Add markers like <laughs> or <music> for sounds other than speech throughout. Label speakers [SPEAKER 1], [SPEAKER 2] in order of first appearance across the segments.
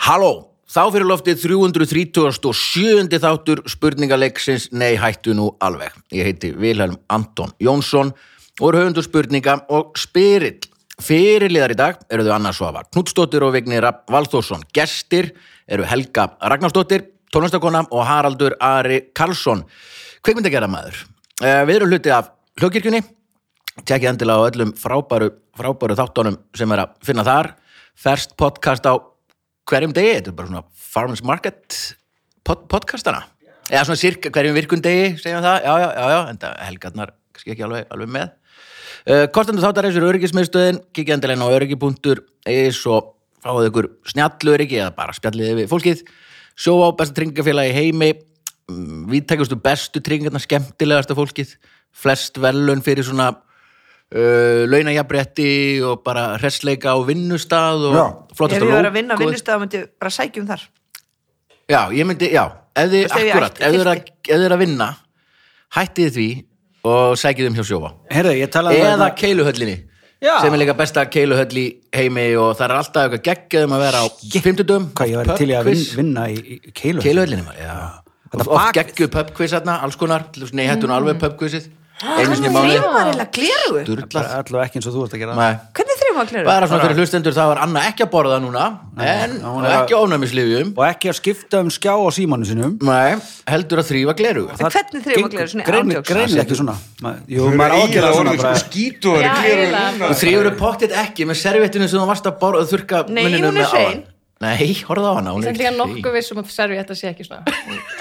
[SPEAKER 1] Halló, þá fyrir loftið 337. þáttur spurningaleiksins Nei, hættu nú alveg. Ég heiti Vilhelm Anton Jónsson og er höfundur spurninga og spyrill. Fyrirliðar í dag eru þau Anna Svafa Knudsdóttir og Vigni Rapp Valþórsson. Gestir eru Helga Ragnarsdóttir, tónlistakona og Haraldur Ari Karlsson, kveikmyndagerðamaður. Eh, Við erum hluti af hljókirkjunni tjekkið endilega á öllum frábæru, frábæru þáttunum sem er að finna þar ferst podcast á hverjum degi, þetta er bara svona Farmers Market pod podcastana eða svona sirka hverjum virkun degi segjum það, já, já, já, já, en það helgarnar kannski ekki alveg, alveg með uh, kostendur þáttareisur öryggismiðstöðin kikið endilega inn á öryggi.is og fáið ykkur snjallu öryggi eða bara spjallið við fólkið sjó á besta tryggingafélagi í heimi viðtækustu bestu tryggingarnar skemmtilegasta fólkið, flest velun fyrir svona uh, launajabrétti og bara hressleika á vinnustað og
[SPEAKER 2] Já.
[SPEAKER 1] flottasta
[SPEAKER 3] Ef ég var að
[SPEAKER 1] lógóið.
[SPEAKER 3] vinna á vinnustæða myndi ég bara sækjum þar
[SPEAKER 1] Já, ég myndi, já, ef þið,
[SPEAKER 3] Þú veist, ef ég
[SPEAKER 1] akkurat,
[SPEAKER 3] ætti,
[SPEAKER 1] ef þið er að- ef þið er að vinna hættið því og sækið um hjá sjófa
[SPEAKER 2] Herðu, ég talaði
[SPEAKER 1] eða
[SPEAKER 2] hérna-
[SPEAKER 1] keiluhöllinni
[SPEAKER 2] Já.
[SPEAKER 1] sem er líka besta keiluhöll í heimi og það er alltaf eitthvað geggjaðum að vera á fimmtudum
[SPEAKER 2] Hvað ég var til í að vin, vinna í, í keilu
[SPEAKER 1] Keiluhöllinni maður, já
[SPEAKER 2] Þetta
[SPEAKER 1] Oft
[SPEAKER 2] bak-
[SPEAKER 1] geggu pubquiz hérna, alls konar til þess- Nei, hættu nú alveg pubquizið Einu sinni
[SPEAKER 3] Þrýfum
[SPEAKER 1] máli,
[SPEAKER 3] var eiginlega glerugu
[SPEAKER 1] durlað
[SPEAKER 2] Allavega ekki eins og þú ert að gera
[SPEAKER 1] Nei.
[SPEAKER 3] Hvernig þrýfum var glerugu?
[SPEAKER 1] Bara svona fyrir hlustendur, það var Anna ekki að borða núna En
[SPEAKER 2] já, hún
[SPEAKER 1] og
[SPEAKER 2] er að-
[SPEAKER 1] ekki ónæmislifjum
[SPEAKER 2] Og ekki að skipta um skjá á símanu sinum
[SPEAKER 1] Nei, heldur að þrýfa gleru
[SPEAKER 3] En hvernig þrýfum var glerugu? Svona
[SPEAKER 2] Greinir
[SPEAKER 3] ándjóks
[SPEAKER 2] greini ekki svona Ma- Jú,
[SPEAKER 4] Þau
[SPEAKER 2] maður
[SPEAKER 4] eru
[SPEAKER 2] ágjörða
[SPEAKER 4] eiginlega
[SPEAKER 2] svona
[SPEAKER 4] orðið sko
[SPEAKER 2] bara
[SPEAKER 4] skítuðar í
[SPEAKER 3] Já,
[SPEAKER 4] gleraugun
[SPEAKER 3] eiginlega.
[SPEAKER 4] núna.
[SPEAKER 1] Þú þrýfur pottitt ekki með servettinu sem þú varst að borða að þurka
[SPEAKER 3] Nei,
[SPEAKER 1] munninum
[SPEAKER 3] hún er
[SPEAKER 1] með áðan.
[SPEAKER 3] hrein.
[SPEAKER 1] Nei, horfðu á hana, hún er
[SPEAKER 5] Ég er
[SPEAKER 1] ekki
[SPEAKER 5] líka
[SPEAKER 1] hrein.
[SPEAKER 5] nokkuð vissum að servi þetta sé ekki svona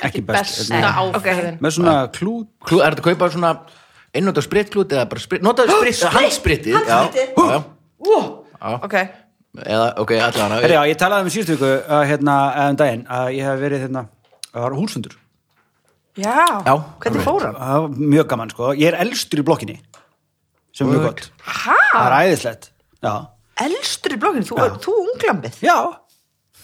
[SPEAKER 2] Ekki best,
[SPEAKER 5] besta
[SPEAKER 2] nei.
[SPEAKER 5] áferðin
[SPEAKER 2] Með svona klút
[SPEAKER 1] Klú, er þetta að kaupa svona einnóta spritklút eða bara sprit, notaðu sprit, handspritið
[SPEAKER 3] handspritið.
[SPEAKER 1] já, já, já,
[SPEAKER 3] Ok,
[SPEAKER 1] eða, ok, allan
[SPEAKER 2] Herðu, já, ég talaði um síðustu viku að hérna, eða um daginn, að ég hef verið hérna að var húsundur
[SPEAKER 3] já,
[SPEAKER 1] Já,
[SPEAKER 3] hvernig fór hann?
[SPEAKER 2] Það var mjög gaman, sko Ég er elstur í blokkinni sem er mjög gott
[SPEAKER 3] Hæ?
[SPEAKER 2] Það er æðislegt Já,
[SPEAKER 3] Elstur í blokkinu, þú, þú unglambið
[SPEAKER 2] já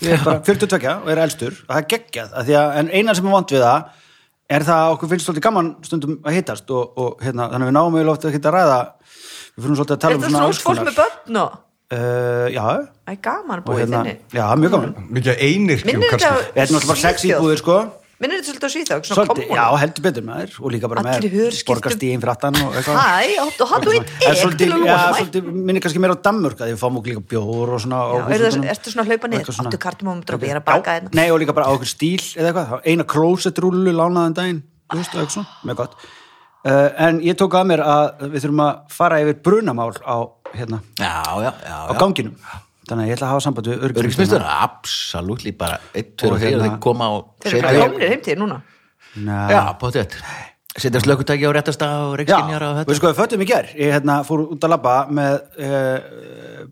[SPEAKER 2] Ég er bara 42 og er elstur og það er geggjað af því að, en eina sem er vond við það er það að okkur finnst svolítið gaman stundum að hittast og, og hérna, þannig að við náum við lofta að geta að ræða við fyrir svolítið að tala
[SPEAKER 3] Er
[SPEAKER 2] um
[SPEAKER 3] það svona
[SPEAKER 2] alls
[SPEAKER 3] úr fólk
[SPEAKER 2] konar.
[SPEAKER 3] með bönn og
[SPEAKER 2] Eh, Já,
[SPEAKER 3] Æ, gaman
[SPEAKER 2] og
[SPEAKER 3] að búa í
[SPEAKER 2] hérna,
[SPEAKER 3] þinni
[SPEAKER 2] já, mjög gaman
[SPEAKER 4] Mikið einirkjum
[SPEAKER 3] Minnir þetta
[SPEAKER 4] kannski
[SPEAKER 2] Við erum náttúrulega bara sex
[SPEAKER 3] Svíþjóð.
[SPEAKER 2] íbúðir, sko
[SPEAKER 3] Minnir þetta svolítið á Svíþjóð, svona
[SPEAKER 2] Svolítið,
[SPEAKER 3] kommun
[SPEAKER 2] já, heldur betur maður og líka bara
[SPEAKER 3] Allir í
[SPEAKER 2] með
[SPEAKER 3] hörskiptum.
[SPEAKER 2] borgarstíðin fyrir aftan og eitthvað
[SPEAKER 3] Hæ, og hattu eitt
[SPEAKER 2] En
[SPEAKER 3] ek til
[SPEAKER 2] svolítið,
[SPEAKER 3] að
[SPEAKER 2] ja,
[SPEAKER 3] lúa það
[SPEAKER 2] svolítið minnir kannski meira á Danmörk að því við fáum okkur líka bjór og svona á
[SPEAKER 3] Já, er það,
[SPEAKER 2] húsfundunum.
[SPEAKER 3] ertu svona að hlaupa
[SPEAKER 2] Og
[SPEAKER 3] niður,
[SPEAKER 2] eitthvað svona.
[SPEAKER 3] áttu kartumum og droppi, ég er að baka
[SPEAKER 2] Já,
[SPEAKER 3] hérna. þeirna
[SPEAKER 2] Nei, og líka bara á okkur stíl eða eitthvað, Það var eina klósetrúlu lánaðan daginn, þú veist, eitthvað svona, mjög gott uh, En ég tók að mér að við þurfum að fara yfir brunamál á, hérna,
[SPEAKER 1] já, já, já,
[SPEAKER 2] á
[SPEAKER 1] já.
[SPEAKER 2] ganginum Þannig að ég ætla að hafa samband við
[SPEAKER 1] Öryggismistur,
[SPEAKER 2] örgismistuna
[SPEAKER 1] absolutt bara einn, tveir
[SPEAKER 2] Og
[SPEAKER 1] og þeir
[SPEAKER 2] hérna-
[SPEAKER 1] þeir koma og
[SPEAKER 3] Þeir eru
[SPEAKER 1] setja-
[SPEAKER 3] bara komnir heim til þér núna
[SPEAKER 1] Já, potið Setja slökkutæki á réttasta og
[SPEAKER 2] Já,
[SPEAKER 1] rekskinjar og
[SPEAKER 2] við
[SPEAKER 1] þetta
[SPEAKER 2] sko við föttum í ger ég hérna, fór út að labba með uh,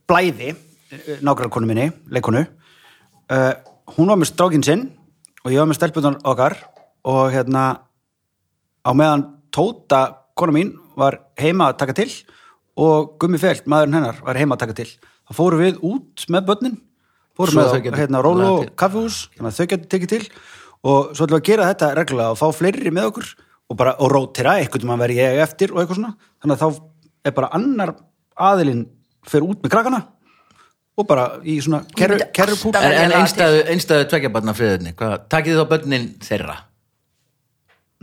[SPEAKER 2] blæði uh, nágrarkonu minni, leikonu uh, hún var með strákinn sinn og ég var með stelpunan okkar og hérna á meðan Tóta, konu mín var heima að taka til og Gummi Felt, maðurinn hennar, var heima að taka til þá fórum við út með börnin fórum
[SPEAKER 1] Svo
[SPEAKER 2] með
[SPEAKER 1] þau
[SPEAKER 2] á,
[SPEAKER 1] geti
[SPEAKER 2] hérna, rólu
[SPEAKER 1] lagað
[SPEAKER 2] og
[SPEAKER 1] til.
[SPEAKER 2] kaffihús þannig að þau getur tekið til og svo ætlum við að gera þetta reglulega og fá fleiri með okkur og bara og rótira, einhvern veginn verði ég eftir og eitthvað svona, þannig að þá er bara annar aðilinn fer út með krakkana og bara í svona kerru,
[SPEAKER 3] myndi
[SPEAKER 2] kerrupúl
[SPEAKER 3] alltaf-
[SPEAKER 1] En, en
[SPEAKER 3] Velja
[SPEAKER 1] einstæðu, einstæðu tveggjabarna friðurni Takið þið þá börnin þeirra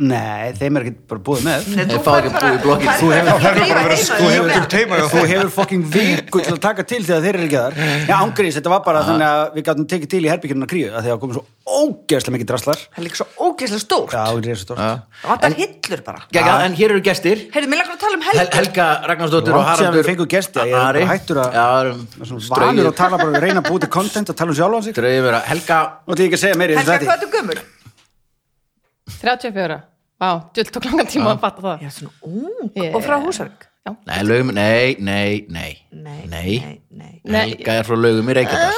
[SPEAKER 2] nei, þeim er ekki bara búið með
[SPEAKER 3] Nei,
[SPEAKER 1] Þeir
[SPEAKER 3] þú
[SPEAKER 1] fá
[SPEAKER 3] færð
[SPEAKER 1] ekki að
[SPEAKER 3] bara-
[SPEAKER 1] búa í blokkinni.
[SPEAKER 3] færð
[SPEAKER 1] Þú
[SPEAKER 3] bara
[SPEAKER 1] hefur-
[SPEAKER 3] að
[SPEAKER 4] Það er bara
[SPEAKER 3] drífa
[SPEAKER 4] verið
[SPEAKER 3] heima
[SPEAKER 4] sko
[SPEAKER 3] þín.
[SPEAKER 4] hefur þú teima hjá
[SPEAKER 2] þú
[SPEAKER 4] þér
[SPEAKER 2] hefur fokking viku til að taka til þegar þeir eru ekki þar já, ángrís, þetta var bara þannig að við gáttum tekið til í herbyggjurinn að kríu að því að komið svo ógeðslega mikið draslar
[SPEAKER 3] Það er líka svo ógeðslega stórt
[SPEAKER 2] já, hún er svo stórt
[SPEAKER 3] Það vantar hillur bara
[SPEAKER 1] Gekka, En hér eru gestir
[SPEAKER 3] Heyrðu, mér langar að tala um
[SPEAKER 1] Hel
[SPEAKER 3] helgi
[SPEAKER 1] Helga Ragnarsdóttir og
[SPEAKER 2] Langt síðan
[SPEAKER 1] Haraldur
[SPEAKER 2] við fengum gesti, ég er
[SPEAKER 1] Ari.
[SPEAKER 2] bara hættur að-
[SPEAKER 1] Já, það erum
[SPEAKER 2] Það er svona
[SPEAKER 1] straugir-
[SPEAKER 2] vanur að tala bara að reyna að búið til content að tala um sjálfan sig
[SPEAKER 1] straugir vera. Helga
[SPEAKER 2] Nú ætlum ég ekki að segja meiri
[SPEAKER 3] Helga,
[SPEAKER 2] þess
[SPEAKER 3] hvað
[SPEAKER 2] að
[SPEAKER 3] er þú gömul?
[SPEAKER 5] 34, vá, djöld tók langan
[SPEAKER 2] Ah.
[SPEAKER 5] tíma að fatta það
[SPEAKER 3] Já, svona ung
[SPEAKER 5] Ég-
[SPEAKER 3] Og frá Húsavík
[SPEAKER 5] Já.
[SPEAKER 1] Nei, lögum, nei, nei, nei
[SPEAKER 3] Nei, nei, nei.
[SPEAKER 5] Nei.
[SPEAKER 1] Helga er frá lögum í Reykjavík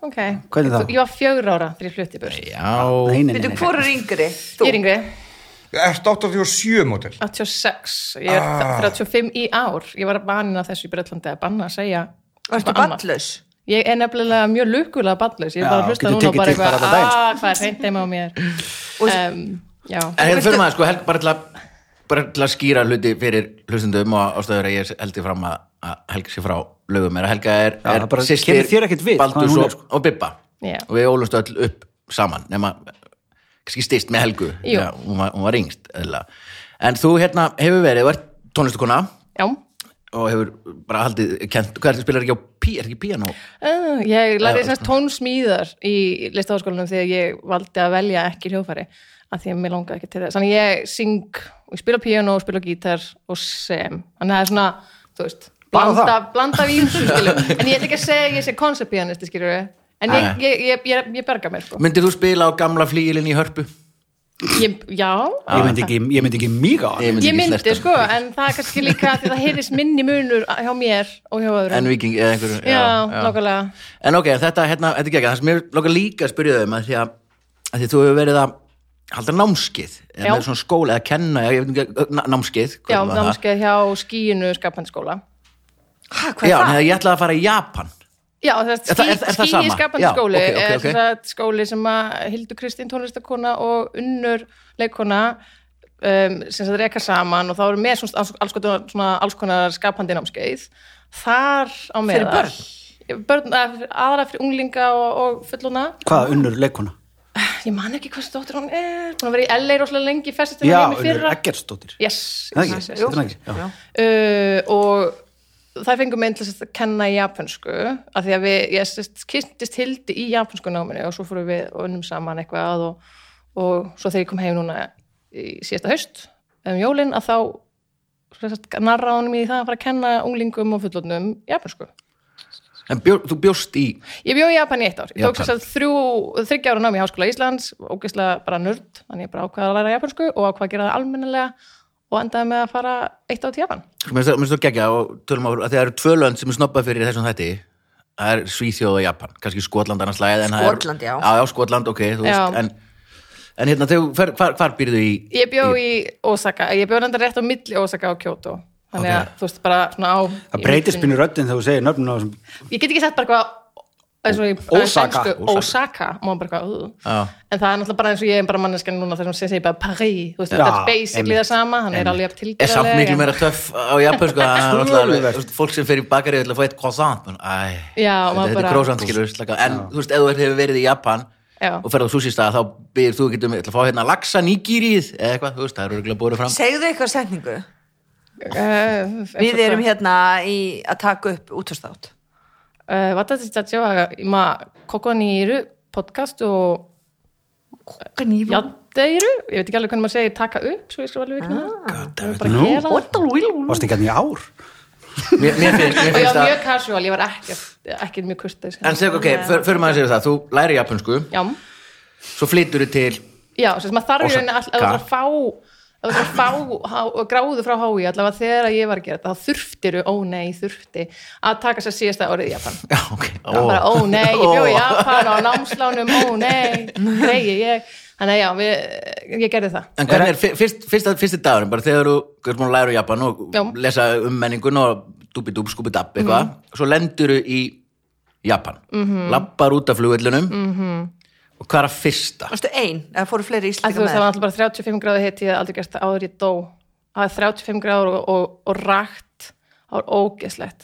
[SPEAKER 5] Ok,
[SPEAKER 2] Hvernig þá?
[SPEAKER 5] Ég var fjögur ára þegar ég flutti burt
[SPEAKER 1] Já,
[SPEAKER 3] Veitu, hvor er yngri?
[SPEAKER 5] Ég er yngri,
[SPEAKER 4] Ert 87 mótel
[SPEAKER 5] 86 Ég er
[SPEAKER 4] Ah.
[SPEAKER 5] 35 í ár Ég var vanin af þessu í Breitlandi að banna að segja
[SPEAKER 3] Ertu
[SPEAKER 5] eitthvað annað.
[SPEAKER 3] ballaus?
[SPEAKER 5] Ég er nefnilega mjög lukkulega ballus Ég er
[SPEAKER 2] Já,
[SPEAKER 5] bara að hlusta
[SPEAKER 2] getur
[SPEAKER 5] núna
[SPEAKER 2] tekið
[SPEAKER 5] og bara
[SPEAKER 2] til bara
[SPEAKER 5] eitthvað
[SPEAKER 2] allan daginn, sko."
[SPEAKER 5] Ah, hvað er reynd heima á mér um, Já,
[SPEAKER 1] En hérna fyrir maður, sko, Helga bara til að bara til að skýra hluti fyrir hlustundum og ástæður að ég heldi fram að að Helga sé frá lögum er að Helga er,
[SPEAKER 2] Já,
[SPEAKER 1] er
[SPEAKER 2] það bara
[SPEAKER 1] systir
[SPEAKER 2] kemur þér ekkert við, hvaðan
[SPEAKER 1] Baldurs
[SPEAKER 2] hún er,
[SPEAKER 1] og,
[SPEAKER 2] sko.
[SPEAKER 1] og Bibba
[SPEAKER 5] Já.
[SPEAKER 1] og við ólumst öll upp saman nema, kannski styrst með Helgu
[SPEAKER 5] Jú.
[SPEAKER 1] Já, hún, var, hún var yngst eðlilega. en þú hérna hefur verið, þú ert tónlistakona
[SPEAKER 5] Já,
[SPEAKER 1] og hefur bara haldið kent, hvað er þetta spilar ekki á pí, er ekki píanó
[SPEAKER 5] uh, ég lærði semst tónsmíðar í listaháskólanum þegar ég valdi að velja ekki hljófari af því að mér langaði ekki til þess. Þannig ég syng og ég spila piano og spila gítar og sem. Þannig að það er svona, þú veist,
[SPEAKER 2] Bara
[SPEAKER 5] blanda,
[SPEAKER 2] það?
[SPEAKER 5] blanda af ímsu, skilur. En ég ætla ekki að segja að ég sé konceptpianisti, skilur við. En ég,
[SPEAKER 1] Nei.
[SPEAKER 5] ég, ég, ég, ég berga mér, sko.
[SPEAKER 1] myndir þú spila á gamla flíilin í hörpu?
[SPEAKER 5] Ég, já,
[SPEAKER 2] ég myndi ekki, ég myndi ekki mýga á hann
[SPEAKER 5] ég
[SPEAKER 1] ekki
[SPEAKER 5] myndi,
[SPEAKER 1] snerta
[SPEAKER 5] sko,
[SPEAKER 1] hana.
[SPEAKER 5] en það er kannski líka af því það heyrðist minni munur hjá mér og hjá öðrum.
[SPEAKER 1] en viking eða einhverju
[SPEAKER 5] já, nákvæmlega.
[SPEAKER 1] En ok, þetta, hérna, þetta er ekki ekki, það sem ég lóka líka að spyrja þau um að því að, að því þú hefur verið að halda námskið, eða
[SPEAKER 5] Já.
[SPEAKER 1] með svona skóla eða kenna, já, ég veit ekki, ö, na- námskið hvað
[SPEAKER 5] Já,
[SPEAKER 1] var það?
[SPEAKER 5] námskeið hjá skíinu skapandskóla.
[SPEAKER 3] Hæ, hvað
[SPEAKER 1] Já,
[SPEAKER 3] er
[SPEAKER 1] neða,
[SPEAKER 3] það?
[SPEAKER 1] ég ætlaði að fara í Japan
[SPEAKER 5] Já, það er,
[SPEAKER 1] Er það-
[SPEAKER 5] skí,
[SPEAKER 1] er það- er það
[SPEAKER 5] skíi
[SPEAKER 1] sama?
[SPEAKER 5] skapandi
[SPEAKER 1] Já,
[SPEAKER 5] skóli
[SPEAKER 1] ok, ok,
[SPEAKER 5] er
[SPEAKER 1] ok.
[SPEAKER 5] sem sagt skóli sem að Hildur Kristín tónlistakona og Unnur leikona um, sem sagt reka saman og þá eru með svona, alls- alls, konar, svona alls konar skapandi námskeið þar á meðal börn, börn að- aðra fyrir unglinga og, og fullona
[SPEAKER 2] hvað unnur leikuna
[SPEAKER 5] ég man ekki hversu dóttir hún er búin að vera í LA rosalega lengi festist
[SPEAKER 2] já,
[SPEAKER 5] henni
[SPEAKER 2] unnur
[SPEAKER 5] fyrra
[SPEAKER 2] Eggertsdóttir
[SPEAKER 5] yes,
[SPEAKER 2] Er það
[SPEAKER 5] yes,
[SPEAKER 2] ekki?
[SPEAKER 5] yes, yes.
[SPEAKER 2] Heitir hún ekki? Já.
[SPEAKER 5] uh, og það fengum mig til þess að kenna í japansku af því að við, ég sérst, kynntist hildi í japansku náminu og svo fórum við og unnum saman eitthvað og, og svo þegar ég kom heim núna í síðasta haust um jólin að þá sérst, narra honum í það að fara að kenna unglingum og fullotnum japansku.
[SPEAKER 1] En bjó, þú bjóst í,
[SPEAKER 5] Ég bjó í Japan í eitt ár. Ég tók
[SPEAKER 1] Japan.
[SPEAKER 5] þess að þrjú, þryggja ára nám í Háskóla Íslands, ógeðslega bara nörd, þannig ég bara ákvaði að læra japansku og ákvaði að gera það almennilega og endaði með að fara eitt ár til Japan.
[SPEAKER 1] sko, mér finnst þú gegja og tölum á, að það eru tvölönd sem er snobbað fyrir í þessum þetta það er Svíþjóð og Japan, kannski Skotland annars lagið en það er-
[SPEAKER 3] Skotland, já.
[SPEAKER 1] Já, já, Skotland, ok, þú
[SPEAKER 5] Já.
[SPEAKER 1] veist, en en hérna, þegar, hvar, hvar, hvar býrðu í
[SPEAKER 5] Ég bjó í Osaka, ég bjó nefndar rétt á milli Osaka og Kyoto þannig að þú veist bara svona á
[SPEAKER 2] það breytist býnur röddinn þegar þú segir nöfnum á þessum
[SPEAKER 5] Ég get ekki sagt bara eitthvað eins og ég-
[SPEAKER 2] Osaka.
[SPEAKER 5] sænsku, Osaka, má bara eitthvað uh.
[SPEAKER 1] Já.
[SPEAKER 5] en það er náttúrulega bara eins og ég er bara manneskjan núna þessum sem segir bara Paris, þú veist,
[SPEAKER 2] Já,
[SPEAKER 5] þetta er basically
[SPEAKER 2] einmitt.
[SPEAKER 5] það sama hann er alveg
[SPEAKER 1] er samt miklu
[SPEAKER 5] tilgjörlega
[SPEAKER 1] meira töff á Japan sko, það er alltaf alveg,
[SPEAKER 2] Skrúfuvert.
[SPEAKER 1] þú veist, fólk sem fer í bakari ætla að fá eitt croissant menn, æ,
[SPEAKER 5] Já,
[SPEAKER 1] þetta,
[SPEAKER 5] maður
[SPEAKER 1] þetta er
[SPEAKER 5] bara-
[SPEAKER 1] croissant skilur slaka. en þú veist, ef þú ert- hefur verið í Japan
[SPEAKER 5] Já.
[SPEAKER 1] og ferð á sushi stað, þá byrðir þú getum ætla að fá hérna laxa nýgýrið eða eitthvað, þú veist, það eru örgulega búið
[SPEAKER 5] <laughs>
[SPEAKER 1] fram
[SPEAKER 3] Segðu eitthvað setningu.
[SPEAKER 5] uh,
[SPEAKER 3] Við erum hérna í að taka upp útastátt.
[SPEAKER 5] えー私たちは今ここにいるポッドキャストをやっているég veit ekki alveg hvernig maður segir taka upp svo ég skal alveg vikna það Við erum bara að gera það.
[SPEAKER 2] varst ekki hérna í ár
[SPEAKER 1] mér, mér finnst, mér
[SPEAKER 5] og ég
[SPEAKER 1] finnst
[SPEAKER 5] var
[SPEAKER 1] að
[SPEAKER 5] mjög casual, ég var ekki, ekki mjög kurteis
[SPEAKER 1] en segja, ok, för- förum maður að segja það, þú læri japansku
[SPEAKER 5] já,
[SPEAKER 1] svo flyttur þú til
[SPEAKER 5] já sem maður þarf í rauninni all- ef þú
[SPEAKER 1] Osaka.
[SPEAKER 5] ætlar að fá ef þú ætlar að fá há- gráðu frá hái allavega þegar ég var að gera þetta, þá þurftiru ó nei, þurfti að taka sér síðasta árið í Japan
[SPEAKER 1] já, ok, ó,
[SPEAKER 5] oh. bara, ó nei, ég bjó í
[SPEAKER 1] Ó.
[SPEAKER 5] Japan á námslánum, ó
[SPEAKER 1] <laughs>
[SPEAKER 5] nei greiði ég, þannig að já við, ég gerði það
[SPEAKER 1] En hvernig er fyr- fyrst, fyrsta, fyrsti dagurinn, bara þegar þú hvernig maður læra Japan og
[SPEAKER 5] Já. Mhm.
[SPEAKER 1] lesa um menningun og dúbidúb, skúbidabb eitthvað, svo lendur þú í Japan,
[SPEAKER 5] Mhm.
[SPEAKER 1] lappar út af flugvillunum og hvað er að fyrsta?
[SPEAKER 3] Varstu ein? Eða fóru fleiri
[SPEAKER 5] að þú
[SPEAKER 3] íslika
[SPEAKER 5] veist, það var
[SPEAKER 3] með?
[SPEAKER 5] alltaf bara 35 gráði hitt ég hafði aldrei gert það áður ég dó að 35 gráður og, og, og rakt það var ógeðslegt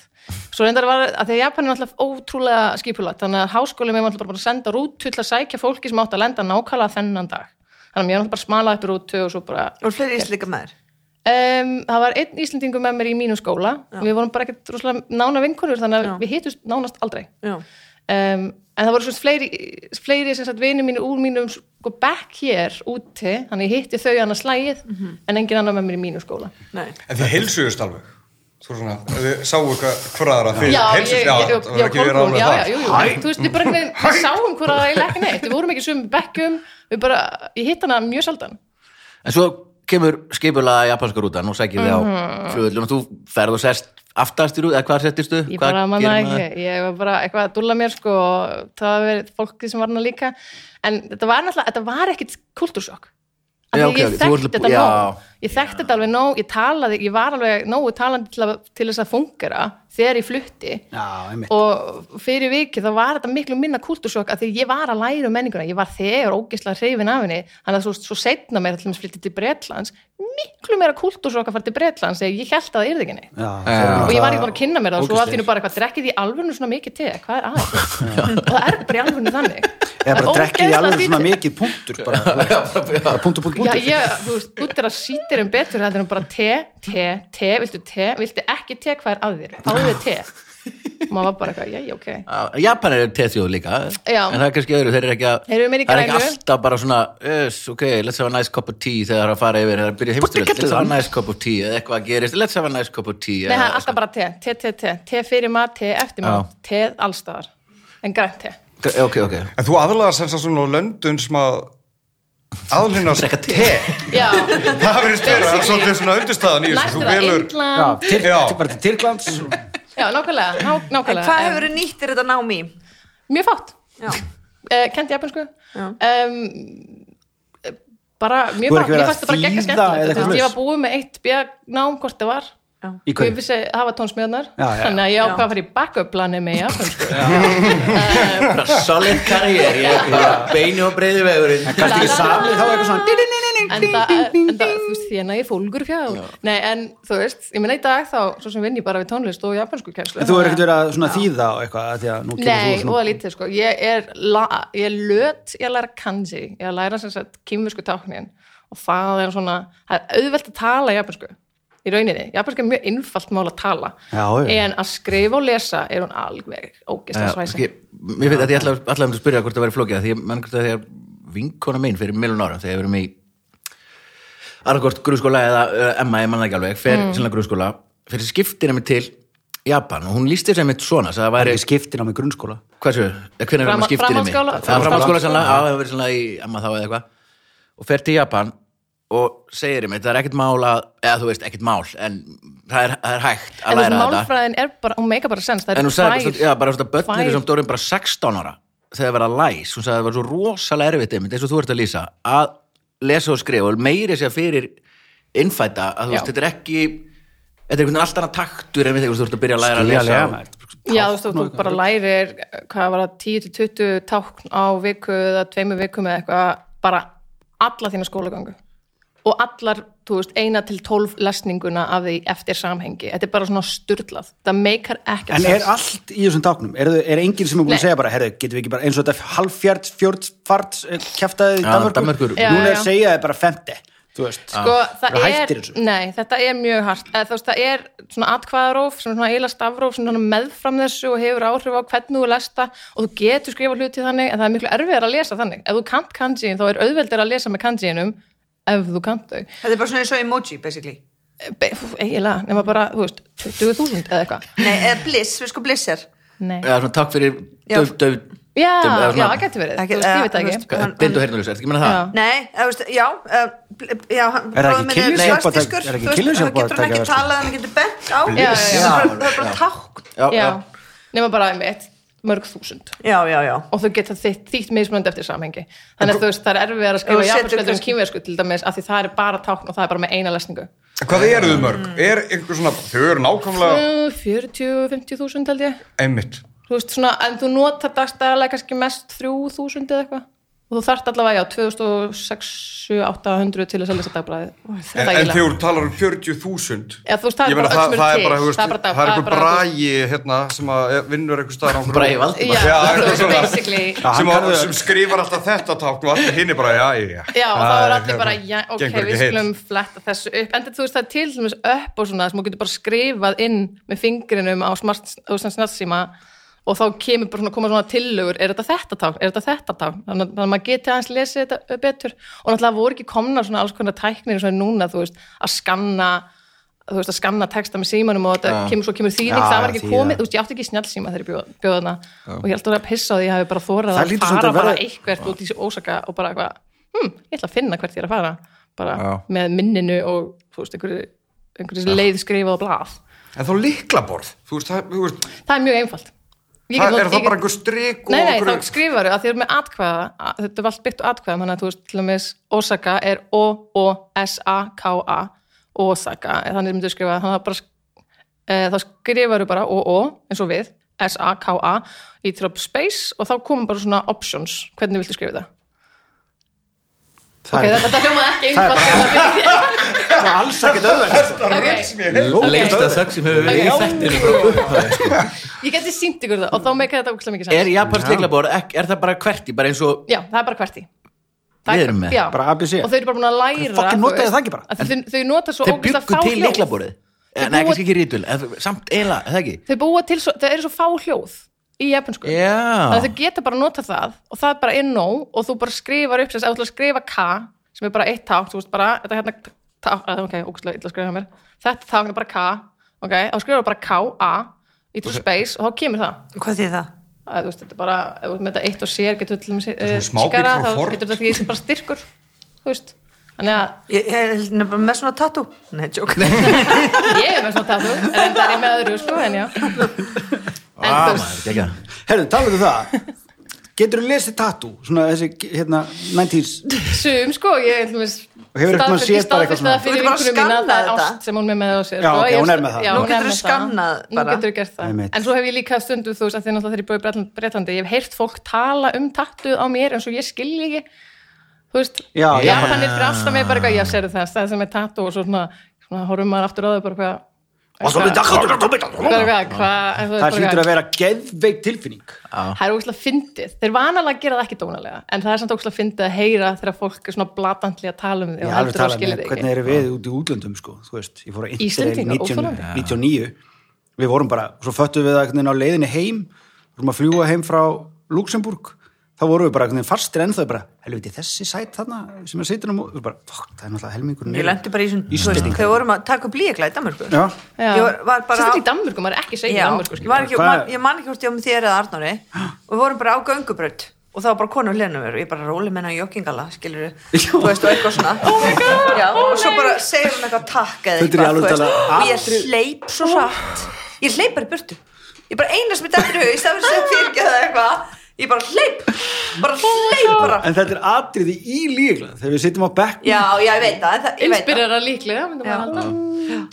[SPEAKER 5] svo reyndar var, að því að Japan er alltaf ótrúlega skipulat, þannig að háskóli með alltaf bara að senda rútu til að sækja fólki sem átt að lenda nákvæmlega þennan dag þannig að mér var alltaf bara að smala upp í rútu og svo bara
[SPEAKER 3] Voru fleiri íslika með?
[SPEAKER 5] um, það var einn Íslendingur með mér í mínu skóla við vorum bara ekkert rosalega nána vinkonur þannig að
[SPEAKER 3] Já.
[SPEAKER 5] við hittust nánast aldrei
[SPEAKER 3] Já.
[SPEAKER 5] um, en það voru svona fleiri, fleiri sem sagt vinir mínir úr mínum sko back hér úti, þannig ég hitti þau annars slægið, en engin annar með mér í mínu skóla
[SPEAKER 3] Nei.
[SPEAKER 4] En þið heilsuðust alveg Þú svona, ef þið sáu eitthvað hvoraðra fyrir
[SPEAKER 5] Já, ég,
[SPEAKER 4] heilsuðust, já,
[SPEAKER 5] ég,
[SPEAKER 4] það
[SPEAKER 5] ég,
[SPEAKER 4] var
[SPEAKER 5] já,
[SPEAKER 4] ekki verið
[SPEAKER 5] Kolbrún,
[SPEAKER 4] alveg
[SPEAKER 5] já, já,
[SPEAKER 4] það
[SPEAKER 5] jú, jú, þú veist, við bara einhvern veginn við sáum hvora það er ekki neitt, við vorum ekki í sömu bekkjum, við bara, ég hitt hana mjög sjaldan
[SPEAKER 1] En svo kemur skipulaða japanska rútan og sækir þig
[SPEAKER 5] Mhm.
[SPEAKER 1] á flugvillun og þú ferð og sest aftast í rútan, eða hvað settistu?
[SPEAKER 5] Ég bara manna ekki, ég var bara eitthvað að dúlla mér sko og það var verið fólki sem var hana líka en þetta var náttúrulega, þetta var ekkit kultúrsjokk Af
[SPEAKER 1] Já,
[SPEAKER 5] því
[SPEAKER 1] ok,
[SPEAKER 5] ég
[SPEAKER 1] ok, þú
[SPEAKER 5] þekkti
[SPEAKER 1] ert-
[SPEAKER 5] þetta
[SPEAKER 1] já,
[SPEAKER 5] nóg ég þekkti þetta alveg nóg, ég talaði ég var alveg nógu talandi til, að, til þess að fungera þegar ég flutti
[SPEAKER 2] Já, einmitt.
[SPEAKER 5] og fyrir vikið þá var þetta miklu minna kultúrsjokk að því ég var að læra um menninguna ég var þegar ógislega hreyfin af henni þannig að svo, svo setna mér allir flyttið til Bretlands miklu meira kultúrsjokk að fara til Bretlands þegar ég held að það yrði ekki neitt
[SPEAKER 2] Já,
[SPEAKER 1] Já.
[SPEAKER 2] þeir eru
[SPEAKER 5] og ég var
[SPEAKER 2] náttúrulega-
[SPEAKER 5] ekki bara að kynna mér það og svo
[SPEAKER 2] Ógeðslegir.
[SPEAKER 5] allt í hennu bara eitthvað drekkið í alvörnu svona mikið te hvað er <laughs> að og það er bara í alvörnu þannig
[SPEAKER 2] eða
[SPEAKER 5] Það
[SPEAKER 2] bara
[SPEAKER 5] er
[SPEAKER 2] drekkið í
[SPEAKER 5] ógeðslega
[SPEAKER 2] alveg svona
[SPEAKER 5] skrítið.
[SPEAKER 2] mikið punktur bara, þú veist. bara punktur, punktur,
[SPEAKER 5] Já,
[SPEAKER 2] punktur
[SPEAKER 5] ég, þú veist, út er að sýtir um betur heldur en bara te, te, te, viltu te, viltu ekki te, hvað er að þér? Áður þér te. Og maður var bara eitthvað, já, já, ok.
[SPEAKER 1] Að- Japan er teþjóð líka
[SPEAKER 5] Já.
[SPEAKER 1] en það er kannski öðru, þeir eru ekki að
[SPEAKER 5] Þeir eru meira í
[SPEAKER 1] það er ekki
[SPEAKER 5] grænu.
[SPEAKER 1] alltaf bara svona yes, ok, let's have a nice cup of tea þegar það er að fara yfir, það er að byrja heimstur
[SPEAKER 2] Búttu
[SPEAKER 1] let's have a
[SPEAKER 2] kettlum.
[SPEAKER 1] nice cup of tea, eða eitthvað að gerist let's have a nice cup of tea
[SPEAKER 5] Nei, það er
[SPEAKER 1] eða-
[SPEAKER 5] alltaf bara te, te, te, te, te fyrir mat, te eftir mat, te allstaðar, en grænt te.
[SPEAKER 1] ok, ok,
[SPEAKER 4] En þú aðlaðar sem sagt svona á löndun sem að aðlinnast
[SPEAKER 1] drekka te
[SPEAKER 5] <laughs> Já,
[SPEAKER 4] það verið vera svolítið svona undirstaðan í þessu,
[SPEAKER 5] næstu
[SPEAKER 4] þú
[SPEAKER 5] það
[SPEAKER 4] velur
[SPEAKER 2] Já,
[SPEAKER 5] England,
[SPEAKER 2] til,
[SPEAKER 4] Já.
[SPEAKER 2] til, bara til Tyrklands
[SPEAKER 5] já, nákvæmlega, ná,
[SPEAKER 3] En
[SPEAKER 5] nákvæmlega.
[SPEAKER 3] hvað
[SPEAKER 5] En
[SPEAKER 3] hefur nýttir þetta nám í?
[SPEAKER 5] Mjög fátt, <laughs>
[SPEAKER 3] Já,
[SPEAKER 5] uh, kendi japansku.
[SPEAKER 3] Já.
[SPEAKER 5] Um, bara, mjög
[SPEAKER 2] Þú hefur ekki verið
[SPEAKER 5] fátt, mér
[SPEAKER 2] að
[SPEAKER 5] fannst það bara
[SPEAKER 2] þýða eða
[SPEAKER 5] gegga skemmtilegt.
[SPEAKER 2] eitthvað
[SPEAKER 5] Þú veist, Ég var
[SPEAKER 2] svoleiðis?
[SPEAKER 5] búið með eitt bjög nám hvort það var.
[SPEAKER 3] já.
[SPEAKER 2] í
[SPEAKER 5] og ég
[SPEAKER 2] hverju
[SPEAKER 5] vissi að hafa tónsmiðnar
[SPEAKER 2] Já, já.
[SPEAKER 5] þannig að ég ákvað
[SPEAKER 3] Já.
[SPEAKER 5] að fara í backup planið með japansku
[SPEAKER 1] bara solid karriér ég er bara beinu og breiði vegurinn
[SPEAKER 2] kannski ekki samið þá eitthvað svona
[SPEAKER 5] en það, en það þú veist, þérna ég fólgur fjár nei, en þú veist, ég meina í dag þá svo sem vinn ég bara við tónlist og japansku kærslu
[SPEAKER 2] En þú hefur ekkert verið að svona þýða og eitthvað af því að nú kemur
[SPEAKER 5] Nei,
[SPEAKER 2] þú
[SPEAKER 5] og
[SPEAKER 2] svona
[SPEAKER 5] að lítið sko, ég er, la, ég er löt, ég læra kanji, ég læra sem sagt kýmversku táknin og það er svona, það er auðvelt að tala japansku í rauninni, japansku er mjög einfalt mál að tala,
[SPEAKER 2] Já, já.
[SPEAKER 5] en að skrifa og lesa er hún alveg ógist að svæsa.
[SPEAKER 1] ég Eh, ég veit að ég ætla allavega að spyrja hvort það væri flókið af því ég mann hvort að þegar vinkona mín fyrir miljón ára þegar við erum í annarkort grunnskóla eða uh, Emma, ég manna ekki alveg fer mm. sinna grunnskóla, fyrir skiptina mig til Japan og hún lísti sem eitt svona sagði að það væri,
[SPEAKER 2] Ég skipti námi grunnskóla
[SPEAKER 1] hversu, hvernig er
[SPEAKER 5] Framha-
[SPEAKER 1] það skiptina mig
[SPEAKER 5] framhaldsskóla-
[SPEAKER 1] framhanskóla sannlega, á, það hefur verið svona í Emma þá eða eitthvað og fer til Japan og segir mér, það er ekkert mál að eða þú veist, ekkert mál, en það er, það er hægt
[SPEAKER 5] En
[SPEAKER 1] að
[SPEAKER 5] þú
[SPEAKER 1] læra
[SPEAKER 5] veist,
[SPEAKER 1] þetta
[SPEAKER 5] málfræðin er bara, hún meika bara sens, það
[SPEAKER 1] en
[SPEAKER 5] er
[SPEAKER 1] hún sagði, bara svona- já, bara svona börnir
[SPEAKER 5] Tvær.
[SPEAKER 1] eru samt orðin bara 16 ára þegar það verða læs, hún sagði að það var svo rosalega erfitt einmitt, eins og þú ert að lýsa, að lesa og skrifa og meiri sér fyrir innfæta, að þú veist,
[SPEAKER 5] Já.
[SPEAKER 1] þetta er ekki þetta er einhvern veginn allt annað taktur en við þegar þú ert að byrja að læra að lesa og-
[SPEAKER 5] Já, þú veist, þú bara lærir, hvað var það, 10-20 tákn á viku eða tveimu vikum eða eitthvað, bara alla þína skólagöngu og allar, þú veist, eina til tólf lesninguna af því eftir samhengi. Þetta er bara svona styrlað, það meikar ekkert
[SPEAKER 2] En er
[SPEAKER 5] sens.
[SPEAKER 2] allt í þessum táknum? Er, er enginn sem er búin
[SPEAKER 5] Nei.
[SPEAKER 2] að segja bara, herðu, getum við ekki bara eins og þetta halvfjart, fjört, fart, kjaftaði í
[SPEAKER 1] Já,
[SPEAKER 2] Danmarkur?
[SPEAKER 1] Danmerkur.
[SPEAKER 5] Já,
[SPEAKER 2] Núna er
[SPEAKER 5] já.
[SPEAKER 2] segjaði bara femte, þú veist.
[SPEAKER 5] Sko, það
[SPEAKER 2] Eru
[SPEAKER 5] er,
[SPEAKER 2] hættir þessu?
[SPEAKER 5] nei, þetta er mjög hart eða, þú veist, það er svona atkvæðaróf sem er svona eila stafróf sem er svona meðfram þessu og hefur áhrif á hvernig þú lest það og þú getur skrifa hluti þannig en það er miklu erfiðar að lesa þannig ef þú kant kanjiin þá er auðveldir að lesa með kanjiinum ef þú kant þau
[SPEAKER 3] Þetta er bara svona eins og emoji, basically.
[SPEAKER 5] Be- fú, eiginlega, nema bara, þú veist 20.000 eða eitthvað
[SPEAKER 3] Nei, eða bliss, við sko bliss er.
[SPEAKER 5] Nei.
[SPEAKER 1] eða svona takk fyrir
[SPEAKER 3] Já.
[SPEAKER 1] döf, döf,
[SPEAKER 5] já,
[SPEAKER 1] eða
[SPEAKER 5] já,
[SPEAKER 1] svona-
[SPEAKER 5] það getur verið,
[SPEAKER 3] Ekki-
[SPEAKER 5] þú veist, ég
[SPEAKER 3] eða,
[SPEAKER 5] veit það
[SPEAKER 3] þú
[SPEAKER 5] ekki
[SPEAKER 3] veist,
[SPEAKER 1] hvað- bind og heyrnulis, er þetta ekki að meina það?
[SPEAKER 3] Nei, eða, veist, já, uh, já hann-
[SPEAKER 2] Er það ekki
[SPEAKER 3] bróðir minn
[SPEAKER 2] kynlífshjálpartæki-
[SPEAKER 3] svartiskur,
[SPEAKER 2] er það ekki
[SPEAKER 3] þú veist,
[SPEAKER 2] kynlífshjálpartæki að
[SPEAKER 3] Þá getur hann ekki
[SPEAKER 2] vera, sko?
[SPEAKER 3] talað, hann getur bent á.
[SPEAKER 5] Já, já, já.
[SPEAKER 3] Það er bara- það er bara tákn.
[SPEAKER 1] Já,
[SPEAKER 5] já,
[SPEAKER 1] já.
[SPEAKER 5] nema bara einmitt mörg þúsund
[SPEAKER 3] Já, já, já.
[SPEAKER 5] og þau geta þýtt, þýtt mismunandi eftir samhengi þannig að þú veist það er erfið að
[SPEAKER 3] Ef
[SPEAKER 5] skrifa
[SPEAKER 3] þú
[SPEAKER 5] japansku
[SPEAKER 3] setur
[SPEAKER 5] heldur en
[SPEAKER 3] kannski-
[SPEAKER 5] kínversku til dæmis af því það er bara tákn og það er bara með eina lesningu
[SPEAKER 4] Hvað eru þau mörg? Er einhver svona, þau eru nákvæmlega
[SPEAKER 5] 40-50 þúsund held ég
[SPEAKER 4] einmitt
[SPEAKER 5] þú veist svona, en þú notar dagstæðarlega kannski mest 3000 eða eitthvað og þú þart allavega, já, 2600-800 til þess að lesa dagbræði
[SPEAKER 4] En, en þegar þú talar um 40.000
[SPEAKER 5] Já, þú veist, það er
[SPEAKER 4] Ég meina,
[SPEAKER 5] bara öll
[SPEAKER 4] það, það er
[SPEAKER 5] mjög til.
[SPEAKER 4] bara, þú veist,
[SPEAKER 5] Það er bara-
[SPEAKER 4] það er
[SPEAKER 5] það er
[SPEAKER 4] einhver
[SPEAKER 5] bara-
[SPEAKER 4] bragi hérna, sem að vinnur einhver staðar á einhverju-
[SPEAKER 1] Bragi Valdimar.
[SPEAKER 5] já,
[SPEAKER 4] Já,
[SPEAKER 5] þú
[SPEAKER 4] eitthvað
[SPEAKER 5] veist,
[SPEAKER 4] svona.
[SPEAKER 5] basically
[SPEAKER 2] Já, hann
[SPEAKER 4] sem, að,
[SPEAKER 2] kann-
[SPEAKER 4] sem skrifar alltaf þetta tákn og allir hinn er bara, já, já, já
[SPEAKER 5] Já, og
[SPEAKER 4] Það
[SPEAKER 5] þá
[SPEAKER 4] er
[SPEAKER 5] er allir
[SPEAKER 4] hérna,
[SPEAKER 5] bara, já, ok,
[SPEAKER 4] gengur ekki
[SPEAKER 5] við
[SPEAKER 4] heill.
[SPEAKER 5] skulum fletta þessu upp, en þú veist það er til sem upp og svona, sem þú getur bara skrifað inn með fingrinum á smart, þú veist, snartsíma og þá kemur bara svona, koma svona tillögur, er þetta þetta tákn, er þetta þetta tákn, þannig að- þannig að maður geti aðeins lesið þetta uh, betur og náttúrulega voru ekki komnar svona alls konar tæknir svona núna, þú veist, að skanna þú veist að skanna texta með símanum og þetta kemur svo kemur þýðing,
[SPEAKER 2] Já,
[SPEAKER 5] það var ekki
[SPEAKER 2] þýða.
[SPEAKER 5] komið þú veist, ég átti ekki snjálsíma þegar ég bjóð- bjóð þarna og ég held að vera að pissa á því að ég hafi bara þórað
[SPEAKER 2] Það
[SPEAKER 5] að
[SPEAKER 2] hlýtur
[SPEAKER 5] fara
[SPEAKER 2] svolítið að
[SPEAKER 5] bara
[SPEAKER 2] vera-
[SPEAKER 5] eitthvert út í þessu ósaka og bara eitthvað, hm, ég ætla að finna hvert ég er að fara bara
[SPEAKER 1] Já.
[SPEAKER 5] með minninu og þú veist, einhverju, einhverju leið skrifað og blað.
[SPEAKER 4] En þá líklaborð, þú veist, það, þú veist
[SPEAKER 5] Það er mjög einfalt.
[SPEAKER 4] það
[SPEAKER 5] Ég get
[SPEAKER 4] er
[SPEAKER 5] notað- ég
[SPEAKER 4] það bara
[SPEAKER 5] get-
[SPEAKER 4] einhver strik og
[SPEAKER 5] Nei, nei,
[SPEAKER 4] einhverju-
[SPEAKER 5] þá skrifaru að því er með atkvæða, að- þetta er allt byggt á atkvæða, þannig að þú veist, til og með Osaka er O-O-S-A-K-A Osaka, þannig myndu skrifa, þannig að bara sk- eh, þá skrifaru bara OO eins og við, S-A-K-A í trop space og þá komum bara svona options, hvernig viltu skrifa það
[SPEAKER 2] Það
[SPEAKER 5] ok,
[SPEAKER 2] er-
[SPEAKER 5] þetta hljómaði ekki einfalt
[SPEAKER 2] það er alls ekkert auðvægt.
[SPEAKER 5] ok,
[SPEAKER 4] Sem ég hef.
[SPEAKER 1] Lengsta þögg sem hefur verið í þættinu frá upphafi, sko.
[SPEAKER 5] ég geti sínt ykkur það og þá meika þetta ógæslega mikið
[SPEAKER 1] Er
[SPEAKER 5] sens
[SPEAKER 1] japansk leiklaborð, ek- er það bara hverti, bara eins og
[SPEAKER 5] já, það er bara hverti
[SPEAKER 1] Við erum með,
[SPEAKER 2] bara ABC.
[SPEAKER 5] og þau eru bara búin að læra
[SPEAKER 2] Fucking
[SPEAKER 5] þú
[SPEAKER 2] notaðu
[SPEAKER 5] veist,
[SPEAKER 2] það ekki bara.
[SPEAKER 5] að þau, þau nota svo
[SPEAKER 1] þeir
[SPEAKER 5] ógeðslega
[SPEAKER 1] byggu
[SPEAKER 5] fá
[SPEAKER 1] til
[SPEAKER 5] hljóð.
[SPEAKER 1] leiklaborðið?
[SPEAKER 5] Þeir
[SPEAKER 1] Nei,
[SPEAKER 5] búa-
[SPEAKER 1] kannski ekki rítul, en samt eila, er það ekki?
[SPEAKER 5] þau búa til svo, þau eru svo fá hljóð í japansku
[SPEAKER 1] Já,
[SPEAKER 5] að þau geta bara nota það og það er bara er nóg og þú bara skrifar upp þess að þú ætlar að skrifa k sem er bara eitt tákn, þú veist bara þetta hérna, tá, að, ok, ógustlega illa að skrifa hjá mér þetta tákn er bara k, ok, þá skrifar bara k, a, í til space og þá kemur það
[SPEAKER 3] Hvað þýð það?
[SPEAKER 5] að, þú veist, þetta er bara, ef þú ert með þetta eitt og sér getur þú til
[SPEAKER 4] er
[SPEAKER 5] þess
[SPEAKER 4] svona smábíll frá
[SPEAKER 5] þá
[SPEAKER 4] Ford.
[SPEAKER 5] getur þetta því sem bara styrkur þú veist, þannig að
[SPEAKER 3] Ég, ég er nefnilega með svona tattoo Nei, tjók
[SPEAKER 5] Ég er með svona tattoo, en það er ég með öðru sko, en já
[SPEAKER 4] Ah,
[SPEAKER 5] En þú veist,
[SPEAKER 1] ekki það
[SPEAKER 2] Herðu, talaðu um það. Getur þú lesið tattoo? Svona þessi, hérna, 90s.
[SPEAKER 5] sum sko, ég ætlum við
[SPEAKER 2] Og hefur eitthvað séð bara eitthvað svona-
[SPEAKER 3] Þú
[SPEAKER 5] Fyrir
[SPEAKER 3] getur bara
[SPEAKER 5] vinkunum mína,
[SPEAKER 3] skannað
[SPEAKER 5] það er
[SPEAKER 3] þetta.
[SPEAKER 5] ást sem hún er með á sér
[SPEAKER 2] Já,
[SPEAKER 5] sko.
[SPEAKER 2] ok,
[SPEAKER 5] Ég-
[SPEAKER 2] hún er með það.
[SPEAKER 5] já,
[SPEAKER 2] Nú
[SPEAKER 5] hún er
[SPEAKER 3] geturðu
[SPEAKER 5] með það.
[SPEAKER 3] skannað
[SPEAKER 5] Nú
[SPEAKER 3] bara.
[SPEAKER 5] getur þú gert það,
[SPEAKER 2] Einmitt.
[SPEAKER 5] en svo hef ég líka stundu þú veist, að því náttúrulega þegar ég búið Bretland- Bretlandi Ég hef heyrt fólk tala um tattuð á mér eins og ég skilji ekki Þú veist,
[SPEAKER 2] Já,
[SPEAKER 5] Japanir fyrir alltaf með bara eitthvað Já, sérðu það, það sem er tattoo og svo svona, svona horfum maður aftur á þau bara hvað Hvað, hvað, hvað, en þú veist, bara
[SPEAKER 2] Það
[SPEAKER 5] eitthvað-
[SPEAKER 2] hlýtur að vera geðveik tilfinning.
[SPEAKER 5] það er ógæslega fyndið þeir vanalega gera það ekki dónalega en það er samt ógæslega fyndið að heyra þegar fólk er svona blatantli að tala um þig
[SPEAKER 2] Ég
[SPEAKER 5] og
[SPEAKER 2] alveg
[SPEAKER 5] heldur að
[SPEAKER 2] tala
[SPEAKER 5] skilja
[SPEAKER 2] með
[SPEAKER 5] þig
[SPEAKER 2] hvernig
[SPEAKER 5] ekki
[SPEAKER 2] eru við út í útlöndum sko, þú veist, ég fór að Interrail
[SPEAKER 5] Íslendingar,
[SPEAKER 2] 19
[SPEAKER 5] óþolandi.
[SPEAKER 2] 99 við vorum bara, svo föttum við það einhvern veginn á leiðinni heim vorum að fljúga heim frá Luxemburg þá vorum við bara einhvern veginn fastir ennþá bara, helviti þessi sæt þarna sem er sitin á mót, við bara, fokk, það er náttúrulega helmingur
[SPEAKER 3] Ég lendi bara í svona þú veist, Þegar vorum að taka upp líkla í Danmarku
[SPEAKER 2] Já,
[SPEAKER 5] Já.
[SPEAKER 3] Ég var- var bara
[SPEAKER 5] sérstaklega
[SPEAKER 3] á-
[SPEAKER 5] í Danmörku, maður er ekki segið í
[SPEAKER 3] Já,
[SPEAKER 5] Danmörku
[SPEAKER 3] ég, var ekki,
[SPEAKER 2] Hvað-
[SPEAKER 3] man, ég man ekki hvort ég var með þér eða Arnóri
[SPEAKER 2] <gasps>
[SPEAKER 3] og við vorum bara á göngubraut og það var bara konu hlenum mér og ég bara róli menna joggingala, skilur þú veist og
[SPEAKER 2] <laughs>
[SPEAKER 3] eitthvað svona oh God, já, og svo bara segir hún eitthvað takk
[SPEAKER 2] Þetta
[SPEAKER 3] eða
[SPEAKER 2] er
[SPEAKER 3] eitthvað,
[SPEAKER 2] alveg
[SPEAKER 3] þú veist,
[SPEAKER 2] talað
[SPEAKER 3] og ég
[SPEAKER 2] atri-
[SPEAKER 3] hleyp svo satt ég hleyp bara í burtu ég bara eina sem ég dættur í hug, í stafur sem fyrirgeða eða eitthvað ég bara hleyp,
[SPEAKER 5] Oh
[SPEAKER 3] bara hleyp bara.
[SPEAKER 2] en þetta er atriði í líkla þegar við situm á bekk
[SPEAKER 3] já, já, ég veit það en það- ég veit það.
[SPEAKER 5] inspirera líklega myndi maður
[SPEAKER 3] Já.
[SPEAKER 5] halda.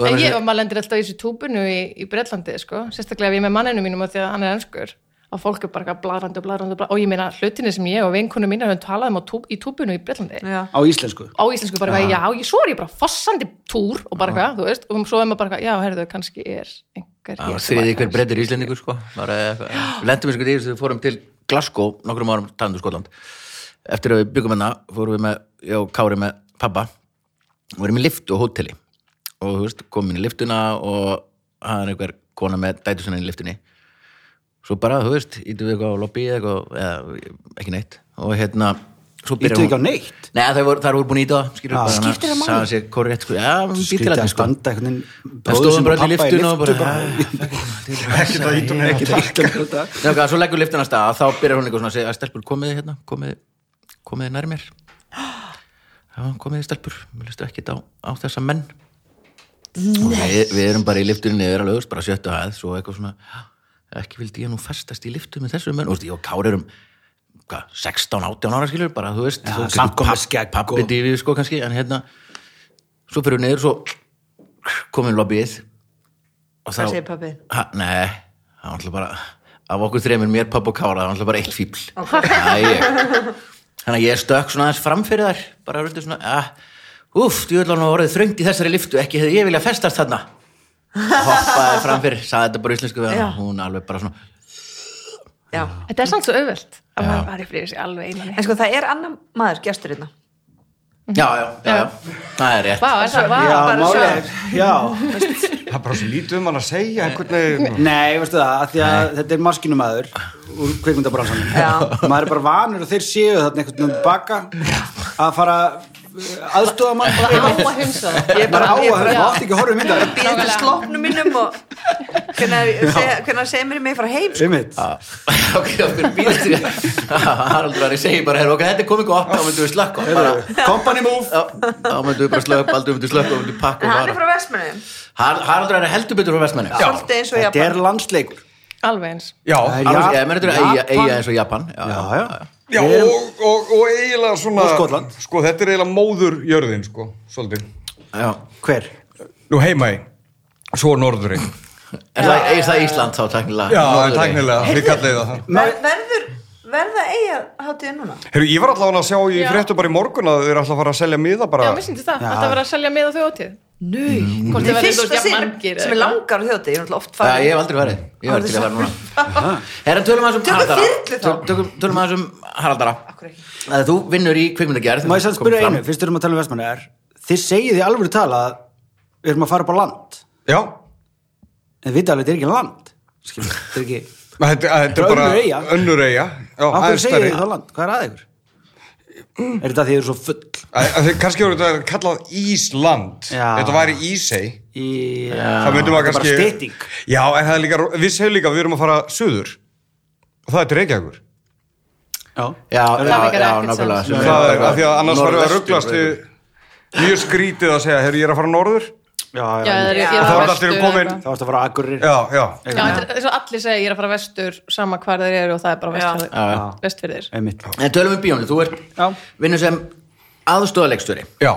[SPEAKER 5] en ég var maður lendir alltaf í þessu túbunu í, í Bretlandi sko. sérstaklega ef ég er með manninu mínum af því að hann er ennskur og fólk er bara eitthvað bladrandi og bladrandi og, bladrandi. og ég meina hlutinni sem ég og vinkunum mínar höfum talað um á tú, í túbunu í Bretlandi
[SPEAKER 3] Já.
[SPEAKER 2] á íslensku
[SPEAKER 5] á íslensku bara, eitthvað, já, ég, svo er ég bara fossandi túr og bara hvað, þú veist, og svo er maður bara, eitthvað, já, herðu, kannski er einhver hér sem
[SPEAKER 1] Þriði
[SPEAKER 5] að-
[SPEAKER 1] hver breytir íslendingur sko bara eitthvað Lendum við sko því þess að við fórum til Glasgow nokkrum árum talandu Skotland Eftir að við byggum hérna fórum við með ég og Kári með pabba og erum í liftu á hóteli og þú veist, komum inn í liftuna og hann er einhver kona með dætur sinna inn í liftunni svo bara, þú veist, ítum við eitthvað á lobby eða eitthvað, eða ekki neitt og hérna, svo byrjar
[SPEAKER 2] Íttu ekki á neitt
[SPEAKER 1] Nei, það voru, þær voru búin að íta á það, skilur
[SPEAKER 2] Ah.
[SPEAKER 1] bara,
[SPEAKER 2] Skiptir
[SPEAKER 1] það máli? Sæðan sér korrekt, sko, já, við
[SPEAKER 2] skrítið
[SPEAKER 1] bítilætni,
[SPEAKER 2] að
[SPEAKER 1] sko
[SPEAKER 2] standa einhvern veginn
[SPEAKER 1] Það stóðum bara öll í
[SPEAKER 2] pabba
[SPEAKER 1] liftun og bara "Ah."
[SPEAKER 2] lyftu,
[SPEAKER 1] <laughs>
[SPEAKER 4] Ekkert að ítum
[SPEAKER 2] <laughs> ekki
[SPEAKER 4] neitt.
[SPEAKER 2] það ekki þetta
[SPEAKER 1] Nei, ok, svo leggur liftun að stað, þá byrjar hún eitthvað svona að segja, stelpur, komið þið hérna, komið þið, komið þið nær mér Já, komið þið stelpur, mér listu ekki á, á þessa menn Og við, við erum bara í liftunni, við erum alveg, þú veist, bara sjöttu að, svo eitthvað svona ekki vildi ég nú festast í liftu með þessu menn, og þú veist, ég og Kári erum hvað, 16, 18 ára skilur, bara, þú veist
[SPEAKER 2] Já,
[SPEAKER 1] þú-
[SPEAKER 2] samt komið
[SPEAKER 1] papp-
[SPEAKER 2] skegg og-
[SPEAKER 1] Pabbi divið, sko, kannski, en hérna svo fyrir við niður, svo komum við lobbyið og þá
[SPEAKER 3] Hvað segir pabbi?
[SPEAKER 1] ha, nei, það var alltaf bara af okkur þreymir, mér, pabbi og Kára, það var alltaf bara eitt fíbl okay. þannig að ég stökk svona aðeins framfyrir þær bara rundur svona, að úff, þú ætla hann að orðið þröngt í þessari liftu ekki hefði ég vilja festast þarna hoppaði framfyrir, saði þetta bara í íslensku við hann,
[SPEAKER 3] Já.
[SPEAKER 1] hún alveg bara svona
[SPEAKER 3] Já.
[SPEAKER 5] Þetta er samt svo auðvelt að maður bara yfir sig alveg einan
[SPEAKER 3] en sko það er annar maður gestur hérna
[SPEAKER 1] já, já, já, já, það er rétt
[SPEAKER 5] Vá, er það, vá,
[SPEAKER 2] Já,
[SPEAKER 3] bara
[SPEAKER 2] málið
[SPEAKER 3] sjá.
[SPEAKER 2] er, já
[SPEAKER 4] Það er bara svo lítið um hann að segja einhvern veginn.
[SPEAKER 2] Nei, veistu það, að því að þetta er maskinumæður úr kvikmyndabransanum
[SPEAKER 3] Já.
[SPEAKER 2] maður er bara vanur og þeir séu þarna einhvern veginn baka að fara aðstofa mann
[SPEAKER 5] Á að hunsa það
[SPEAKER 3] Ég er
[SPEAKER 2] maður á
[SPEAKER 3] bara-
[SPEAKER 2] að höfða,
[SPEAKER 3] ég er bara-
[SPEAKER 2] maður átti ekki að horfa um
[SPEAKER 3] að
[SPEAKER 2] þetta
[SPEAKER 3] býða til slopnum minnum
[SPEAKER 2] <laughs>
[SPEAKER 3] og hvernig segir mér mig frá heim sko.
[SPEAKER 2] um mitt,
[SPEAKER 1] Já. <laughs> ok, það fyrir býðast því <laughs> að Harald var að segja bara, "Heyrðu, ok, þetta er komið gott, þá myndum við slökka bara,
[SPEAKER 2] company move
[SPEAKER 1] Já, þá myndum við bara slökka, aldrei myndum við slökka og myndum við pakka
[SPEAKER 3] en
[SPEAKER 1] og
[SPEAKER 3] hann er
[SPEAKER 1] fara
[SPEAKER 3] frá Vestmenni
[SPEAKER 1] Har- Haraldur er heldur betur frá vestmenni
[SPEAKER 3] svolítið eins og
[SPEAKER 2] þetta er
[SPEAKER 3] Japan
[SPEAKER 2] landsleikur
[SPEAKER 5] Alveg eins
[SPEAKER 4] Já,
[SPEAKER 2] Það er
[SPEAKER 1] Alveg,
[SPEAKER 2] Jap-
[SPEAKER 1] ég menn þetta er eiga-
[SPEAKER 2] Japan.
[SPEAKER 1] eiga eins og Japan já,
[SPEAKER 2] já,
[SPEAKER 1] já.
[SPEAKER 2] já,
[SPEAKER 4] já
[SPEAKER 2] Við erum-
[SPEAKER 4] og, og, og eiginlega svona...
[SPEAKER 2] Og Skotland.
[SPEAKER 4] Sko, þetta er eiginlega móður jörðin, sko, svolítið.
[SPEAKER 1] Já.
[SPEAKER 2] hver?
[SPEAKER 4] Nú heima í, svo norðurinn.
[SPEAKER 1] Er það, er það Ísland þá tæknilega?
[SPEAKER 4] <laughs> Já,
[SPEAKER 1] Norðurey?
[SPEAKER 4] tæknilega, við kallið það það.
[SPEAKER 3] Ver, verður, verða eiga hátíð núna?
[SPEAKER 4] Heyrðu, ég var allavega að sjá í
[SPEAKER 5] Já.
[SPEAKER 4] fréttum bara í morgun að þau eru alltaf að fara að selja miða bara.
[SPEAKER 5] Já, mér syndi það, alltaf að vera að selja með á þau átíð
[SPEAKER 3] Nei,
[SPEAKER 5] Hvort
[SPEAKER 3] það
[SPEAKER 5] það
[SPEAKER 3] er
[SPEAKER 5] verður
[SPEAKER 3] fyrsta
[SPEAKER 5] þú
[SPEAKER 3] sinn
[SPEAKER 5] margir eða
[SPEAKER 3] sem er
[SPEAKER 5] eitthvað.
[SPEAKER 3] langar á þjóti, ég er náttúrulega oft
[SPEAKER 1] Já, ég
[SPEAKER 3] farin
[SPEAKER 1] hef aldrei verið. Ég hef
[SPEAKER 3] Orðið
[SPEAKER 1] aldrei verið
[SPEAKER 3] sjálfur.
[SPEAKER 1] núna. Herra, tölum aðeins um
[SPEAKER 3] Tökum
[SPEAKER 1] Haraldara.
[SPEAKER 3] þyrlu þá.
[SPEAKER 1] Tö- Tökum, tölum aðeins um Haraldara.
[SPEAKER 3] Akkur ekki.
[SPEAKER 1] Að þú vinnur í kvikmyndagerð.
[SPEAKER 2] Má ég sann spyrja einu, fyrst erum að tala um vestmannar Þið segið í alvöru tala að við erum að fara upp á land
[SPEAKER 4] Já,
[SPEAKER 2] en við alveg, þetta er ekki land Skilur, þetta er ekki
[SPEAKER 4] Að þetta, að þetta er
[SPEAKER 2] Önnur
[SPEAKER 4] bara
[SPEAKER 2] eyja.
[SPEAKER 4] önnur eiga. Já,
[SPEAKER 2] Af hverju
[SPEAKER 4] aðeins
[SPEAKER 2] segir
[SPEAKER 4] stærri.
[SPEAKER 2] þið þá land? Hvað er að ykkur? Er þetta því þið eru svo full?
[SPEAKER 4] Að- að Þið kannski voru þetta kallað Ísland.
[SPEAKER 2] Já.
[SPEAKER 4] Þetta væri Ísei.
[SPEAKER 2] Í...
[SPEAKER 4] Það myndum
[SPEAKER 2] þetta
[SPEAKER 4] að
[SPEAKER 2] er bara
[SPEAKER 4] kannski...
[SPEAKER 2] stytting.
[SPEAKER 4] Já, en það er líka, við segjum líka að við erum að fara suður. Og það er til Reykjavíkur.
[SPEAKER 2] Já.
[SPEAKER 1] Já, já,
[SPEAKER 5] virkar
[SPEAKER 1] já,
[SPEAKER 5] ekkert
[SPEAKER 1] nákvæmlega.
[SPEAKER 5] sens.
[SPEAKER 1] sem
[SPEAKER 4] Það er,
[SPEAKER 1] bara-
[SPEAKER 4] af því að annars varum við að
[SPEAKER 1] Norðvestur-
[SPEAKER 4] rugglast við mjög skrítið að segja, heyrðu, ég er að fara norður.
[SPEAKER 2] Já, já,
[SPEAKER 5] Já, það
[SPEAKER 3] Já.
[SPEAKER 5] er ég er að
[SPEAKER 4] Þá
[SPEAKER 5] fara
[SPEAKER 4] er allir
[SPEAKER 5] vestur
[SPEAKER 4] komin-
[SPEAKER 5] eitthvað.
[SPEAKER 2] Það varst að fara að akkurir
[SPEAKER 4] Já, já.
[SPEAKER 5] Já, þetta er- eins og allir segja ég er að fara vestur sama hvar þeir eru og það er
[SPEAKER 1] Já,
[SPEAKER 5] bara
[SPEAKER 1] já.
[SPEAKER 5] vestfirðir- vestfirðir
[SPEAKER 2] Einmitt.
[SPEAKER 1] En tölum um bíónu, þú ert
[SPEAKER 2] Já.
[SPEAKER 1] vinnur sem aðstofalegstjóri.
[SPEAKER 4] Já.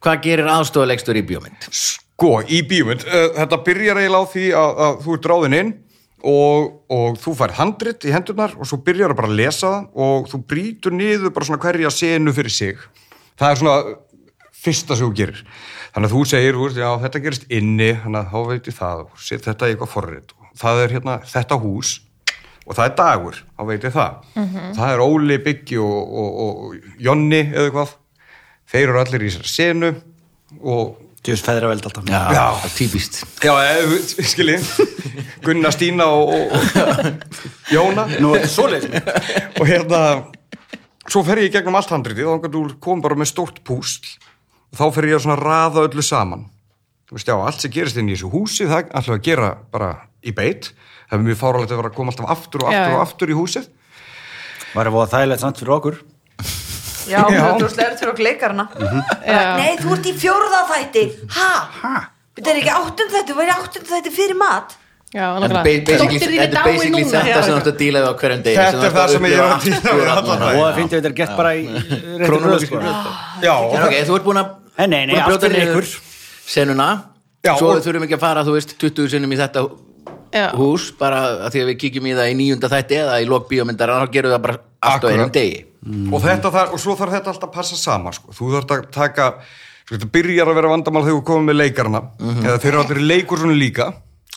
[SPEAKER 1] Hvað gerir aðstofalegstjóri í bíómynd?
[SPEAKER 4] Sko, í bíumund, þetta byrjar eiginlega á því að, að þú ert ráðin inn og, og þú fær handrit í hendurnar og svo byrjar að bara að lesa það og þú brýtur niður bara svona hverja senu fyrir sig. Það er svona fyrsta sem þú gerir. Þannig að þú segir, þú veist, já, þetta gerist inni, þannig að þá veit ég það og set þetta í eitthvað forrið. Það er hérna þetta hús og það er dagur, þá veit ég það. Það er Óli, Byggi og, og, og Jonni eða eitthvað. Þeir eru allir í þessari senu og
[SPEAKER 2] Djús feðra veld alltaf
[SPEAKER 4] Já.
[SPEAKER 1] það er Típist.
[SPEAKER 4] Já, eh, skilji, Gunnar, Stína og, og, og Jóna
[SPEAKER 2] Nú, svoleiðis
[SPEAKER 4] og hérna, svo fer ég í gegnum allt handritið og þannig að þú kom bara með stórt púsl og þá fer ég að svona raða öllu saman. Þú veist, já, allt sem gerist inn í þessu húsi, það ætlum við að gera bara í beitt. Það er mjög fáralegt að vera að koma alltaf aftur og
[SPEAKER 5] Já,
[SPEAKER 4] aftur
[SPEAKER 5] já.
[SPEAKER 4] og aftur í húsið.
[SPEAKER 2] Var að voða þægilegt samt fyrir okkur
[SPEAKER 3] Já, þú ert úrslega fyrir okkur leikarana
[SPEAKER 5] Já.
[SPEAKER 3] Nei, þú ert í fjórða þætti Ha? Þetta er ekki áttund þætti, þú væri áttund þætti fyrir mat
[SPEAKER 5] Já,
[SPEAKER 1] Þetta er ba- basically-
[SPEAKER 5] nákvæmlega. Dóttir þín
[SPEAKER 1] þetta
[SPEAKER 5] er
[SPEAKER 1] er
[SPEAKER 5] dáin
[SPEAKER 1] basically
[SPEAKER 5] núna
[SPEAKER 1] þetta sem þú ert að díla við á hverjum degi.
[SPEAKER 4] Þetta
[SPEAKER 1] þú
[SPEAKER 4] er það
[SPEAKER 1] ert
[SPEAKER 4] sem ég er að
[SPEAKER 1] upplifa
[SPEAKER 4] díla við
[SPEAKER 1] allan
[SPEAKER 4] allan
[SPEAKER 1] daginn.
[SPEAKER 4] daginn.
[SPEAKER 2] Og það finnst ég þetta er gert bara í réttir röð
[SPEAKER 1] Krónológísku
[SPEAKER 2] sko.
[SPEAKER 1] röð.
[SPEAKER 4] Já,
[SPEAKER 1] Já, ok, þú ert búin að
[SPEAKER 2] Nei, nei, nei,
[SPEAKER 1] búin að
[SPEAKER 2] allt
[SPEAKER 1] brjóta
[SPEAKER 2] fyrir
[SPEAKER 1] niður
[SPEAKER 2] ykkur.
[SPEAKER 1] senuna
[SPEAKER 4] Já,
[SPEAKER 1] svo
[SPEAKER 4] og-
[SPEAKER 1] við þurfum ekki að fara, þú veist, 20 sinnum í þetta
[SPEAKER 5] Já.
[SPEAKER 1] hús bara að því að við kíkjum í það í nýjunda þætti eða í lok bíómyndar þá gerum við það bara allt á
[SPEAKER 4] Akkurat.
[SPEAKER 1] einum degi
[SPEAKER 4] og, þetta, þar, og svo þarf þetta alltaf að passa saman sko. þú þarf að taka sko, þetta byrjar að vera vandamál þegar þú komið með leikarna eða þeir eru allir leikur svona líka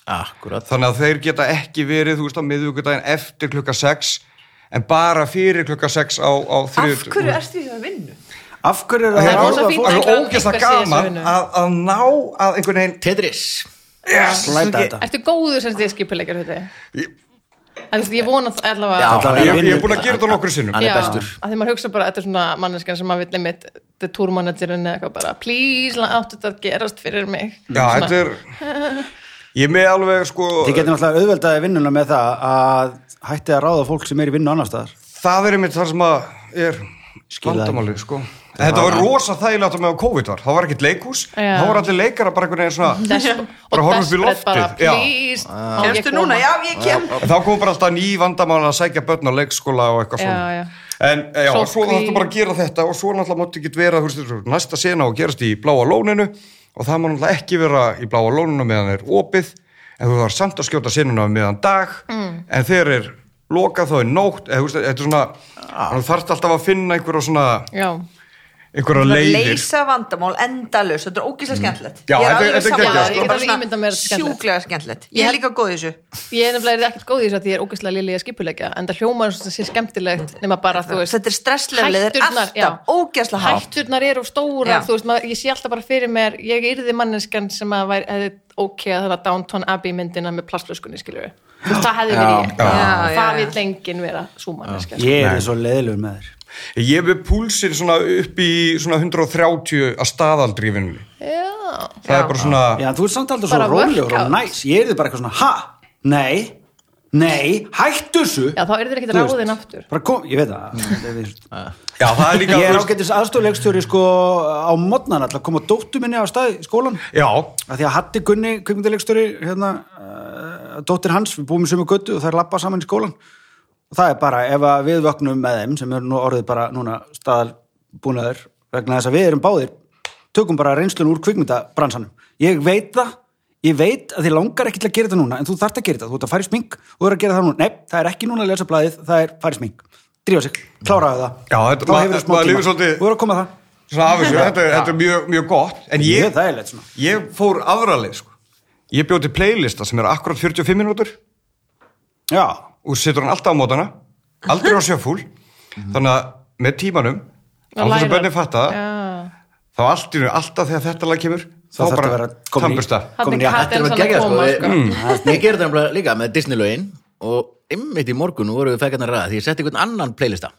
[SPEAKER 1] Akkurat
[SPEAKER 4] þannig að þeir geta ekki verið þú veist á miðvíkudaginn eftir klukka 6 en bara fyrir klukka 6 á, á
[SPEAKER 3] Af
[SPEAKER 4] þriðjudag.
[SPEAKER 3] hverju ertu í það vinnu?
[SPEAKER 2] Af hverju er
[SPEAKER 4] Það
[SPEAKER 2] það
[SPEAKER 4] er
[SPEAKER 5] rosa
[SPEAKER 2] horfa á
[SPEAKER 5] fínt.
[SPEAKER 2] fólk?
[SPEAKER 5] að
[SPEAKER 4] alveg
[SPEAKER 5] einhver-
[SPEAKER 4] ógæsta
[SPEAKER 5] einhver sé í þessu
[SPEAKER 4] gaman
[SPEAKER 5] vinnu.
[SPEAKER 4] að, að ná að einhvern veginn
[SPEAKER 1] Tetris
[SPEAKER 4] yes,
[SPEAKER 2] Læta þetta
[SPEAKER 5] Ertu góður sem þið skipuleikar þetta? Ég, ég vona það allavega
[SPEAKER 1] Já,
[SPEAKER 2] Allan
[SPEAKER 4] ég,
[SPEAKER 2] er
[SPEAKER 4] ég er
[SPEAKER 2] vinnu-
[SPEAKER 4] búin að gera þetta nokkur sinnum
[SPEAKER 1] hann er
[SPEAKER 5] Já,
[SPEAKER 1] bestur.
[SPEAKER 5] að því maður hugsa bara, þetta er svona manneskan sem maður vill einmitt the tour managerin eða eitthvað bara please, lá- áttu þetta að gerast fyrir mig
[SPEAKER 4] já, þetta er ég er með alveg sko
[SPEAKER 2] Þið getur náttúrulega auðveldaði vinnuna með það að hættið að ráða fólk sem er í vinnu annar staðar
[SPEAKER 4] það er einmitt þar sem að er
[SPEAKER 2] Skil það
[SPEAKER 4] vandamáli sko. þetta var rosa þægilegt að með að COVID var það var ekkert leikhús,
[SPEAKER 5] Já.
[SPEAKER 4] þá var allir leikara bara einhvern veginn svona
[SPEAKER 5] Des,
[SPEAKER 4] <laughs> Bara
[SPEAKER 5] og
[SPEAKER 4] horfa upp í
[SPEAKER 5] desperate bara,
[SPEAKER 4] loftið, já. Ah.
[SPEAKER 5] please má ég
[SPEAKER 3] Kemstu
[SPEAKER 5] koma?"
[SPEAKER 3] núna? Já, ég kem
[SPEAKER 4] En þá kom bara alltaf ný vandamál að sækja börn á leikskóla og eitthvað
[SPEAKER 5] Já,
[SPEAKER 4] svona
[SPEAKER 5] já.
[SPEAKER 4] en eh, já,
[SPEAKER 5] Sóttkví.
[SPEAKER 4] og svo þarfstu bara að gera þetta og svo náttúrulega máttu ekki vera þú veist, næsta sena og gerast í bláa lóninu og það má náttúrulega ekki vera í bláa lóninu meðan er opið en þú þarf samt að skjóta senuna meðan dag
[SPEAKER 5] Mm.
[SPEAKER 4] en þegar er lokað þá er nótt eða þú veist, þetta er svona
[SPEAKER 2] Ah.
[SPEAKER 4] þú þarfst alltaf að finna einhverja svona
[SPEAKER 5] já,
[SPEAKER 4] einhverja
[SPEAKER 3] Bara
[SPEAKER 4] leiðir
[SPEAKER 3] leysa vandamál endalaus þetta er ógeðslega skemmtilegt
[SPEAKER 4] Já,
[SPEAKER 3] Ég er
[SPEAKER 4] þetta-
[SPEAKER 3] alveg
[SPEAKER 4] þetta er
[SPEAKER 3] sammála,
[SPEAKER 4] geggjað,
[SPEAKER 3] sko.
[SPEAKER 4] sko. Ég
[SPEAKER 5] get
[SPEAKER 3] Bara
[SPEAKER 5] alveg
[SPEAKER 3] svona
[SPEAKER 5] ímyndað mér að þetta er skemmtilegt.
[SPEAKER 3] sjúklega skemmtilegt ég er líka góð í þessu
[SPEAKER 5] ég er nefnilega ekkert góð í þessu að því ég er ógeðslega lili að skipuleika en það hljómar eins og það sé skemmtilegt nema bara, þú veist
[SPEAKER 3] þetta er stressleglið, þetta er
[SPEAKER 5] Hætturnar,
[SPEAKER 3] alltaf
[SPEAKER 5] já.
[SPEAKER 3] ógeðslega hátt
[SPEAKER 5] hætturnar eru stóra,
[SPEAKER 3] Já.
[SPEAKER 5] þú veist, maður, ég sé alltaf bara fyrir mér, ég yrði manneskan sem að væri hefði ok að það var Downton Abbey myndina með plastlöskunni, skiljur við þú veist, það hefði verið ég,
[SPEAKER 4] Já,
[SPEAKER 3] já,
[SPEAKER 5] það
[SPEAKER 3] já.
[SPEAKER 5] vil lengin vera sko. svo manneskan
[SPEAKER 2] Ég er svo leiðilegur með þér
[SPEAKER 4] ég er með púlsinn svona upp í svona 130 að staðaldrífinu
[SPEAKER 5] já,
[SPEAKER 4] það er bara svona
[SPEAKER 2] Já, þú ert samt alltaf svo
[SPEAKER 5] Bara
[SPEAKER 2] rólegur og
[SPEAKER 5] workout.
[SPEAKER 2] næs Ég er þið bara eitthvað svona, ha, nei, nei, hættu þessu
[SPEAKER 5] já, þá yrðir ekkert
[SPEAKER 2] Þú veist.
[SPEAKER 5] ráðin aftur Mm.
[SPEAKER 2] Bara kom, ég veit það það er víst.
[SPEAKER 4] já, það er líka
[SPEAKER 2] Ég
[SPEAKER 4] þú
[SPEAKER 2] er
[SPEAKER 4] veist-
[SPEAKER 2] ágættis aðstofleikstjóri sko á modnan alltaf, kom á dóttu minni á stað í skólan
[SPEAKER 4] já,
[SPEAKER 2] að því að Hatti Gunni, kvikmyndileikstjóri hérna, uh, dóttir hans við búum í sömu göttu og þær lappa saman í skólan og það er bara, ef að við vöknum með þeim sem eru nú orðið bara núna staðal búnaður, vegna þess að við erum báðir tökum bara reynslun úr kvikmyndabransanum ég veit það, ég veit að þið langar ekki til að gera þetta núna en þú þarft að gera þetta, þú ert að fara í smink og þú ert að gera það núna, nei, það er ekki núna að lesa blæðið það er fara í smink, drífa sig, kláraðu það
[SPEAKER 4] Já, þetta-
[SPEAKER 2] þá
[SPEAKER 4] ma-
[SPEAKER 2] hefur það smá
[SPEAKER 4] maður
[SPEAKER 2] tíma
[SPEAKER 4] lifir svolítið-
[SPEAKER 2] þú er að koma að það,
[SPEAKER 4] Svona af þessu, þetta, þetta er mjög, mjög gott En
[SPEAKER 2] ég
[SPEAKER 4] ég,
[SPEAKER 2] er þægilegt svona
[SPEAKER 4] ég fór afralið sko. Ég bjóti playlista sem er akkurat 45 minútur
[SPEAKER 2] já,
[SPEAKER 4] og setur hann alltaf á mótana aldrei á sjöfúl þannig að með tímanum án þess að bönni fatta það þá allt í nú, alltaf þegar þetta lag kemur þá
[SPEAKER 2] það þarf að
[SPEAKER 4] bara
[SPEAKER 2] vera komin í,
[SPEAKER 4] tannbursta
[SPEAKER 2] komin í hatt
[SPEAKER 1] Þetta er að
[SPEAKER 5] Þetta er
[SPEAKER 1] gegja sko,
[SPEAKER 5] koma,
[SPEAKER 1] við-
[SPEAKER 5] sko.
[SPEAKER 1] Ég gerði það nefnilega líka með Disney-lögin og ymmit í morgun voru við fækarnar ræða því ég setti einhvern annan playlista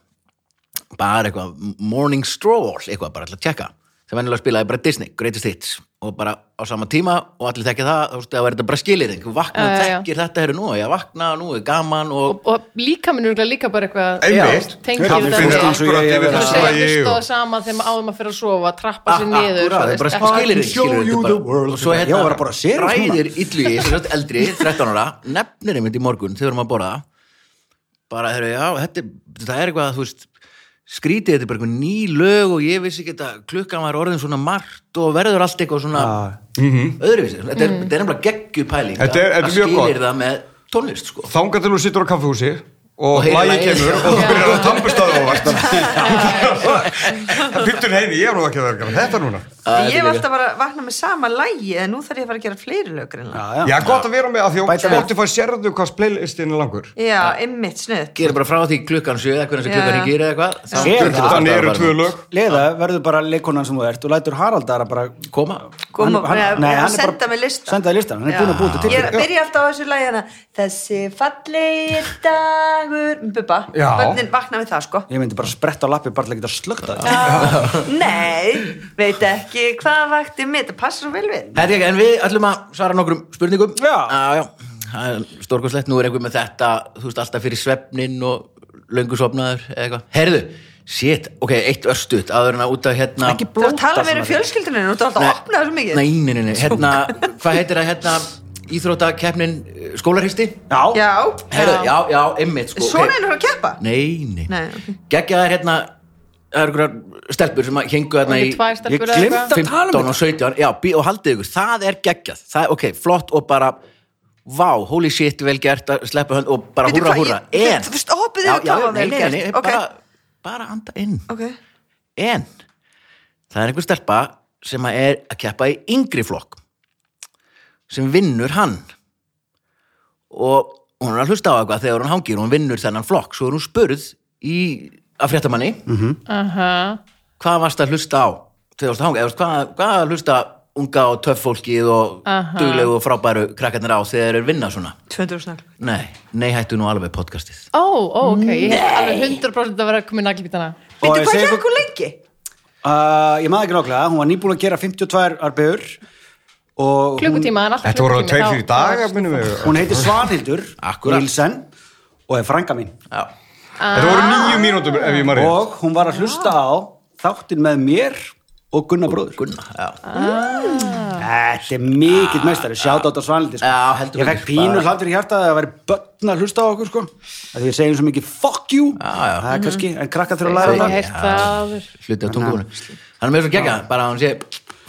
[SPEAKER 1] bara eitthvað Morning Stroll eitthvað bara alltaf að tjekka sem venjulega spilaði bara Disney, Greatest Hits og bara á sama tíma og allir þekkja það þú veist það var þetta bara skilir þú vaknaði,
[SPEAKER 5] Já, já, já.
[SPEAKER 1] þekkir þetta herru nú ég vakna, nú er gaman og
[SPEAKER 5] og, og líka minn er líka bara eitthvað
[SPEAKER 4] einmitt,
[SPEAKER 5] tengir
[SPEAKER 4] hann
[SPEAKER 5] þetta
[SPEAKER 4] finnir
[SPEAKER 5] við-
[SPEAKER 2] eins og ég
[SPEAKER 4] akkurat
[SPEAKER 2] eigi að
[SPEAKER 4] yfir
[SPEAKER 2] vera.
[SPEAKER 5] Þú
[SPEAKER 4] það
[SPEAKER 5] segir að
[SPEAKER 4] lagi
[SPEAKER 5] hlusta á
[SPEAKER 4] og-
[SPEAKER 5] það sama þegar maður áður maður fyrir að sofa, trappa
[SPEAKER 2] Ah,
[SPEAKER 5] sér niður
[SPEAKER 1] Akkúrat, það er bara
[SPEAKER 5] svoleiðis.
[SPEAKER 1] skilir þig
[SPEAKER 2] Show you the world.
[SPEAKER 1] og svo
[SPEAKER 2] Já,
[SPEAKER 1] hérna
[SPEAKER 2] það var bara series núna.
[SPEAKER 1] ræðir illugi, sem sagt
[SPEAKER 2] <laughs>
[SPEAKER 1] eldri, 13 ára nefnir einmitt í morgun, þegar maður borða bara, þeir, já, þetta er- það er eitthvað, þú veist skrítið, þetta er bara eitthvað ný lög og ég vissi ekki að klukkan var orðin svona margt og verður allt eitthvað svona öðruvísi, þetta er,
[SPEAKER 5] Mhm.
[SPEAKER 1] þetta er nefnilega geggjur pæling
[SPEAKER 4] Mhm. Þetta er- þetta er
[SPEAKER 1] að
[SPEAKER 4] mjög
[SPEAKER 1] skilir
[SPEAKER 4] gott.
[SPEAKER 1] það með tónlist, sko
[SPEAKER 4] þangað til þú sittur á kaffehúsi
[SPEAKER 1] Og
[SPEAKER 4] og
[SPEAKER 1] heyrir
[SPEAKER 4] lagi
[SPEAKER 1] lagið.
[SPEAKER 4] kemur og þú byrjar að tannbursta það og það byttur heini, ég er nú ekki að vera að gera þetta núna
[SPEAKER 1] Að
[SPEAKER 3] Ég
[SPEAKER 1] þetta er
[SPEAKER 3] hef
[SPEAKER 1] líka-
[SPEAKER 3] alltaf bara vaknað með sama lægi en nú þarf ég að fara að gera fleiri lög greinlega.
[SPEAKER 2] já, já,
[SPEAKER 4] Já, gott að vera með að því að
[SPEAKER 2] Bæta við.
[SPEAKER 4] Spotify sérðu hvað playlistin er langur
[SPEAKER 3] Já, ymmit, snuð.
[SPEAKER 1] gerir bara frá því klukkan sjö eða hvernig sem
[SPEAKER 3] Já,
[SPEAKER 1] klukkan
[SPEAKER 3] já.
[SPEAKER 1] hringir eða eitthvað þá
[SPEAKER 2] Sér
[SPEAKER 1] dugar
[SPEAKER 2] það.
[SPEAKER 1] þetta
[SPEAKER 4] Þannig eru
[SPEAKER 1] bara.
[SPEAKER 4] tvö lög
[SPEAKER 2] leða verður bara leikonan sem þú ert og lætur Haraldar að bara
[SPEAKER 1] koma
[SPEAKER 3] Koma,
[SPEAKER 2] Hann- hann-
[SPEAKER 3] hann,
[SPEAKER 2] nei,
[SPEAKER 3] nei,
[SPEAKER 2] hann er bara-
[SPEAKER 3] senda mig listan.
[SPEAKER 2] senda þér listan, hann er
[SPEAKER 3] Já.
[SPEAKER 2] búinn að búa þetta til
[SPEAKER 3] Ég er
[SPEAKER 2] fyrir.
[SPEAKER 3] að byrja alltaf á þessu lagi hana Þessi fallegi dagur Um Bubba,
[SPEAKER 4] Já.
[SPEAKER 3] bönnin vakna við það sko
[SPEAKER 2] ég myndi bara spretta á lappi bara til að geta slögt að það
[SPEAKER 3] Nei, veit ekki hvað vakti mitt Það passar svo vel við
[SPEAKER 1] Herri, en við ætlum að svara nokkrum spurningum
[SPEAKER 2] Já.
[SPEAKER 1] Á, já. Það er Stórkoslegt, nú er einhver með þetta þú veist, alltaf fyrir svefnin og löngu sopnaður eða eitthvað Herðu, shit, ok, eitt örstuð áður en að út af hérna
[SPEAKER 2] ekki
[SPEAKER 3] Þú
[SPEAKER 2] blóta
[SPEAKER 3] tala
[SPEAKER 2] svona.
[SPEAKER 3] mér um fjölskylduninu Þú ert alltaf að opna þessu mikið
[SPEAKER 1] Nei, nei, nei, nei, hérna, hvað heitir það hérna íþróttakeppnin eh, skólaristi?
[SPEAKER 2] já,
[SPEAKER 3] Já,
[SPEAKER 1] Herðu, já, já, einmitt sko,
[SPEAKER 3] svona
[SPEAKER 1] ok.
[SPEAKER 3] einu frá að keppa
[SPEAKER 1] Nei, nei,
[SPEAKER 3] Nei, ok.
[SPEAKER 1] Geggja þær hérna Það eru einhverjar stelpur sem að hengu þarna
[SPEAKER 5] Ekki
[SPEAKER 1] í
[SPEAKER 5] tvær stelpur
[SPEAKER 2] ég
[SPEAKER 5] eða
[SPEAKER 2] gleymdi
[SPEAKER 5] eitthvað.
[SPEAKER 2] að tala um
[SPEAKER 1] 15 og 17 já, bí- og haldið ykkur, það er geggjað það, ok, flott og bara vá, holy shit, vel gert að sleppa hönd og bara
[SPEAKER 3] Veitu
[SPEAKER 1] húrra,
[SPEAKER 3] hvað,
[SPEAKER 1] húrra
[SPEAKER 3] ég-
[SPEAKER 1] en,
[SPEAKER 3] þú veist, hoppið
[SPEAKER 1] já,
[SPEAKER 3] yfir
[SPEAKER 1] já,
[SPEAKER 3] kláfan,
[SPEAKER 1] nei,
[SPEAKER 3] vel
[SPEAKER 1] nei,
[SPEAKER 3] gert,
[SPEAKER 1] nei,
[SPEAKER 3] ok.
[SPEAKER 1] bara, bara anda inn
[SPEAKER 3] Ok,
[SPEAKER 1] en, það er einhver stelpa sem að er að keppa í yngri flokk sem vinnur hann og hún er að hlusta á eitthvað þegar hún hangir og hún vinnur þennan flokk, svo er hún spurð í, af fréttamanni
[SPEAKER 5] Aha.
[SPEAKER 1] hvað varst að hlusta á 2000 eða veist, hvað, hvað hlusta unga og töff fólkið og
[SPEAKER 5] Aha.
[SPEAKER 1] duglegu og frábæru krakkarnir á þegar þeir eru vinna svona
[SPEAKER 3] 200 snall
[SPEAKER 1] nei, nei hættu nú alveg podcastið
[SPEAKER 5] Ó, ó, ok, ég hef alveg 100% að vera að koma í naglbítana
[SPEAKER 2] Og
[SPEAKER 3] Veitu
[SPEAKER 2] ég
[SPEAKER 3] hvað
[SPEAKER 2] segi
[SPEAKER 3] ég
[SPEAKER 2] ykkur-
[SPEAKER 3] ekki lengi?
[SPEAKER 2] Uh, ég maður ekki nákvæmlega, hún var nýbúin að gera 52 arbegur og hún,
[SPEAKER 5] Klukkutíma, en alltaf
[SPEAKER 4] Þetta voru
[SPEAKER 5] klukkutími,
[SPEAKER 4] tveir
[SPEAKER 5] þá-
[SPEAKER 4] fyrir daga, minnum við
[SPEAKER 2] hún heitir Svanhildur
[SPEAKER 1] Akkúrat.
[SPEAKER 2] Nilsen og er frænga mín
[SPEAKER 1] já,
[SPEAKER 4] Þetta voru nýju mínútum ef ég maður
[SPEAKER 2] og hún var að hlusta á þáttin með mér og Gunnar bróður
[SPEAKER 1] Gunna já.
[SPEAKER 5] Ah.
[SPEAKER 2] Þetta er mikill meistari, sjátt átt á Svanhildi sko.
[SPEAKER 1] Ah. Já, heldur
[SPEAKER 2] Ég fekk
[SPEAKER 1] betur.
[SPEAKER 2] pínu
[SPEAKER 1] Bara-
[SPEAKER 2] hlátur í hjarta að það væri börn að hlusta á okkur sko. að við segjum svo mikið fuck you
[SPEAKER 1] já.
[SPEAKER 2] það er kannski, en krakka þurfa að
[SPEAKER 5] Mhm. Ég
[SPEAKER 2] læra það
[SPEAKER 5] hef heyrt það áður.
[SPEAKER 1] hluti á tungumunu hann er með svo gegga, bara að hann sé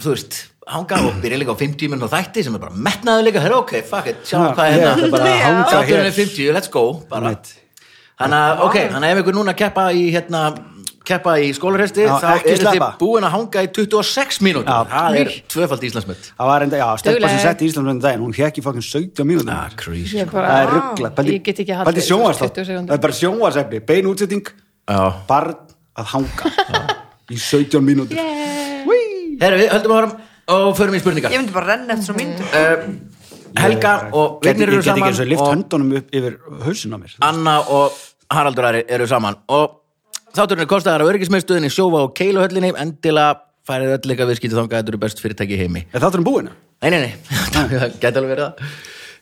[SPEAKER 1] þú veist, hanga og byrja líka á 50 minn og þætti sem er bara metnaður líka, herra ok, fuck it sjáum hvað er
[SPEAKER 2] Ég ætla
[SPEAKER 1] hérna
[SPEAKER 2] bara að hanga
[SPEAKER 1] þáttur
[SPEAKER 2] hér.
[SPEAKER 1] er 50, let's go bara
[SPEAKER 2] Einmitt.
[SPEAKER 1] Þannig að, ok, þannig að ef ykkur núna keppa í, hérna, keppa í skólarhesti,
[SPEAKER 2] Já,
[SPEAKER 1] þá
[SPEAKER 2] ekki
[SPEAKER 1] eru þið
[SPEAKER 2] sleppa.
[SPEAKER 1] búin að hanga í 26 mínútur.
[SPEAKER 2] Já.
[SPEAKER 1] Það er tvöfald Íslandsmynd.
[SPEAKER 2] Það var enda, já, stelpa sem
[SPEAKER 5] Dugleg.
[SPEAKER 2] setti Íslandsmyndin daginn, hún hekk í fokkin 17 mínútur
[SPEAKER 1] Ah, crazy.
[SPEAKER 5] Ég bara-
[SPEAKER 2] Það er ruggla,
[SPEAKER 5] Ég get ekki haldið
[SPEAKER 2] bælti
[SPEAKER 5] þessu
[SPEAKER 2] sjónvarsþátt
[SPEAKER 5] 20 sekúndur.
[SPEAKER 2] Það er bara sjónvarsefni, bein útsetting
[SPEAKER 1] Já.
[SPEAKER 2] Barn að
[SPEAKER 5] <laughs>
[SPEAKER 2] hanga
[SPEAKER 5] Ah.
[SPEAKER 2] Í 17 mínútur
[SPEAKER 1] Herra, við höldum áfram og förum í spurningar.
[SPEAKER 3] Ég myndi bara renna eftir svo myndu
[SPEAKER 1] Helga og
[SPEAKER 2] Gæti-
[SPEAKER 1] Vignir eru
[SPEAKER 2] Ég get ekki
[SPEAKER 1] saman
[SPEAKER 2] eins og lift
[SPEAKER 1] og
[SPEAKER 2] höndunum upp yfir hausin á mér
[SPEAKER 1] Anna og Haraldur Ari eru saman. Og þátturinn er kostaðar á öryggismiðstöðinni, sjófa og keiluhöllinni, endilega færið öll eitthvað viðskiptið þangað, þetta eru best fyrirtæki í heimi.
[SPEAKER 2] Er þátturinn búin?
[SPEAKER 1] Nei, nei, <laughs> nei, það gæti alveg verið það.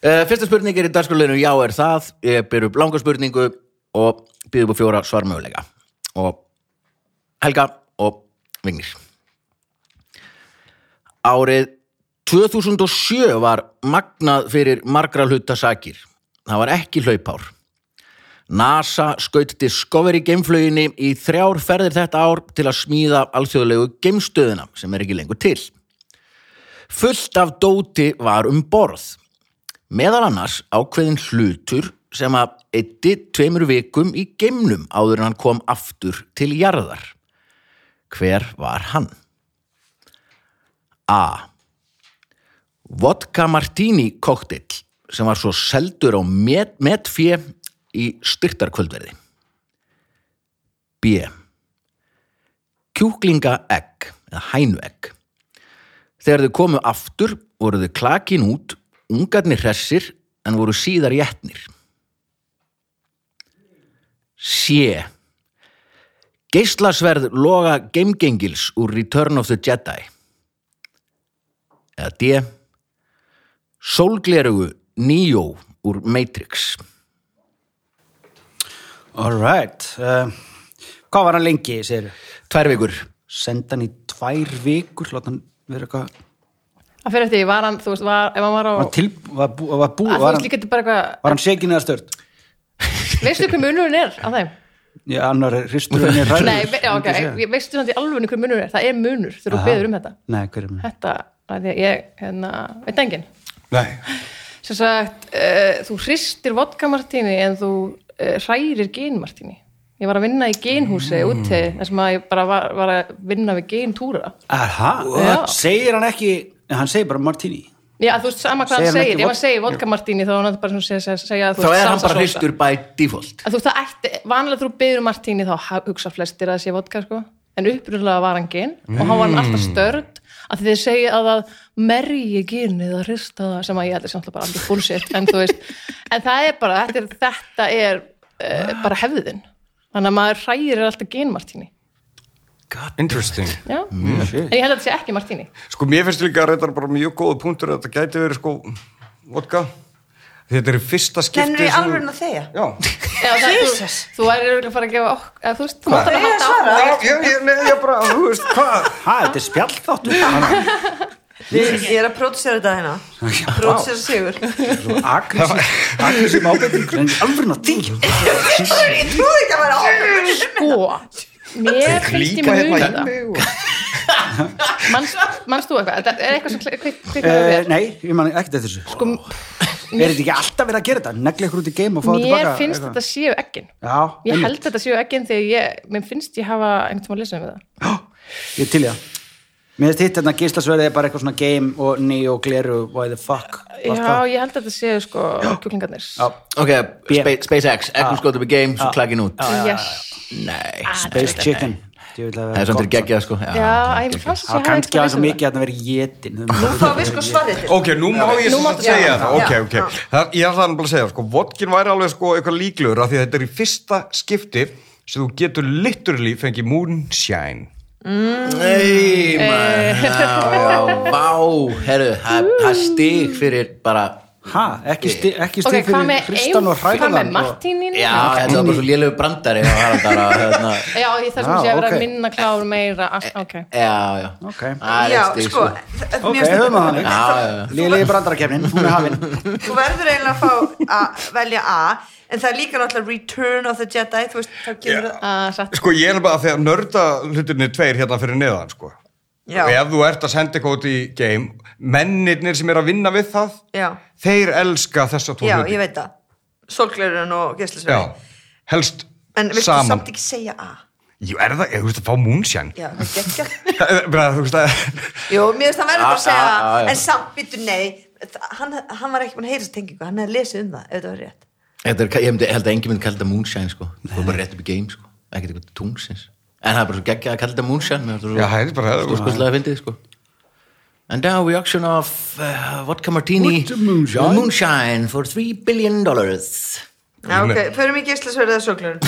[SPEAKER 1] Uh, fyrsta spurning er í dagsköluðinu já er það, ég byrju upp langa spurningu og byrju upp á fjóra svarmöguleika. Og Helga og Vignir. Árið 2007 var magnað fyrir margra hluta sakir. Það var ekki hlaupár. NASA skaut Discovery geimflöginni í þrjár ferðir þetta ár til að smíða alþjóðlegu geimstöðina sem er ekki lengur til. fullt af dóti var um borð. Meðal annars ákveðin hlutur sem að eitti tveimur vikum í geimnum áður en hann kom aftur til jarðar. Hver var hann? A. Vodka Martini koktill sem var svo seldur á met, metfé í styrtarkvöldverði. B. Kjúklinga egg eða hænuegg. Þegar þau komu aftur voru þau klakin út, ungarnir hressir en voru síðar jætnir. C. Geislasverð loga geimgengils úr Return of the Jedi. Eða D. Sólglerugu Neo úr Matrix.
[SPEAKER 2] All right. Uh, hvað var hann lengi, segir
[SPEAKER 1] Tvær vikur.
[SPEAKER 2] Senda hann í tvær vikur, láta hann vera eitthvað...
[SPEAKER 5] Það fyrir eftir, var hann, þú veist, var, ef hann var á...
[SPEAKER 2] Var, hann til, var, bú, var, bú,
[SPEAKER 5] að, þú
[SPEAKER 2] var,
[SPEAKER 5] veist,
[SPEAKER 2] hann,
[SPEAKER 5] líka þetta er bara eitthvað,
[SPEAKER 2] var hann sekin eða stört?
[SPEAKER 5] veistu hver munurinn er á þeim?
[SPEAKER 2] Já, annar er hristur
[SPEAKER 5] <laughs>
[SPEAKER 2] henni ræður.
[SPEAKER 5] Nei, ve- já, ok,
[SPEAKER 2] myndi ég segja.
[SPEAKER 5] ég- veistu þannig alveg hver munurinn er, það er munur þegar þú beður um þetta.
[SPEAKER 2] Nei, hver er mér?
[SPEAKER 5] Þetta, að því að ég, hérna, veit enginn.
[SPEAKER 4] Nei,
[SPEAKER 5] sem sagt, uh, þú hristir vodka martini en þú uh, hrærir gen martini ég var að vinna í genhúsi úti þar sem að ég bara var, var að vinna við gentúra
[SPEAKER 2] Aha,
[SPEAKER 5] Já.
[SPEAKER 2] segir hann ekki... Nei, Hann segir bara Martini.
[SPEAKER 5] já, þú veist, sama hvað
[SPEAKER 2] Segir hann
[SPEAKER 5] hann segir
[SPEAKER 2] ekki
[SPEAKER 5] ef hann
[SPEAKER 2] vod-
[SPEAKER 5] segir vodka martini þá er hann bara svona að segja, segja, segja þú
[SPEAKER 1] Þá
[SPEAKER 5] veist,
[SPEAKER 1] er hann
[SPEAKER 5] salsa
[SPEAKER 1] bara
[SPEAKER 5] sósa.
[SPEAKER 1] hristur by default.
[SPEAKER 5] En þú veist, það ætti, vanlega þú byrður martini þá ha- hugsa flestir að það sé vodka sko. en upprunlega var hann gen og hann var hann alltaf störd að þið segja að það merji genið að hrista það sem að ég held er samt bara allir bullshit en þú veist, en það er bara þetta er, þetta er uh, bara hefðin þannig að maður hræðir alltaf gen martini
[SPEAKER 4] interesting.
[SPEAKER 5] já,
[SPEAKER 2] Mm.
[SPEAKER 5] en ég held að þetta sé ekki martini
[SPEAKER 4] Sko, mér finnst líka að reyndar bara mjög góða punktur að þetta gæti verið, sko, vodka. Þetta er í fyrsta skipti.
[SPEAKER 3] Kennir ég
[SPEAKER 4] sem-
[SPEAKER 3] alveg að þegja?
[SPEAKER 4] Já.
[SPEAKER 5] já, það, þú, þú væri örugglega að fara að gefa okk, eða, þú veist, þú mátt
[SPEAKER 3] Ég
[SPEAKER 5] alveg
[SPEAKER 3] er
[SPEAKER 5] halda
[SPEAKER 3] svarað.
[SPEAKER 5] áfram
[SPEAKER 4] Já, ég, ég, nei, ég bara, þú veist, hvað?
[SPEAKER 2] Ha, þetta er
[SPEAKER 5] <laughs>
[SPEAKER 2] spjallþáttur. Hann
[SPEAKER 3] Ég ég er að pródusera þetta hérna Pródusera Sigur
[SPEAKER 2] er agressív- agressív ábyrgning. Hann er alveg náttúrulega því.
[SPEAKER 3] Ég trúði ekki að vera ábyrgur
[SPEAKER 5] sko mér finnst ég
[SPEAKER 4] Líka
[SPEAKER 5] mjög
[SPEAKER 4] hérna
[SPEAKER 5] mjög það
[SPEAKER 4] inni og...
[SPEAKER 5] Manst, manst þú eitthvað? Þetta er eitthvað sem klik- klik- klikkaði
[SPEAKER 2] Eh,
[SPEAKER 5] við
[SPEAKER 2] Nei, ég man ekkert eftir þessu.
[SPEAKER 5] sko,
[SPEAKER 2] Er þetta ekki alltaf verið að gera þetta? Negli ykkur út í geim og fá þetta
[SPEAKER 5] Mér
[SPEAKER 2] tilbaka?
[SPEAKER 5] finnst
[SPEAKER 2] eitthvað?
[SPEAKER 5] þetta séu eggin
[SPEAKER 2] Já,
[SPEAKER 5] Ég
[SPEAKER 2] einmitt.
[SPEAKER 5] held þetta séu eggin þegar ég Mér finnst ég hafa einhvern tímann að lesa um það
[SPEAKER 2] Ég til í það. Mér finnst hitt hérna geislasverðið er bara eitthvað svona game og ný og gleru, why the fuck. allt
[SPEAKER 5] Já,
[SPEAKER 2] það.
[SPEAKER 5] ég held þetta séu sko kjúklingarnir
[SPEAKER 1] Ok, Spa SpaceX, Ekkum skoðu upp í game, svo klakkin út.
[SPEAKER 5] Yes
[SPEAKER 1] Nei,
[SPEAKER 2] Space chicken. Ég vil að
[SPEAKER 1] það er
[SPEAKER 2] vera
[SPEAKER 1] samt
[SPEAKER 2] gott.
[SPEAKER 1] til geggjað, sko.
[SPEAKER 5] Já, að ég mér
[SPEAKER 2] Það
[SPEAKER 5] fannst ég
[SPEAKER 2] var kannski
[SPEAKER 5] hafa
[SPEAKER 2] aðeins
[SPEAKER 5] eitthvað
[SPEAKER 2] og
[SPEAKER 5] að
[SPEAKER 2] mikið að það verið jétin.
[SPEAKER 3] Nú fáum við sko svarið þitt
[SPEAKER 4] Ok, nú má ég sem sagt
[SPEAKER 5] já,
[SPEAKER 4] segja
[SPEAKER 5] já,
[SPEAKER 3] já.
[SPEAKER 4] það, ok, ok. Það, ég ætlaði bara að segja, sko, vodkin væri alveg sko eitthvað líklegur af því að þetta er í fyrsta skipti sem þú getur literally fengið moonshine.
[SPEAKER 1] Nei, maður, já, vá, herru, það það stig fyrir bara,
[SPEAKER 2] Hæ, ekki sti- ekki
[SPEAKER 5] Ok,
[SPEAKER 2] stig
[SPEAKER 5] hvað
[SPEAKER 2] fyrir
[SPEAKER 5] með
[SPEAKER 2] hristan og
[SPEAKER 5] Hvað með
[SPEAKER 2] hræðan. og-
[SPEAKER 5] Martínin?
[SPEAKER 1] já, þetta var bara svo lélegu brandari og Haraldar að, hérna,
[SPEAKER 5] Já, ég þarf sem
[SPEAKER 2] Já,
[SPEAKER 5] sé að vera
[SPEAKER 2] ok.
[SPEAKER 5] að minna klár meira allt- Ok
[SPEAKER 1] já, já,
[SPEAKER 2] Ok.
[SPEAKER 1] það er
[SPEAKER 3] Já,
[SPEAKER 1] eitt stig,
[SPEAKER 3] sko
[SPEAKER 1] sko,
[SPEAKER 3] þ-
[SPEAKER 2] Ok,
[SPEAKER 3] mér
[SPEAKER 2] höfum
[SPEAKER 3] finnst
[SPEAKER 2] við
[SPEAKER 3] þetta-
[SPEAKER 2] það þannig.
[SPEAKER 1] já, já, já.
[SPEAKER 2] Lili brandarakefnin, hún er hafin.
[SPEAKER 3] Þú verður eiginlega að fá að velja A En það er líka náttúrulega Return of the Jedi Þú veist, þá kemur það
[SPEAKER 5] Ah, satt.
[SPEAKER 4] Sko, ég er bara að því að nörda hlutinni tveir hérna fyrir neðan, sko.
[SPEAKER 3] Já.
[SPEAKER 4] Og ef þú ert að senda eitthvað út í game, mennirnir sem er að vinna við það,
[SPEAKER 3] Já,
[SPEAKER 4] þeir elska þessa tvo
[SPEAKER 3] já,
[SPEAKER 4] hluti.
[SPEAKER 3] ég veit það Solglerun og geislasverði
[SPEAKER 4] Já, helst
[SPEAKER 3] En viltu
[SPEAKER 4] saman.
[SPEAKER 3] samt ekki segja A?
[SPEAKER 4] Jú, er það, ég veist að fá moonshine.
[SPEAKER 3] Já, það gekkja
[SPEAKER 4] Það er <laughs> bara, þú veist að...
[SPEAKER 3] Jú, mér finnst það verður bara að segja
[SPEAKER 1] Ah, ah, ah, já.
[SPEAKER 3] A En samt, byttu, nei Þa- Hann, hann var ekki búin að heyra þess tengingu Hann hefði lesið um það, ef þetta var rétt
[SPEAKER 1] þetta er, ég myndi- held að engin myndi kalla þetta moonshine, sko, það er bara rétt upp í game, sko, ekkert eitthvað tungsins, en það er bara svo geggjað að kalla þetta moonshine, mér
[SPEAKER 4] Já,
[SPEAKER 1] finnst
[SPEAKER 4] það er bara...
[SPEAKER 1] það svo skoðslega fyndið, sko. And now we auction off uh, vodka martini moonshine. moonshine for 3 billion dollars.
[SPEAKER 3] Já, ok, förum í geislasverði eða
[SPEAKER 1] <laughs>
[SPEAKER 3] solglerun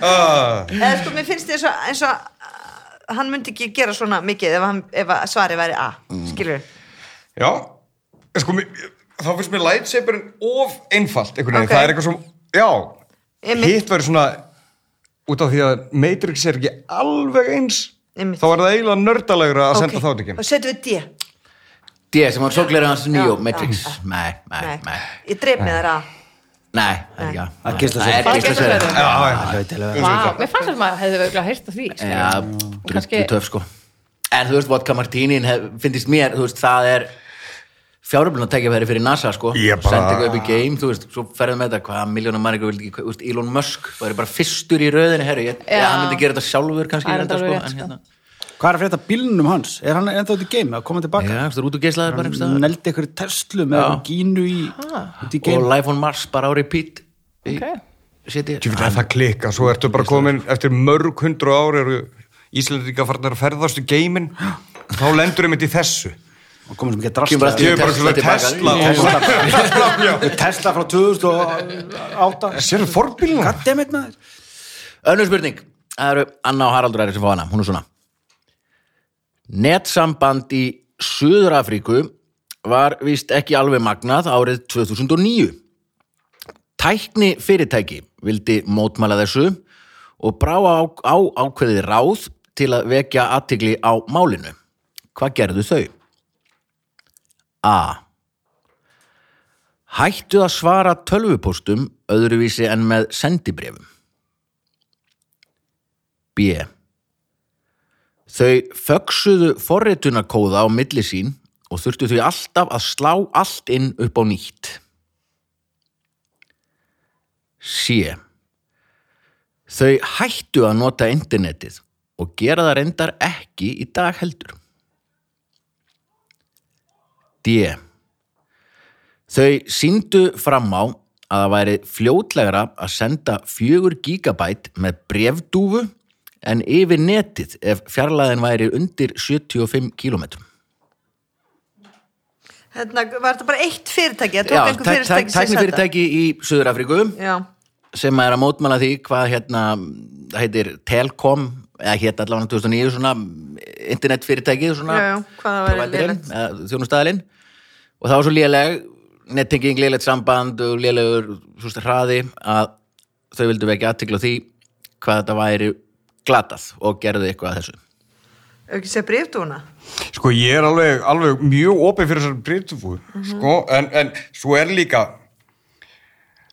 [SPEAKER 4] Ah.
[SPEAKER 3] eða sko, mér finnst þið eins og, eins og uh, hann myndi ekki gera svona mikið ef, hann, ef að svarið væri A
[SPEAKER 1] Mm.
[SPEAKER 3] skilur,
[SPEAKER 4] Já, en sko, mér- þá finnst mér lightsaberin of einfalt einhvern veginn,
[SPEAKER 3] Ok.
[SPEAKER 4] það er eitthvað svona, já,
[SPEAKER 3] Einmitt.
[SPEAKER 4] hitt væri svona, út af því að Matrix er ekki alveg eins,
[SPEAKER 3] Einmitt.
[SPEAKER 4] þá er það eiginlega nördalegra að senda þá ekki.
[SPEAKER 3] og setjum við D
[SPEAKER 1] D sem var sorgleira hans nýjó, Matrix
[SPEAKER 3] já.
[SPEAKER 1] Nei, nei,
[SPEAKER 3] Nei.
[SPEAKER 1] nei,
[SPEAKER 3] ég dreif með þær A
[SPEAKER 1] nei, það er ekki að-
[SPEAKER 2] Að geisla
[SPEAKER 1] Það
[SPEAKER 2] sér.
[SPEAKER 1] er
[SPEAKER 5] Bara
[SPEAKER 1] geisla sér
[SPEAKER 5] geislasverði.
[SPEAKER 4] Já, já,
[SPEAKER 2] Það er til að-
[SPEAKER 5] Vá, mér fannst þetta maður hefði auðvitað heyrt af því sko.
[SPEAKER 1] Já,
[SPEAKER 5] kannski-
[SPEAKER 1] drullu töf sko en þú veist, vodka martínin finnst mér, þú veist, það er fjáröflun að tekja fyrir NASA sko
[SPEAKER 4] Ég bara-
[SPEAKER 1] senda eitthvað upp í game, þú veist, svo ferðum með þetta hvað, miljónum margur vildi ekki, þú veist, Elon Musk það er bara fyrstur í röðinu, herru ég,
[SPEAKER 5] Já.
[SPEAKER 1] ja, hann myndi gera þetta sjálfur kannski
[SPEAKER 5] Það er
[SPEAKER 1] reyndar,
[SPEAKER 5] alveg rétt,
[SPEAKER 1] en
[SPEAKER 5] sko.
[SPEAKER 1] hérna,
[SPEAKER 2] Hvað er að frétta bílnum hans? Er hann ennþá út í game að koma tilbaka?
[SPEAKER 1] já, þú veist, út og geislaður bara einhvers
[SPEAKER 2] Hann
[SPEAKER 1] staðar.
[SPEAKER 2] neldi ykkur í Tesla með
[SPEAKER 1] Já.
[SPEAKER 2] ah. gínu í, út í
[SPEAKER 1] og
[SPEAKER 2] game
[SPEAKER 1] Life on Mars bara á repeat í
[SPEAKER 5] Ok.
[SPEAKER 1] seti
[SPEAKER 4] Ég veit að það klikka, svo ertu bara komin eftir mörg hundru ári eru Íslendinga farnar að ferðast í geimin þá lendur einmitt í þessu
[SPEAKER 2] og komum sem ekki að
[SPEAKER 1] Kemur
[SPEAKER 2] drastla
[SPEAKER 1] allt í-
[SPEAKER 4] Ég er bara svona
[SPEAKER 1] Tesla
[SPEAKER 4] Tesla
[SPEAKER 2] tilbaka.
[SPEAKER 4] Tesla, <laughs> já.
[SPEAKER 2] Tesla frá 2008
[SPEAKER 4] Sérðu forbílina?
[SPEAKER 2] Goddammit maður
[SPEAKER 1] Önnur spurning, það eru Anna og Haraldur Æri sem fá hana, hún er svona Netsamband í Suður-Afríku var víst ekki alveg magnað árið 2009 Tækni fyrirtæki vildi mótmæla þessu og brá á, á ákveðið ráð til að vekja aðtigli á málinu Hvað gerðu þau? A. Hættu að svara tölvupóstum öðruvísi en með sendibrefum B. Þau föksuðu forritunarkóða á milli sín og þurftu þau alltaf að slá allt inn upp á nýtt. C. Þau hættu að nota internetið og gera það reyndar ekki í dag heldur. D. Þau síndu fram á að það væri fljótlegra að senda 4 gigabæt með brefdúfu en yfir netið ef fjarlæðin væri undir 75 kilometrum.
[SPEAKER 3] Hérna, var þetta bara eitt fyrirtæki?
[SPEAKER 1] Já,
[SPEAKER 3] Það tók
[SPEAKER 1] tæk-
[SPEAKER 3] einhver
[SPEAKER 1] tæk-
[SPEAKER 3] fyrirtæki sem senda?
[SPEAKER 1] tæknifyrirtæki í Suður-Afríku
[SPEAKER 3] Já,
[SPEAKER 1] sem er að mótmæla því hvað hérna, það heitir Telkom eða hétt allavega 2009 svona internetfyrirtækið svona
[SPEAKER 3] Já, já, hvað það væri
[SPEAKER 1] providerinn,
[SPEAKER 3] lélegt.
[SPEAKER 1] eða þjónustæðalinn og það var svo léleg nettenging, lélegt samband og lélegur svona hraði að þau vildu vekja aðtikla því hvað þetta væri glatað og gerðu eitthvað að þessu
[SPEAKER 3] hefur ekki séð breyftúna?
[SPEAKER 4] Sko ég er alveg, alveg mjög opið fyrir þessar breytufu sko, en, en svo er líka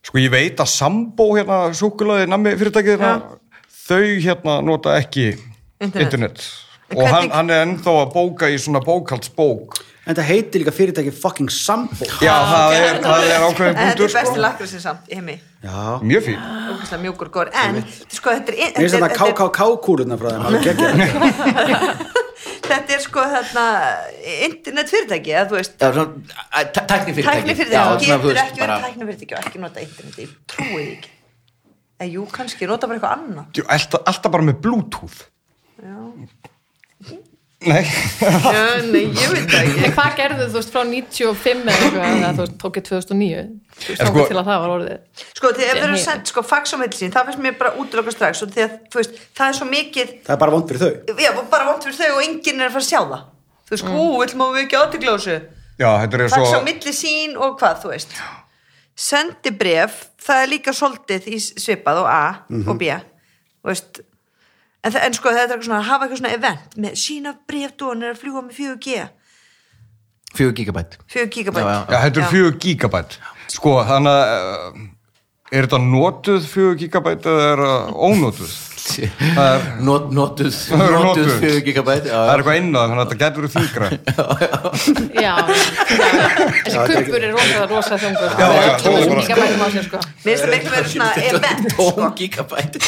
[SPEAKER 4] sko ég veit að sambó hérna súkulaði nammi fyrirtækið hérna, þau hérna nota ekki
[SPEAKER 3] Internet.
[SPEAKER 4] internet,
[SPEAKER 3] En
[SPEAKER 4] og hann,
[SPEAKER 3] hvernig-
[SPEAKER 4] hann er ennþá að bóka í svona bókaldsbók
[SPEAKER 2] En það heitir líka fyrirtæki fucking Sambo
[SPEAKER 4] Já, það er, það er ákveðin
[SPEAKER 3] En þetta
[SPEAKER 4] punktur
[SPEAKER 3] er besti
[SPEAKER 4] sko.
[SPEAKER 3] lakrisin samt, í heimi.
[SPEAKER 2] Já
[SPEAKER 4] Mjög fín
[SPEAKER 3] Ógæslega mjúkur gór. En, sko, þetta er...
[SPEAKER 2] Mér finnst
[SPEAKER 3] þetta
[SPEAKER 2] þetta
[SPEAKER 3] er-
[SPEAKER 2] KKK-kúlurna frá þeim alveg geggjað.
[SPEAKER 3] Þetta er sko, hérna, internet fyrirtæki, eða þú veist,
[SPEAKER 1] Já, svona, að- tæ- Tæknifyrirtæki
[SPEAKER 3] tækni fyrir
[SPEAKER 1] Já, svona,
[SPEAKER 3] þeim
[SPEAKER 1] þú
[SPEAKER 3] getur
[SPEAKER 1] veist,
[SPEAKER 3] ekki
[SPEAKER 1] bara-
[SPEAKER 3] verið tækni fyrir og ekki nota internet ég trúi því ekki eða jú kannski, nota bara eitthvað annað
[SPEAKER 4] Jú, alltaf, alltaf bara með bluetooth Nei <laughs>
[SPEAKER 3] já, nei, ég veit það
[SPEAKER 5] En hvað gerðu þú veist frá 95 eða eitthvað, eða þú veist tókið 2009 þú veist
[SPEAKER 4] En
[SPEAKER 5] sko,
[SPEAKER 4] sko-
[SPEAKER 5] til að það var orðið
[SPEAKER 3] sko, þegar ef þeir eru
[SPEAKER 5] Nei.
[SPEAKER 3] sendt, sko, fax á milli sín það finnst mér bara útlöka strax og þegar, þú veist, það er svo mikið
[SPEAKER 2] Það er bara vond fyrir þau
[SPEAKER 3] já, og bara vont fyrir þau og enginn er að fara að sjá það þú veist, hú, vill maður ekki aðtikla á þessu
[SPEAKER 4] Já, þetta er
[SPEAKER 3] fax á
[SPEAKER 4] svo
[SPEAKER 3] milli sín og hvað, þú veist sendi bref, það er líka soldið í svipað og A
[SPEAKER 4] Mhm.
[SPEAKER 3] og B þú veist en, þa- en sko þetta er eitthvað svona, hafa eitthvað svona event með sína brefdón er að fljúa með 4G
[SPEAKER 1] 4 gigabæt
[SPEAKER 3] 4 gigabæt
[SPEAKER 1] Já, já,
[SPEAKER 4] Já, þetta er 4 gigabæt Sko, þannig að uh, Er þetta notuð 4 gigabæt eða er það ónotuð?
[SPEAKER 1] Not- notuð
[SPEAKER 4] Það eru
[SPEAKER 1] notuð
[SPEAKER 4] notuð.
[SPEAKER 1] 4 gigabæt
[SPEAKER 4] Það er eitthvað innað, þannig að þetta getur verið
[SPEAKER 3] <laughs>
[SPEAKER 4] þingra
[SPEAKER 5] já, já, þessi kumpur er rosa, rosa þungur
[SPEAKER 4] Já, já,
[SPEAKER 5] það
[SPEAKER 4] það er
[SPEAKER 5] er
[SPEAKER 4] bara-
[SPEAKER 5] líka mælum á sér sko
[SPEAKER 3] mér finnst það miklu verið
[SPEAKER 4] <laughs>
[SPEAKER 3] svona event
[SPEAKER 1] tóm gigabæt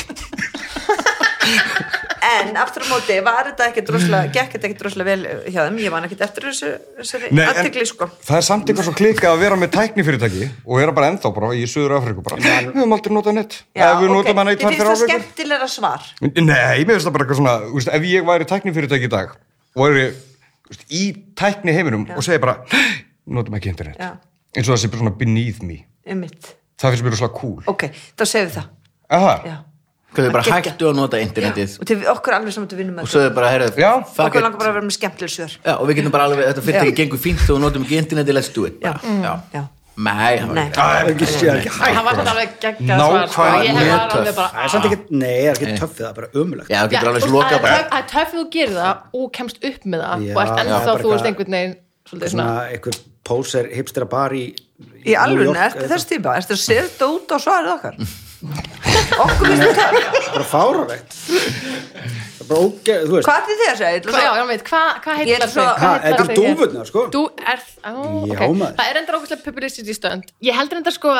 [SPEAKER 3] en aftur á móti var þetta ekkert droslega gekk þetta ekkert droslega vel hjá þeim ég man ekkert eftir þessu, þessari
[SPEAKER 4] Nei, en
[SPEAKER 3] aðtikli sko
[SPEAKER 4] Það er samt eitthvað svo klika að vera með tæknifyrirtæki og vera bara ennþá bara í Suður Afríku bara, við höfum aldrei notað nett
[SPEAKER 3] Já,
[SPEAKER 4] ef
[SPEAKER 3] ok.
[SPEAKER 4] við notum hana í
[SPEAKER 3] Mér
[SPEAKER 4] tvær
[SPEAKER 3] finnst
[SPEAKER 4] fyrir
[SPEAKER 3] það
[SPEAKER 4] áfríkur
[SPEAKER 3] skemmtilega svar
[SPEAKER 4] Nei, mér finnst það bara eitthvað svona þú veist, ef ég væri tæknifyrirtæki í dag og væri þú veist, í tækni heiminum og segi bara, <gasps> notum ekki internet
[SPEAKER 3] Já.
[SPEAKER 4] eins og það sé bara svona beneath me
[SPEAKER 3] um
[SPEAKER 4] það finnst mér svona cool
[SPEAKER 3] ok, þá segðu það
[SPEAKER 4] Aha,
[SPEAKER 3] já
[SPEAKER 1] Hvað þau bara
[SPEAKER 3] Geggjað.
[SPEAKER 1] hættu að nota internetið
[SPEAKER 3] og til við- okkur er alveg saman til vinnum
[SPEAKER 1] og
[SPEAKER 3] með
[SPEAKER 1] svo þau bara, heyrðu,
[SPEAKER 4] Já.
[SPEAKER 1] fuck
[SPEAKER 3] okkur
[SPEAKER 1] it
[SPEAKER 3] langar bara að vera með skemmtileg svör
[SPEAKER 1] Já, og við getum bara alveg, þetta fyrirtæki
[SPEAKER 3] Já.
[SPEAKER 1] gengur fínt og við notum ekki internetið, let's do it bara. Já.
[SPEAKER 3] já.
[SPEAKER 1] Nei, það var
[SPEAKER 3] Nei.
[SPEAKER 1] ekki-
[SPEAKER 2] Það er ekki séð ekki hægt
[SPEAKER 5] það var þetta alveg geggjað svar sko.
[SPEAKER 4] Nákvæmlega.
[SPEAKER 5] ég hef var
[SPEAKER 1] Mjög
[SPEAKER 2] Það
[SPEAKER 1] töff.
[SPEAKER 5] alveg bara
[SPEAKER 2] er samt ekki, nei, það er ekki töffið, það er bara ömulegt
[SPEAKER 1] Já, þú
[SPEAKER 5] Já,
[SPEAKER 1] getur alveg
[SPEAKER 5] þú veist,
[SPEAKER 1] slokað
[SPEAKER 5] það er
[SPEAKER 1] bara
[SPEAKER 5] töff- það er töff ef þú gerir það og kemst upp með það
[SPEAKER 2] Já,
[SPEAKER 5] og ert
[SPEAKER 2] já,
[SPEAKER 5] ennþá
[SPEAKER 2] bara
[SPEAKER 5] þú
[SPEAKER 2] eitthvað-
[SPEAKER 5] veist einhvern veginn svolítið
[SPEAKER 2] Svona
[SPEAKER 5] svona
[SPEAKER 2] einhver póser hipstera bar í
[SPEAKER 3] í
[SPEAKER 2] New
[SPEAKER 3] alveg,
[SPEAKER 2] York eða
[SPEAKER 3] ertu
[SPEAKER 2] Mm.
[SPEAKER 3] þess típa ertu að setja út á svarið okkar okkur finnst þetta
[SPEAKER 2] bara fáruvegt það er bara óge, þú veist
[SPEAKER 3] hvað til þið að segja Ég ætla
[SPEAKER 5] Hva, já,
[SPEAKER 3] svo-
[SPEAKER 5] já, veit, hvað hva
[SPEAKER 3] Ég er
[SPEAKER 5] heitlar
[SPEAKER 3] svo-
[SPEAKER 5] þig?
[SPEAKER 3] Ha,
[SPEAKER 5] Hvað heillar
[SPEAKER 2] þetta er
[SPEAKER 5] þig?
[SPEAKER 2] dúfurnar, sko.
[SPEAKER 5] Dú er, á,
[SPEAKER 2] Já,
[SPEAKER 5] ok
[SPEAKER 2] maður.
[SPEAKER 5] Það er endar ógæslega publicity stönd Ég heldur endar sko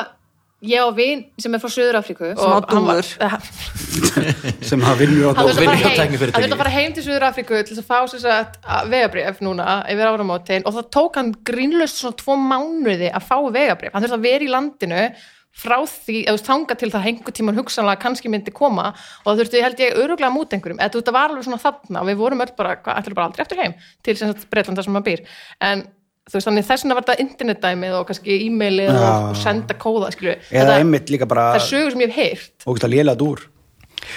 [SPEAKER 5] Ég á vin sem er frá Suður-Afríku
[SPEAKER 3] Sem á
[SPEAKER 5] og hann var- Eh,
[SPEAKER 3] dúfur.
[SPEAKER 5] Hann
[SPEAKER 2] sem hafa vinnur á
[SPEAKER 1] Og
[SPEAKER 5] þurfti að
[SPEAKER 1] vinna hjá
[SPEAKER 5] fara heim-
[SPEAKER 1] tæknifyrirtæki.
[SPEAKER 5] hann þurfti að fara heim til Suður-Afríku til þess að fá sér satt vegabrif núna yfir áramótin og það tók hann grínlaust svona tvo mánuði að fá vegabrif hann þurfti að vera í landinu frá því, eða þú veist, þangað til það hengu tíman hugsanlega kannski myndi koma og það þurfti held ég öruglega mút einhverjum, eða þú veist, það var alveg svona þarna og við vorum öll bara, hvað, ætlum bara aldrei eftir heim til sem sagt Bretlanda sem maður býr en þú veist, þannig þess vegna var þetta internetdæmið og kannski e-mailið og,
[SPEAKER 2] Já.
[SPEAKER 5] og senda kóða, skilju
[SPEAKER 2] eða einmitt líka bara
[SPEAKER 5] það er sögur sem ég hef heyrt
[SPEAKER 2] ógæst að léla dúr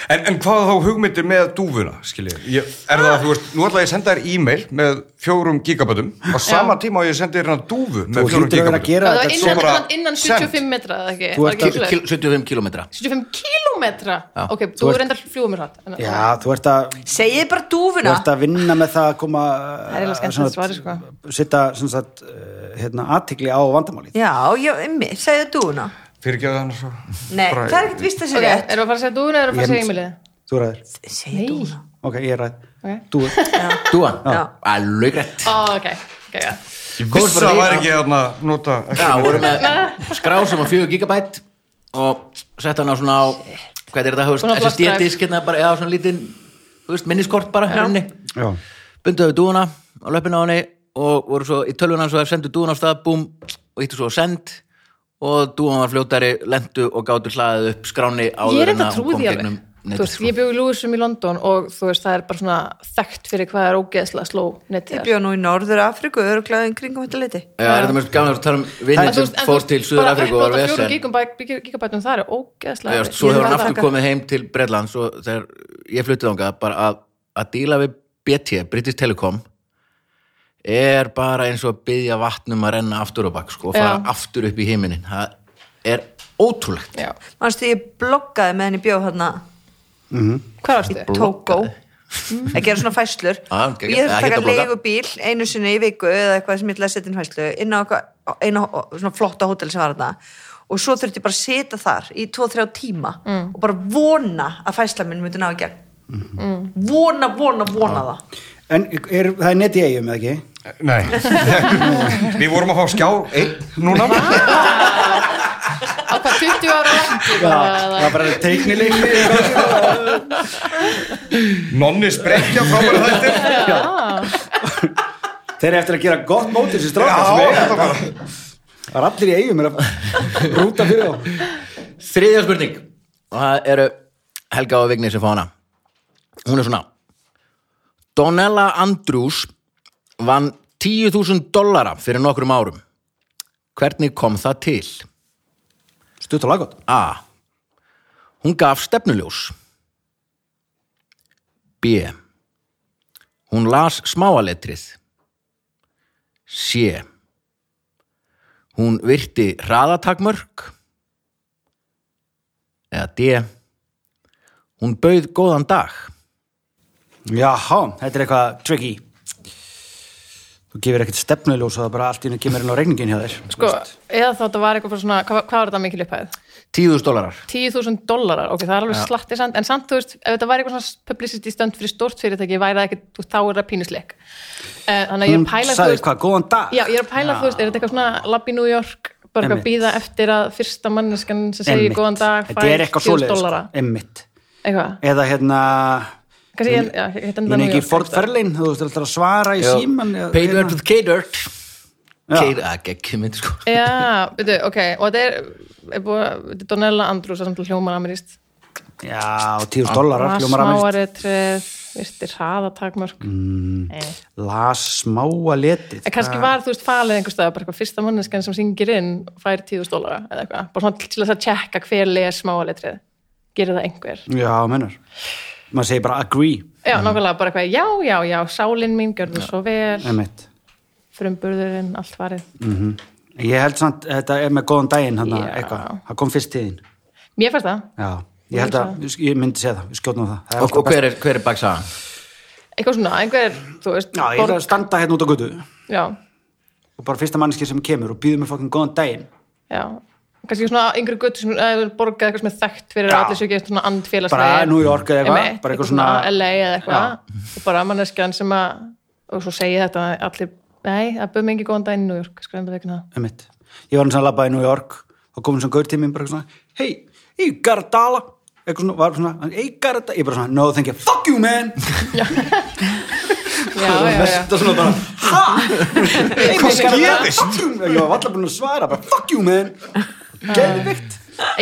[SPEAKER 4] En, en hvað þá hugmyndir með dúfuna, skiljið? Er það að þú veist, nú ætla ég að senda þér e-mail með fjórum gigabötum og sama tíma á ég að senda þér hérna dúfu
[SPEAKER 2] þú
[SPEAKER 4] með fjórum
[SPEAKER 2] hlýtur að vera að
[SPEAKER 4] gigabötum.
[SPEAKER 2] gera
[SPEAKER 5] Það var
[SPEAKER 2] þetta
[SPEAKER 4] svo
[SPEAKER 5] innan,
[SPEAKER 4] bara
[SPEAKER 5] innan, innan 75
[SPEAKER 4] sent.
[SPEAKER 5] metra eða ekki?
[SPEAKER 2] Þú
[SPEAKER 5] Var
[SPEAKER 2] ert
[SPEAKER 5] ekki
[SPEAKER 2] að-
[SPEAKER 5] svoleiðis?
[SPEAKER 1] Kil- 75 kilometra
[SPEAKER 5] 75 kílómetra?
[SPEAKER 1] Já.
[SPEAKER 5] Ok, þú
[SPEAKER 2] ert-
[SPEAKER 5] er reyndar fljúum mér hatt.
[SPEAKER 2] já, þú ert að
[SPEAKER 3] segið bara
[SPEAKER 2] Þú
[SPEAKER 3] dúfuna
[SPEAKER 2] ert að vinna með það að koma
[SPEAKER 5] Það er eiginlega skemmtilegt svarið, sko.
[SPEAKER 2] Sitta sem sagt, eh, hérna, aðtikli á vandamálið
[SPEAKER 3] já, já, emmi, segið dúfuna
[SPEAKER 4] Fyrir ekki að hann svo.
[SPEAKER 3] nei,
[SPEAKER 4] Bara-
[SPEAKER 3] það er ekkert vist að
[SPEAKER 5] Ok,
[SPEAKER 3] segja rétt
[SPEAKER 5] erum við að fara að segja dúðun eða erum við að fara að
[SPEAKER 2] Ég-
[SPEAKER 5] segja Emilið?
[SPEAKER 2] Þú ræður,
[SPEAKER 3] segið dúfuna
[SPEAKER 2] ok, ég er ræð
[SPEAKER 5] Ok.
[SPEAKER 2] Þú,
[SPEAKER 5] <laughs>
[SPEAKER 1] Dúan,
[SPEAKER 3] Já.
[SPEAKER 1] alveg rétt
[SPEAKER 5] Ó, ok, ok, já.
[SPEAKER 4] Ég vissi að það var ekki að nota...
[SPEAKER 1] Já, vorum með skrá sem var 4 gigabæt og sett hann á svona á hvað er þetta, þú
[SPEAKER 5] Svona
[SPEAKER 1] veist,
[SPEAKER 5] flash drive.
[SPEAKER 1] SSD-disk hérna bara, já, svona lítinn, þú veist, minniskort bara, henni,
[SPEAKER 2] já,
[SPEAKER 1] bunduðu dúuna á löpina á henni og voru svo í tölvuna hans og sendu dúuna á stað, búm og hittu svo send og dúan var fljótari, lendu og gátu hlaðið upp skráni
[SPEAKER 5] Ég
[SPEAKER 1] áður
[SPEAKER 5] er
[SPEAKER 1] en
[SPEAKER 5] þetta
[SPEAKER 1] að hún kom
[SPEAKER 5] trúði
[SPEAKER 1] gegnum
[SPEAKER 5] alveg. Þú
[SPEAKER 1] netið,
[SPEAKER 5] veist, ég
[SPEAKER 1] sko.
[SPEAKER 5] bjóði í Lúisum í London og þú veist, það er bara svona þekkt fyrir hvað er ógeðslega sló netið.
[SPEAKER 3] Ég
[SPEAKER 5] er.
[SPEAKER 3] bjóð nú í Norður Afríku, örglaðin kringum þetta liti.
[SPEAKER 1] Já, er þetta mjög gaman að tala um
[SPEAKER 5] En
[SPEAKER 1] vinnin
[SPEAKER 5] þú
[SPEAKER 1] sem
[SPEAKER 5] veist- en þú
[SPEAKER 1] fór
[SPEAKER 5] veist,
[SPEAKER 1] til Suður-Afríku og var
[SPEAKER 5] Bara
[SPEAKER 1] vesen
[SPEAKER 5] 4 gigabætum það er ógeðslega.
[SPEAKER 1] Já, veist, svo
[SPEAKER 5] Ég
[SPEAKER 1] hefur
[SPEAKER 5] var
[SPEAKER 1] hann
[SPEAKER 5] að
[SPEAKER 1] aftur
[SPEAKER 5] taka-
[SPEAKER 1] komið heim til Bretlands og þegar ég fluttið þangað bara að, að díla við BT, British Telecom er bara eins og að byggja vatnum að renna aftur á bak sko, og fara
[SPEAKER 5] Já.
[SPEAKER 1] aftur upp í heiminin það er ótrúlegt
[SPEAKER 5] Já.
[SPEAKER 3] Manstu, ég bloggaði með henni bjóð hérna
[SPEAKER 5] Hvað varstu?
[SPEAKER 3] Tókó að gera svona fæslur
[SPEAKER 1] Ah,
[SPEAKER 3] og
[SPEAKER 1] geggjað.
[SPEAKER 3] ég
[SPEAKER 1] Það
[SPEAKER 3] þurfti að taka
[SPEAKER 1] geta bloggað.
[SPEAKER 3] leigubíl einu sinni í viku eða eitthvað sem ég ætlaði að setja inn fæslu inn á eitthvað, einu svona flotta hótel sem var þarna og svo þurfti ég bara að setja þar í 2-3 tíma og bara vona að fæsla minn myndi ná í gegn vona, vona, vona það
[SPEAKER 2] en er, það er neti eigum eða ekki?
[SPEAKER 4] Nei, við vorum að fá skjá einn núna
[SPEAKER 5] Á hvað, 20
[SPEAKER 1] <laughs>
[SPEAKER 5] ára langt?
[SPEAKER 2] það er bara teiknilegni
[SPEAKER 4] Nonni sprekja frá mér þetta
[SPEAKER 2] Þeir eru eftir að gera gott mót þessi
[SPEAKER 4] Já,
[SPEAKER 2] strákar sem eiga
[SPEAKER 4] þetta
[SPEAKER 2] þetta.
[SPEAKER 4] bara
[SPEAKER 2] Það er allir í eigum er að rúta fyrir þá
[SPEAKER 1] þriðja spurning og það eru Helga og Vigni sem fá hana hún er svona Donella Andrews vann 10.000 dollara fyrir nokkrum árum hvernig kom það til?
[SPEAKER 2] Stutt og laggótt
[SPEAKER 1] A. Hún gaf stefnuljós. B. Hún las smáaletrið. C. Hún virti hraðatakmörk. Eða D. Hún bauð góðan dag.
[SPEAKER 2] Jaha, þetta er eitthvað tricky Þú gefur ekkert stefnuljós og það bara allt í henni kemur inn á regningin hjá þér
[SPEAKER 5] Sko, eða þá þetta var eitthvað bara svona, hvað, hvað var þetta mikil upphæð?
[SPEAKER 1] Tíðust dólarar.
[SPEAKER 5] 10.000 dólarar, ok, það er alveg slatti samt, en samt, þú veist, ef þetta væri eitthvað svona publicity stönd fyrir stórt fyrirtæki, væri það ekki, þú- þá er það pínusleik. Eh, Þannig að ég er
[SPEAKER 2] Hún
[SPEAKER 5] að pæla, þú
[SPEAKER 2] sagði
[SPEAKER 5] veist,
[SPEAKER 2] hvað, góðan dag
[SPEAKER 5] já, ég er að pæla, þú veist, er þetta eitthvað svona labb í New York, bara
[SPEAKER 2] Einmitt.
[SPEAKER 5] eitthvað að býða eftir að fyrsta manneskan sem segir
[SPEAKER 2] Einmitt.
[SPEAKER 5] góðan dag,
[SPEAKER 2] Þetta er
[SPEAKER 5] fær
[SPEAKER 2] eitthvað
[SPEAKER 5] 10.000
[SPEAKER 2] svoleiðis, sko.
[SPEAKER 5] dólara,
[SPEAKER 2] Einmitt
[SPEAKER 5] eitthvað.
[SPEAKER 2] Eða hérna
[SPEAKER 5] Kannski ég, já, ég
[SPEAKER 2] Ég er ekki Ford Fairlane, þú veist, þú ætlar að svara í síman
[SPEAKER 1] Paid up with K-Dirt.
[SPEAKER 2] Já.
[SPEAKER 1] K-Dirt, sko.
[SPEAKER 5] Já, veitu, ok, og þetta er, er búið, að- þetta er Donella Andrews, það er samt hljómar amirist.
[SPEAKER 2] Já, og tíðust dólarar, hljómar aðeins
[SPEAKER 5] Smáari treð, eh, virtir hraðatakmörk. Mm. Eh.
[SPEAKER 2] Las smáa letið
[SPEAKER 5] En kannski var, þú veist, falið einhver stað bara eitthvað fyrsta manneskan sem syngir inn fær tíðust dólara eða eitthvað, bara svona til þess að tjekka hver les smáaletrið, gerir það einhver
[SPEAKER 2] Já, mennar Maður segir bara agree,
[SPEAKER 5] Já, nákvæmlega bara eitthvað, já, já, já, sálin mín gjörðu svo vel,
[SPEAKER 2] einmitt
[SPEAKER 5] frumburðurinn allt farið.
[SPEAKER 2] Ég held samt, þetta er með góðan daginn hann
[SPEAKER 5] Já.
[SPEAKER 2] eitthvað, það kom fyrst til þín
[SPEAKER 5] Mér fannst það,
[SPEAKER 2] Já, ég held að, ég myndi segja það, við skjóðnum það, það er
[SPEAKER 1] Og,
[SPEAKER 2] alltaf
[SPEAKER 1] og hver er, hver er baksaðan?
[SPEAKER 5] eitthvað svona, einhver þú veist,
[SPEAKER 2] best- Já, ég ætla að standa hérna út á götu
[SPEAKER 5] já,
[SPEAKER 2] og bara fyrsta mannski sem kemur og býður mér fokkin góðan daginn
[SPEAKER 5] já kannski svona yngri götu sem eh, borga eitthvað sem er þekkt fyrir
[SPEAKER 2] Já.
[SPEAKER 5] að allir séu ekki svona andfélagslega
[SPEAKER 2] Bara New York eða eitthvað, bara eitthvað svona-
[SPEAKER 5] LA eða eitthvað og bara manneskjan sem að og svo segi þetta að allir nei, það bauð mig ekki góðan daginn í New York sko, einmitt
[SPEAKER 2] <laughs>
[SPEAKER 5] ekki það.
[SPEAKER 2] Einmitt. Ég var hann sem labbaði í New York og komið sem gaur til mín bara eitthvað svona hei, ég garð dala eitthvað svona, var svona, ég garð dala ég bara svona, no thank you, fuck you man
[SPEAKER 5] já, já, já,
[SPEAKER 2] það svona bara,
[SPEAKER 3] <laughs>
[SPEAKER 2] ha eitthvað
[SPEAKER 4] gerðist?
[SPEAKER 2] fuck you man. ég var alltaf búin að svara, bara fuck you man geðvikt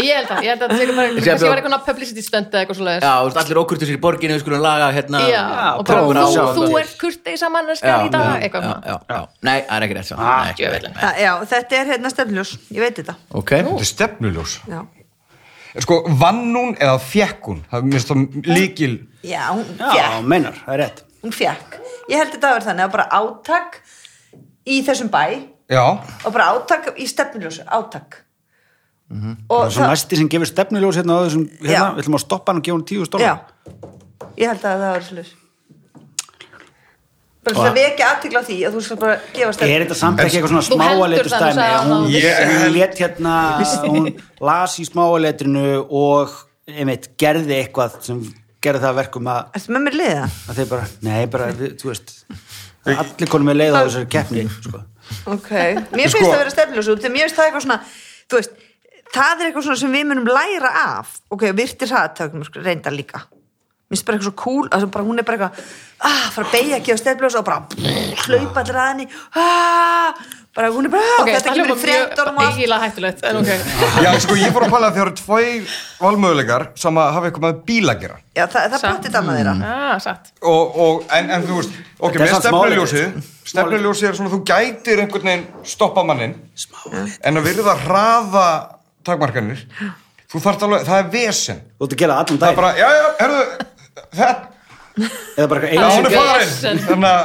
[SPEAKER 5] ég held að ég held að þetta sé bara
[SPEAKER 1] Ég sé að
[SPEAKER 5] kannski
[SPEAKER 1] það-
[SPEAKER 5] var eitthvað publicity stunt eða eitthvað svo leiðis
[SPEAKER 1] Já, þú veist, allir okkurtur sér í borginni, við skulum laga hérna
[SPEAKER 5] já, og bara
[SPEAKER 2] prófum
[SPEAKER 5] þú,
[SPEAKER 2] að sjá
[SPEAKER 5] þú
[SPEAKER 2] þetta.
[SPEAKER 5] ert kurteisa manneskjan í dag eitthvað
[SPEAKER 1] já,
[SPEAKER 5] svona.
[SPEAKER 1] já, já. Nei, það er ekki rétt sann
[SPEAKER 2] Ah,
[SPEAKER 1] Nei,
[SPEAKER 5] djöfullinn.
[SPEAKER 1] nei.
[SPEAKER 3] Það, já, þetta er hérna stefnljós, ég veit þetta
[SPEAKER 1] Ok,
[SPEAKER 4] Þetta er stefnuljós.
[SPEAKER 3] Já,
[SPEAKER 4] En Sko, vann hún eða fekk hún? Það er mér finnst það líkil.
[SPEAKER 3] já hún
[SPEAKER 2] já,
[SPEAKER 3] fjekk
[SPEAKER 2] meinar, það er rétt
[SPEAKER 3] Hún fjekk Ég held þetta að vera þannig að bara átak í þessum bæ
[SPEAKER 4] Já,
[SPEAKER 3] og bara átak í stefnljós, átak
[SPEAKER 2] Mhm. það
[SPEAKER 3] Og
[SPEAKER 2] er svona næsti sem gefur stefnuljós hérna á þessum, hérna,
[SPEAKER 3] Já.
[SPEAKER 2] við ætlum að stoppa hann og gefa hann tíu stóla
[SPEAKER 3] Já, ég held að það var slurs bara það vekja aðtikla á því að þú skal bara gefa stefn
[SPEAKER 2] er þetta samt ekki eitthvað svona
[SPEAKER 5] Þú
[SPEAKER 2] smáaleitur
[SPEAKER 5] heldur það, þú
[SPEAKER 2] stæmi
[SPEAKER 5] sagði
[SPEAKER 2] hún,
[SPEAKER 5] það.
[SPEAKER 4] Ég-
[SPEAKER 2] hún let hérna hún las í smáaleitrinu og einmitt gerði eitthvað sem gerði það að verkum að,
[SPEAKER 3] Ertu með mér liða?
[SPEAKER 2] að þeir bara, nei bara við, þú veist, allir konum er leið á þessari keppni sko.
[SPEAKER 3] Ok, <laughs> mér finnst
[SPEAKER 4] Sko-
[SPEAKER 3] það að vera stefnljós út mér finnst það eitthvað svona, þú veist það er eitthvað svona sem við munum læra af ok, virtir hraðatökum, sko, reyndar líka mér finnst bara eitthvað svo cool að bara, hún er bara eitthvað, ah, fara að beigja að gefa stefnljós og bara brr, hlaupa allir að henni ah, bara hún er bara, ah,
[SPEAKER 5] ok,
[SPEAKER 3] þetta kemur í fréttunum og allt
[SPEAKER 5] eiginlega hættulegt en ok
[SPEAKER 2] <laughs>
[SPEAKER 4] já, sko, ég fór að pæla að það eru tveir valmöguleikar sem að hafa eitthvað með bíl að gera.
[SPEAKER 3] Já, það, það
[SPEAKER 5] Samt.
[SPEAKER 3] bátti dama þeirra
[SPEAKER 5] ah, satt
[SPEAKER 4] og, og, en, en þú veist
[SPEAKER 2] Þetta
[SPEAKER 4] ok,
[SPEAKER 2] er
[SPEAKER 4] með
[SPEAKER 2] samt
[SPEAKER 4] stefnuljósið stefnuljósið er svona þú gætir einhvern veginn stoppa mannin en að virða hraða takmarkanir þú þarft alveg, það er vesen
[SPEAKER 2] þú ert að gera það allan
[SPEAKER 4] það er
[SPEAKER 2] dag
[SPEAKER 4] bara, já, já, herðu það,
[SPEAKER 2] eða bara
[SPEAKER 4] já,
[SPEAKER 2] eitthvað einu
[SPEAKER 4] hún er
[SPEAKER 2] sinni
[SPEAKER 4] farin
[SPEAKER 5] Vesen.
[SPEAKER 4] þannig að,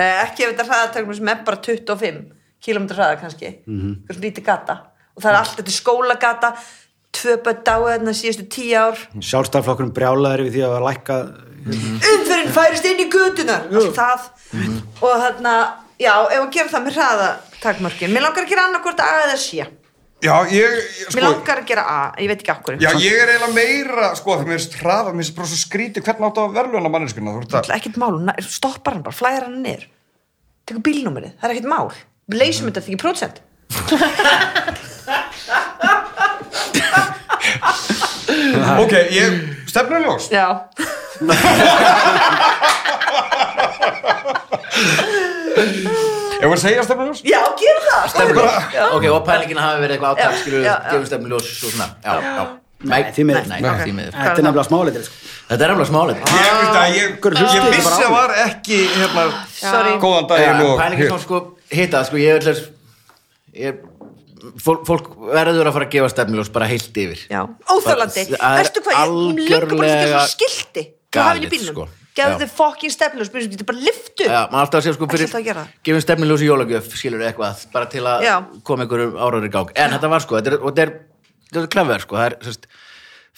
[SPEAKER 3] Eh, ekki ef þetta hraðatökum sem er bara 25 km hraða kannski mm
[SPEAKER 4] Mhm.
[SPEAKER 3] -hmm. lítið gata og það er allt þetta er skólagata tvö börn dáið þarna síðustu tíu ár
[SPEAKER 2] sjálfstæðflokkurinn brjálaður yfir því að lækka
[SPEAKER 4] Mhm.
[SPEAKER 3] umferðin færist inn í götunar allt það og þarna, já, ef að gera það með hraðatakmörkin mér langar að gera annarkvort A eða C
[SPEAKER 4] já, ég ég-
[SPEAKER 3] mér
[SPEAKER 4] sko,
[SPEAKER 3] langar að gera A, ég veit ekki okkur
[SPEAKER 4] já, ég er eiginlega meira sko, það mér finnst hraða, mér finnst bara svo skríti hvernig átt að verðluna manneskuna þú veist að,
[SPEAKER 3] ekkert mál, hún nær- stoppar hann bara, flæðar hann niður tekur bílnúmerið, það er ekkert mál við leysum þetta því prótsent
[SPEAKER 4] ok, ég stefnuljós
[SPEAKER 3] já,
[SPEAKER 4] ég var að segja stefnuljós
[SPEAKER 3] já, gera það
[SPEAKER 1] stefnuljós
[SPEAKER 3] <laughs>
[SPEAKER 1] Ok, og pælingin hafi verið eitthvað átak
[SPEAKER 3] Já,
[SPEAKER 1] skilur,
[SPEAKER 3] já, já.
[SPEAKER 1] gefum stefnuljós og svona Já, já Nei,
[SPEAKER 2] því miður.
[SPEAKER 1] Nei,
[SPEAKER 3] Nei, ok.
[SPEAKER 1] því miður
[SPEAKER 2] þetta er nefnilega smáaleitur sko.
[SPEAKER 1] Þetta er nefnilega smálið
[SPEAKER 4] Ég, veist að ég,
[SPEAKER 2] Hver hlustaði
[SPEAKER 4] ég
[SPEAKER 2] ekki bara á
[SPEAKER 4] vissi að
[SPEAKER 2] þig?
[SPEAKER 4] var ekki hérna,
[SPEAKER 3] Sorry.
[SPEAKER 4] góðan daginn og
[SPEAKER 1] Pælingin sem sko, hitta, sko, ég ætla ég, fólk, fólk verður að fara að gefa stefnuljós bara heilt yfir
[SPEAKER 3] Já, óþálandi,
[SPEAKER 1] Það er
[SPEAKER 3] veistu hvað ég, hún löngu bara að gera
[SPEAKER 1] algjörlega-
[SPEAKER 3] svona skilti þú hafið í
[SPEAKER 1] galið,
[SPEAKER 3] bílnum,
[SPEAKER 1] sko.
[SPEAKER 3] gefðu
[SPEAKER 1] Já.
[SPEAKER 3] þið fokkin stefnlu og spyrir, getur bara lyftu
[SPEAKER 1] Já, maður alltaf að segja sko fyrir
[SPEAKER 3] Ætli þetta að gera það?
[SPEAKER 1] gefum stefnilegs í jólagjöf, skilur eitthvað bara til að
[SPEAKER 3] Já.
[SPEAKER 1] koma einhverjum árar í gang en þetta var sko, þetta er, og þetta er, þetta er klefver sko, það er sérst,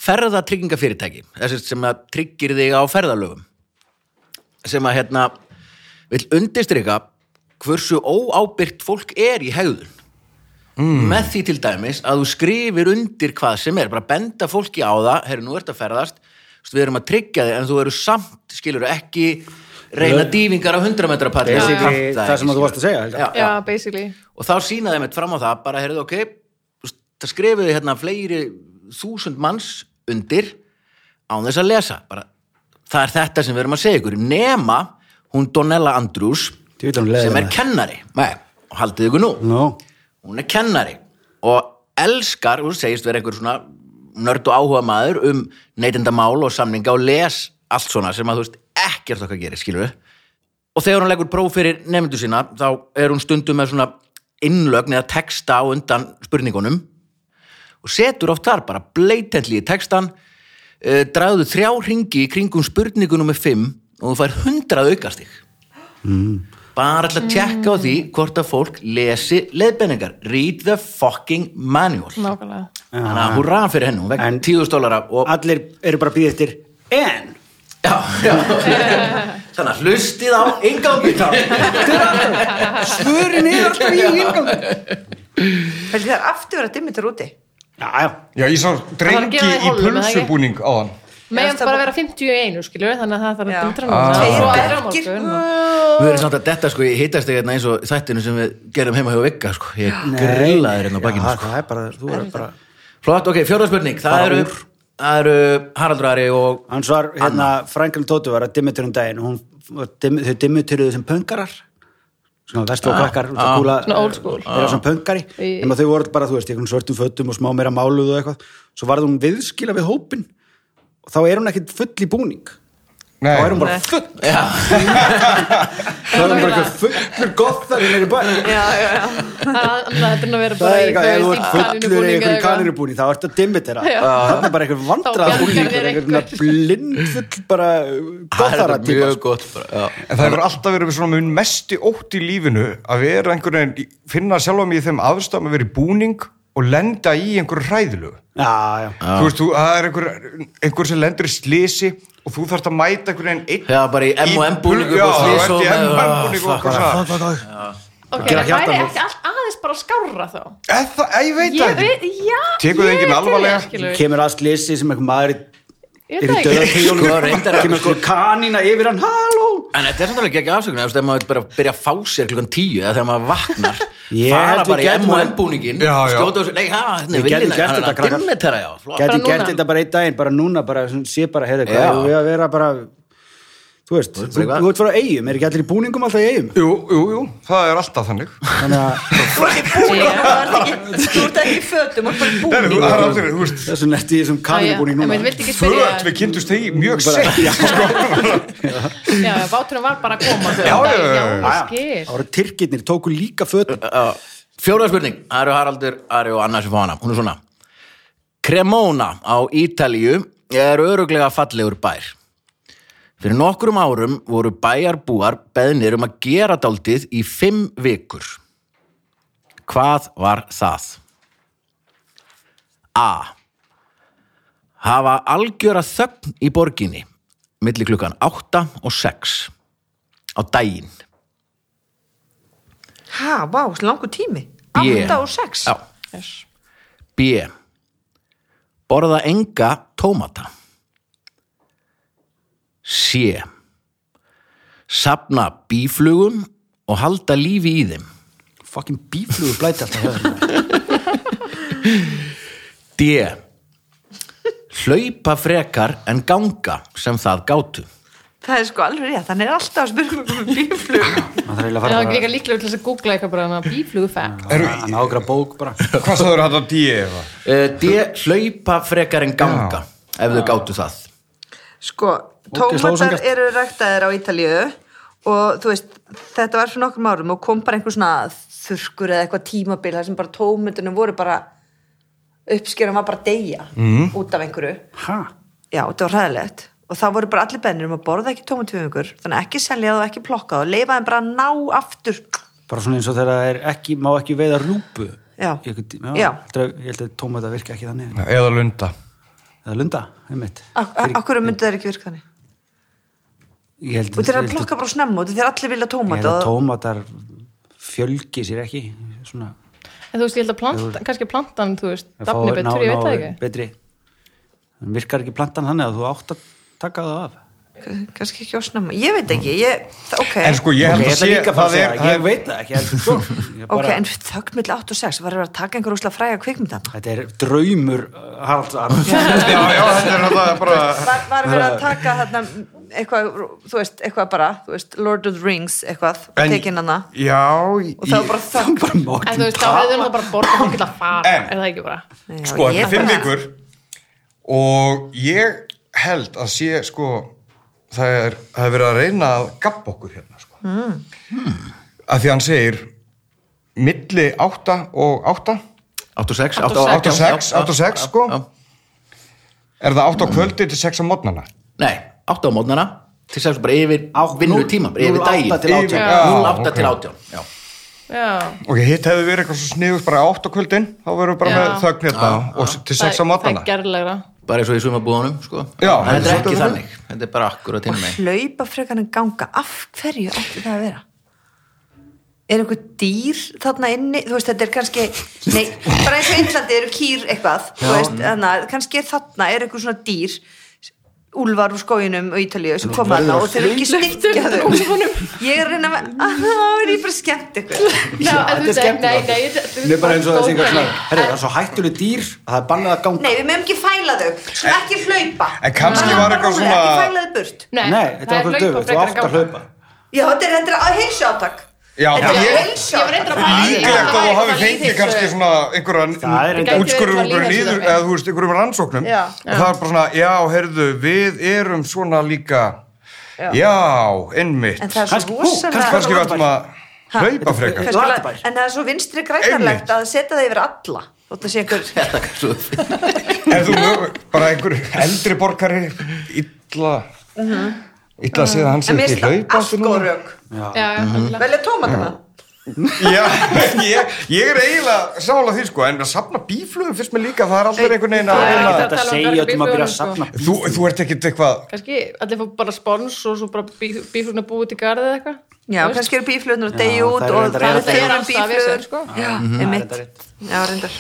[SPEAKER 1] ferðatryggingafyrirtæki þessist sem að tryggir þig á ferðalöfum sem að hérna vill undistrika hversu óábyrgt fólk er í hegðun
[SPEAKER 2] Mm.
[SPEAKER 1] með því til dæmis að þú skrifir undir hvað sem er, bara benda fólki á það herru, nú ert að ferðast, þú veist, við erum að tryggja þig en þú eru samt, skilur ekki reyna dýfingar á 100 metra pari
[SPEAKER 2] Basically, það sem að þú varst að segja, Helga.
[SPEAKER 1] já,
[SPEAKER 5] já, basically
[SPEAKER 1] og þá sínaði mitt fram á það bara, heyrðu, ok, þú veist, það skrifuði hérna fleiri þúsund manns undir án þess að lesa bara, það er þetta sem við erum að segja ykkur nema hún Donella Andrews
[SPEAKER 2] Djú, hún leiðir
[SPEAKER 1] sem er
[SPEAKER 2] það.
[SPEAKER 1] kennari Nei, og haldið ykkur nú
[SPEAKER 2] Nú,
[SPEAKER 1] hún er kennari og elskar, hún segist vera einhver svona nörd og áhuga maður um neytendamál og samninga og les allt svona sem að þú veist ekkert okkar gerir, skilur og þegar hún leggur próf fyrir nefndu sína þá er hún stundum með svona innlögn eða texta á undan spurningunum og setur oft þar bara bleitendli í textan uh, dragðu þrjá ringi í kringum spurningunum með fimm og þú fær hundrað aukastig mm. bara alltaf að tjekka á því hvort að fólk lesi leiðbenningar read the fucking manual
[SPEAKER 5] nákvæmlega
[SPEAKER 1] þannig að húrra fyrir hennu, hún
[SPEAKER 2] En-
[SPEAKER 1] vekk tíðust dólara og
[SPEAKER 2] allir eru bara að býða eftir en
[SPEAKER 1] Já, já. Þannig að hlustið á
[SPEAKER 2] <laughs>
[SPEAKER 1] ingangi þá.
[SPEAKER 2] svörin er alltaf í hingað
[SPEAKER 3] Helgi það er aftur verið að dimmi þér úti
[SPEAKER 2] Já, já,
[SPEAKER 4] Já, ég sá
[SPEAKER 5] var að
[SPEAKER 4] drengi
[SPEAKER 5] gera það í
[SPEAKER 4] í
[SPEAKER 5] hólfum, eða ekki?
[SPEAKER 4] pulsubúning á hann.
[SPEAKER 5] meðan
[SPEAKER 3] það
[SPEAKER 5] bara
[SPEAKER 3] var-
[SPEAKER 5] vera 50 í einu skilur þannig að það sko, þarf
[SPEAKER 3] Já.
[SPEAKER 5] að dimtra núna
[SPEAKER 3] Ah. Tveir
[SPEAKER 5] og svo aðra á
[SPEAKER 3] bekkir.
[SPEAKER 5] morgun
[SPEAKER 3] <laughs>
[SPEAKER 5] hérna.
[SPEAKER 1] Við erum samt að detta sko í hittastegi hérna eins og þættinu sem við gerum heima hjá Vigga sko. Ég
[SPEAKER 2] Nei.
[SPEAKER 1] grilla þér hérna
[SPEAKER 2] Já,
[SPEAKER 1] á bakinu sko.
[SPEAKER 2] það er bara, þú er bara
[SPEAKER 1] Flott, ok, fjóra spurning. Það
[SPEAKER 2] Bara
[SPEAKER 1] eru,
[SPEAKER 2] úr.
[SPEAKER 1] það eru Haraldur Ari og
[SPEAKER 2] Hans var, hérna, Franklin Tóti var að dimmitur um daginn og hún, dim, þau dimmiturðu sem pöngarar svona vestu
[SPEAKER 1] Ah.
[SPEAKER 2] og krakkar út að
[SPEAKER 1] já.
[SPEAKER 2] kúla
[SPEAKER 5] Svona old school.
[SPEAKER 2] þeirra
[SPEAKER 1] Ah.
[SPEAKER 2] svona pöngari
[SPEAKER 5] Í-
[SPEAKER 2] nema þau voru bara, þú veist, í einhvern svörtum fötum og smá meira máluð og eitthvað svo varð hún viðskila við hópin og þá er hún ekkit full í búning
[SPEAKER 4] Nei,
[SPEAKER 2] þá er hún bara
[SPEAKER 5] Nei.
[SPEAKER 2] full <laughs> þá er hún bara eitthvað fullur gothar í meiri bæ
[SPEAKER 3] Já, já, já
[SPEAKER 5] Það- annað þetta er nú að vera
[SPEAKER 2] það
[SPEAKER 5] bara
[SPEAKER 2] er
[SPEAKER 5] í
[SPEAKER 2] eitthvað, ef þú ert fullur í
[SPEAKER 5] kanínubúning eða
[SPEAKER 2] einhverjum
[SPEAKER 5] eitthvað.
[SPEAKER 2] kanirubúning þá ertu að dimmi þeirra
[SPEAKER 5] Já.
[SPEAKER 2] það er bara einhver vandrað
[SPEAKER 5] Þá
[SPEAKER 2] búning
[SPEAKER 5] bjargar þér
[SPEAKER 2] einhver blindfull bara sko.
[SPEAKER 1] það
[SPEAKER 2] gothara
[SPEAKER 1] er
[SPEAKER 2] típa
[SPEAKER 1] mjög gott. Bara, já.
[SPEAKER 4] En það hefur alltaf verið svona mun mesti ótt í lífinu að vera einhvern veginn, í- finna sjálfa mig í þeim aðstæðum að vera í búning og lenda í einhverju hræðilu.
[SPEAKER 2] já, já,
[SPEAKER 4] Þú veist, þú, það er einhver, einhver sem lendur í slisi og þú þarft að mæta einhvern veginn einn.
[SPEAKER 1] Já, bara í M&M búningu
[SPEAKER 4] Já,
[SPEAKER 1] og
[SPEAKER 4] þú
[SPEAKER 1] slís
[SPEAKER 4] ert
[SPEAKER 1] og Ah,
[SPEAKER 4] í
[SPEAKER 1] með-
[SPEAKER 4] M&M búning og eitthvað svona.
[SPEAKER 5] Ok,
[SPEAKER 2] Gera
[SPEAKER 5] það væri
[SPEAKER 2] hjartanót.
[SPEAKER 5] ekki allt aðeins bara skárra þá
[SPEAKER 4] Eða það, ég veit
[SPEAKER 5] Ég
[SPEAKER 4] það
[SPEAKER 5] veit,
[SPEAKER 4] ekki.
[SPEAKER 5] já
[SPEAKER 4] Tekur það
[SPEAKER 5] ég
[SPEAKER 4] enginn
[SPEAKER 5] veit
[SPEAKER 4] alvarlega?
[SPEAKER 5] það, skilur við.
[SPEAKER 2] kemur að slisi sem einhver maður í-
[SPEAKER 5] Ég
[SPEAKER 2] er í
[SPEAKER 5] veit það
[SPEAKER 2] döða
[SPEAKER 5] ekki.
[SPEAKER 2] tíjónum
[SPEAKER 1] Sko, reyndar er-
[SPEAKER 2] kemur sko kanína yfir hann halló
[SPEAKER 1] En þetta er samt alveg ekki afsökun ef maður vill bara byrja að fá sér klukkan tíu eða þegar maður vaknar
[SPEAKER 2] <laughs> Ég
[SPEAKER 1] fara
[SPEAKER 2] held við
[SPEAKER 1] bara í
[SPEAKER 2] gætum-
[SPEAKER 1] M&M búningin
[SPEAKER 4] Já, já.
[SPEAKER 1] skjóta á sér, nei, hæ,
[SPEAKER 2] Við gætum gert þetta, krakkar.
[SPEAKER 1] dimmitara, já, flott
[SPEAKER 2] gæti
[SPEAKER 5] Bara
[SPEAKER 2] gert
[SPEAKER 5] núna.
[SPEAKER 2] þetta bara einn daginn bara núna, bara svona, sé bara, heyrðu,
[SPEAKER 1] Já.
[SPEAKER 2] hvað eigum við að vera bara þú veist, þú
[SPEAKER 1] bara eitthvað.
[SPEAKER 2] þú ert frá eigum er ekki allir í búningum alltaf í eigum
[SPEAKER 4] Jú, jú, jú, það er alltaf þannig.
[SPEAKER 2] þannig að
[SPEAKER 3] Þú ert í búning, þú ert ekki Þú ert ekki í fötum, þú ert bara í
[SPEAKER 4] Nei, þú-
[SPEAKER 3] búning
[SPEAKER 4] það er aldrei, þú veist,
[SPEAKER 2] þessu netti í þessum kanínubúning
[SPEAKER 5] En
[SPEAKER 2] núna
[SPEAKER 5] við vildi ekki spyrja
[SPEAKER 4] föt, við kynntumst þig mjög
[SPEAKER 2] Bara-
[SPEAKER 4] sett.
[SPEAKER 2] Já.
[SPEAKER 5] Já, já, báturinn var bara að koma
[SPEAKER 4] Já, já, já, já.
[SPEAKER 5] já,
[SPEAKER 2] Já,
[SPEAKER 5] skil.
[SPEAKER 2] já. Það voru tyrkirnir, tóku líka fötum.
[SPEAKER 1] Fjóra spurning, það eru Haraldur, Ari og Anna sem fá hana hún er svona Cremona á Ítalíu er öruglega fallegur bær Fyrir nokkrum árum voru bæjarbúar beðnir um að gera dálítið í fimm vikur Hvað var það? A. Hafa algjöra þögn í borginni milli klukkan 8 og 6 á daginn
[SPEAKER 3] Ha, vá, svo langur tími
[SPEAKER 1] B.
[SPEAKER 3] 8 og 6
[SPEAKER 1] Já. B. Borða enga tómata. C. Sapna bíflugum og halda lífi í þeim.
[SPEAKER 2] Fucking bíflugur blæti alltaf höfðum.
[SPEAKER 1] D. Hlaupa frekar en ganga sem það gátu.
[SPEAKER 3] Það er sko alveg rétt, hann er alltaf að spyrja um bíflug
[SPEAKER 2] Það þarf eiginlega
[SPEAKER 5] En
[SPEAKER 2] að
[SPEAKER 5] það
[SPEAKER 2] fara
[SPEAKER 5] var
[SPEAKER 2] bara
[SPEAKER 5] líka líklega til þess að googla eitthvað bara hana bíflugu fact.
[SPEAKER 4] Eru,
[SPEAKER 2] að nágra bók bara.
[SPEAKER 4] hvað sagður þetta díu eða?
[SPEAKER 1] Eh, D. Hlaupa frekar en ganga ef þau gátu það.
[SPEAKER 3] Sko,
[SPEAKER 2] Ógeðslega
[SPEAKER 3] tómatar
[SPEAKER 2] ósanngjarnt.
[SPEAKER 3] eru ræktaðir á Ítalíu og þú veist, þetta var fyrir nokkrum árum og kom bara einhver svona þurrkur eða eitthvað tímabil þar sem bara tómatunum voru bara uppskerum var bara að deyja
[SPEAKER 4] Mhm.
[SPEAKER 3] út af einhverju
[SPEAKER 2] Hæ?
[SPEAKER 3] Já, þetta var hræðilegt og það voru bara allir bennir um að borða ekki tómatöfungur þannig að ekki selja það og ekki plokka það og leifa þeim bara að ná aftur
[SPEAKER 2] Bara svona eins og þegar það er ekki, má ekki veiða rúpu.
[SPEAKER 3] Já.
[SPEAKER 2] Í einhvern tíma.
[SPEAKER 3] Já.
[SPEAKER 2] Já. Dreg, ég held að tóma þetta virka ekki þannig.
[SPEAKER 4] Eða lunda.
[SPEAKER 2] Eða lunda, einmitt.
[SPEAKER 3] Akkur myndi þeir ekki virka þannig
[SPEAKER 2] Ég held
[SPEAKER 3] og þeir að
[SPEAKER 2] ég held
[SPEAKER 3] plokka bara snemma og þeir allir vilja
[SPEAKER 2] Ég held
[SPEAKER 3] tómata
[SPEAKER 2] að
[SPEAKER 3] og
[SPEAKER 2] tómatar fjölgi sér ekki. Svona.
[SPEAKER 5] En þú veist, ég held að planta, kannski plantan, þú veist,
[SPEAKER 2] að
[SPEAKER 5] dafni
[SPEAKER 2] fá- ná-
[SPEAKER 5] betur, ég veit
[SPEAKER 2] ná-
[SPEAKER 5] það ekki.
[SPEAKER 2] Betri. En virkar ekki plantan þannig að þú átt að taka það af.
[SPEAKER 3] kannski ekki á snemma, ég veit ekki ég, það- ok,
[SPEAKER 4] En sko, ég held
[SPEAKER 2] Ég
[SPEAKER 4] að
[SPEAKER 2] ætla
[SPEAKER 4] sé,
[SPEAKER 2] líka að fara að
[SPEAKER 4] það
[SPEAKER 2] segja
[SPEAKER 4] er,
[SPEAKER 2] það. Ég veit það ekki. heldur,
[SPEAKER 4] <laughs>
[SPEAKER 2] sko. Ég
[SPEAKER 3] ok,
[SPEAKER 2] bara-
[SPEAKER 3] en þögn mill 8 og 6 var að vera að taka einhver úslega fræga kvikmyndan
[SPEAKER 2] Þetta er draumur uh, Haralds Arons.
[SPEAKER 4] já, já, þetta er þetta bara,
[SPEAKER 3] var, var að vera að taka þarna eitthvað, þú veist, eitthvað bara þú veist, Lord of the Rings eitthvað
[SPEAKER 4] En-
[SPEAKER 3] tekin hana
[SPEAKER 4] já,
[SPEAKER 3] og það var bara þögn
[SPEAKER 2] bara
[SPEAKER 5] En þú
[SPEAKER 2] mókin.
[SPEAKER 5] veist, þá hefur það bara borða hún til að fara,
[SPEAKER 4] En-
[SPEAKER 5] er það ekki bara?
[SPEAKER 3] Já,
[SPEAKER 4] sko,
[SPEAKER 3] ég
[SPEAKER 4] þetta er fimm
[SPEAKER 3] bara-
[SPEAKER 4] vikur og ég held að sé, sko það er, það er verið að reyna að gabba okkur hérna, sko mm. að því hann segir milli 8 og 8
[SPEAKER 1] 8 og 6.
[SPEAKER 5] 8 og
[SPEAKER 4] 8 og 6, 8 og 6, sko
[SPEAKER 1] já.
[SPEAKER 4] er það 8 á kvöldi til 6 á modnana
[SPEAKER 1] Nei, 8 á mótnana til 6 bara yfir
[SPEAKER 2] Á-
[SPEAKER 1] vinnu
[SPEAKER 2] núll-
[SPEAKER 1] tíma, bara yfir
[SPEAKER 2] 08
[SPEAKER 1] daginn.
[SPEAKER 2] til 18.
[SPEAKER 1] Yfir-
[SPEAKER 4] Já,
[SPEAKER 1] 08
[SPEAKER 4] ok.
[SPEAKER 1] til 18, já.
[SPEAKER 5] Já,
[SPEAKER 4] ok, hitt hefði verið eitthvað svo sniðust bara 8 á kvöldin þá verðum við bara
[SPEAKER 5] Já.
[SPEAKER 4] með þögn hérna og til 6 á
[SPEAKER 5] það er
[SPEAKER 4] modnana
[SPEAKER 5] gerðlegra.
[SPEAKER 1] bara eins og í sumabúðunum sko.
[SPEAKER 4] Já,
[SPEAKER 1] en þetta er
[SPEAKER 4] þetta
[SPEAKER 1] ekki
[SPEAKER 4] er
[SPEAKER 1] þannig þetta er bara akkur að tíma mig
[SPEAKER 3] hlaupa frekar en ganga af hverju ætti það að vera er einhver dýr þarna inni þú veist þetta er kannski nei, bara eins og Índlandi eru kýr eitthvað þú veist, þarna, kannski er þarna er einhver svona dýr úlfar úr skóginum og Ítalíu sem koma þarna og þeir eru ekki snikja þau ég er að reyna að að það er ég bara skemmt eitthvað
[SPEAKER 5] Já,
[SPEAKER 2] þetta
[SPEAKER 5] en þú
[SPEAKER 2] er
[SPEAKER 5] veist, nei,
[SPEAKER 2] skemmtilegt.
[SPEAKER 5] nei, þetta- þetta
[SPEAKER 2] Nei, bara eins og það sé eitthvað svona,
[SPEAKER 5] stórkvæði.
[SPEAKER 2] herri, það er svo hættuleg dýr að það er bannað að ganga.
[SPEAKER 3] nei við meðum ekki fæla þau svona ekki hlaupa
[SPEAKER 4] En kannski
[SPEAKER 3] Bara
[SPEAKER 4] var eitthvað
[SPEAKER 3] rólega,
[SPEAKER 4] svona-
[SPEAKER 3] ekki fæla þau burt
[SPEAKER 5] Nei,
[SPEAKER 2] þetta er okkur döfut, þú átt að hlaupa.
[SPEAKER 3] já þetta er, þetta er að heilsu átak
[SPEAKER 4] Já,
[SPEAKER 3] þetta
[SPEAKER 4] ég-
[SPEAKER 3] er
[SPEAKER 5] Ég var
[SPEAKER 3] heilsu
[SPEAKER 5] reyndar að fara
[SPEAKER 4] Líklegt að þú hafi fengið kannski svona
[SPEAKER 2] Það er
[SPEAKER 4] um einhverja
[SPEAKER 2] reyndar-
[SPEAKER 4] útskurður
[SPEAKER 5] Það gæti verið
[SPEAKER 4] einhverjum
[SPEAKER 5] bara
[SPEAKER 4] líður,
[SPEAKER 5] lýðheilsu.
[SPEAKER 4] eða þú veist, einhverjum rannsóknum
[SPEAKER 3] Já.
[SPEAKER 4] og það er bara svona, já, heyrðu, við erum svona líka
[SPEAKER 3] Já.
[SPEAKER 4] já, innmitt
[SPEAKER 3] en það er
[SPEAKER 2] Kannski-
[SPEAKER 3] svo
[SPEAKER 2] Ú,
[SPEAKER 3] rosalega
[SPEAKER 4] kannski við ættum að hlaupa
[SPEAKER 3] <laughs>
[SPEAKER 4] frekar
[SPEAKER 3] Kannski la-
[SPEAKER 2] Latibær.
[SPEAKER 3] En það er svo vinstri grænarlegt
[SPEAKER 4] Einmitt.
[SPEAKER 3] að setja það yfir alla Þótt að sé einhver
[SPEAKER 4] En þú mög- bara einhver eldri borgari illa illa að segja að hann
[SPEAKER 3] Mhm. En
[SPEAKER 4] sé
[SPEAKER 3] mér
[SPEAKER 4] ekki
[SPEAKER 3] finnst það
[SPEAKER 4] hlaupa
[SPEAKER 3] allt góð rök
[SPEAKER 5] Já, já, algjörlega.
[SPEAKER 3] Velja tómatana
[SPEAKER 4] Já, <laughs> ég, ég er eiginlega sála því sko, en að safna bíflugum fyrst mér líka, það er alltaf einhvern veginn að
[SPEAKER 5] Það er
[SPEAKER 2] Ekki
[SPEAKER 5] ekki
[SPEAKER 4] reyna-
[SPEAKER 5] að
[SPEAKER 2] þetta
[SPEAKER 5] tala um
[SPEAKER 2] segja
[SPEAKER 5] björg í
[SPEAKER 2] öllum að byrja að
[SPEAKER 5] fjörunum,
[SPEAKER 2] safna bíl.
[SPEAKER 4] Þú, þú ert ekkit eitthvað
[SPEAKER 5] kannski allir fá bara spons og svo bara bíflugna búið til garðið eða eitthvað
[SPEAKER 3] Já,
[SPEAKER 5] Þú veist,
[SPEAKER 3] kannski eru bíflugunar að deyja
[SPEAKER 2] Já,
[SPEAKER 3] út
[SPEAKER 2] þær eru
[SPEAKER 3] og
[SPEAKER 2] reyndar
[SPEAKER 3] það
[SPEAKER 2] rétt að Mhm.
[SPEAKER 3] er
[SPEAKER 5] deyja.
[SPEAKER 3] þeirra
[SPEAKER 5] Það er
[SPEAKER 3] bíflugur
[SPEAKER 5] rétt, sko.
[SPEAKER 3] Já,
[SPEAKER 2] reyndar rétt.
[SPEAKER 3] einmitt Já, reyndar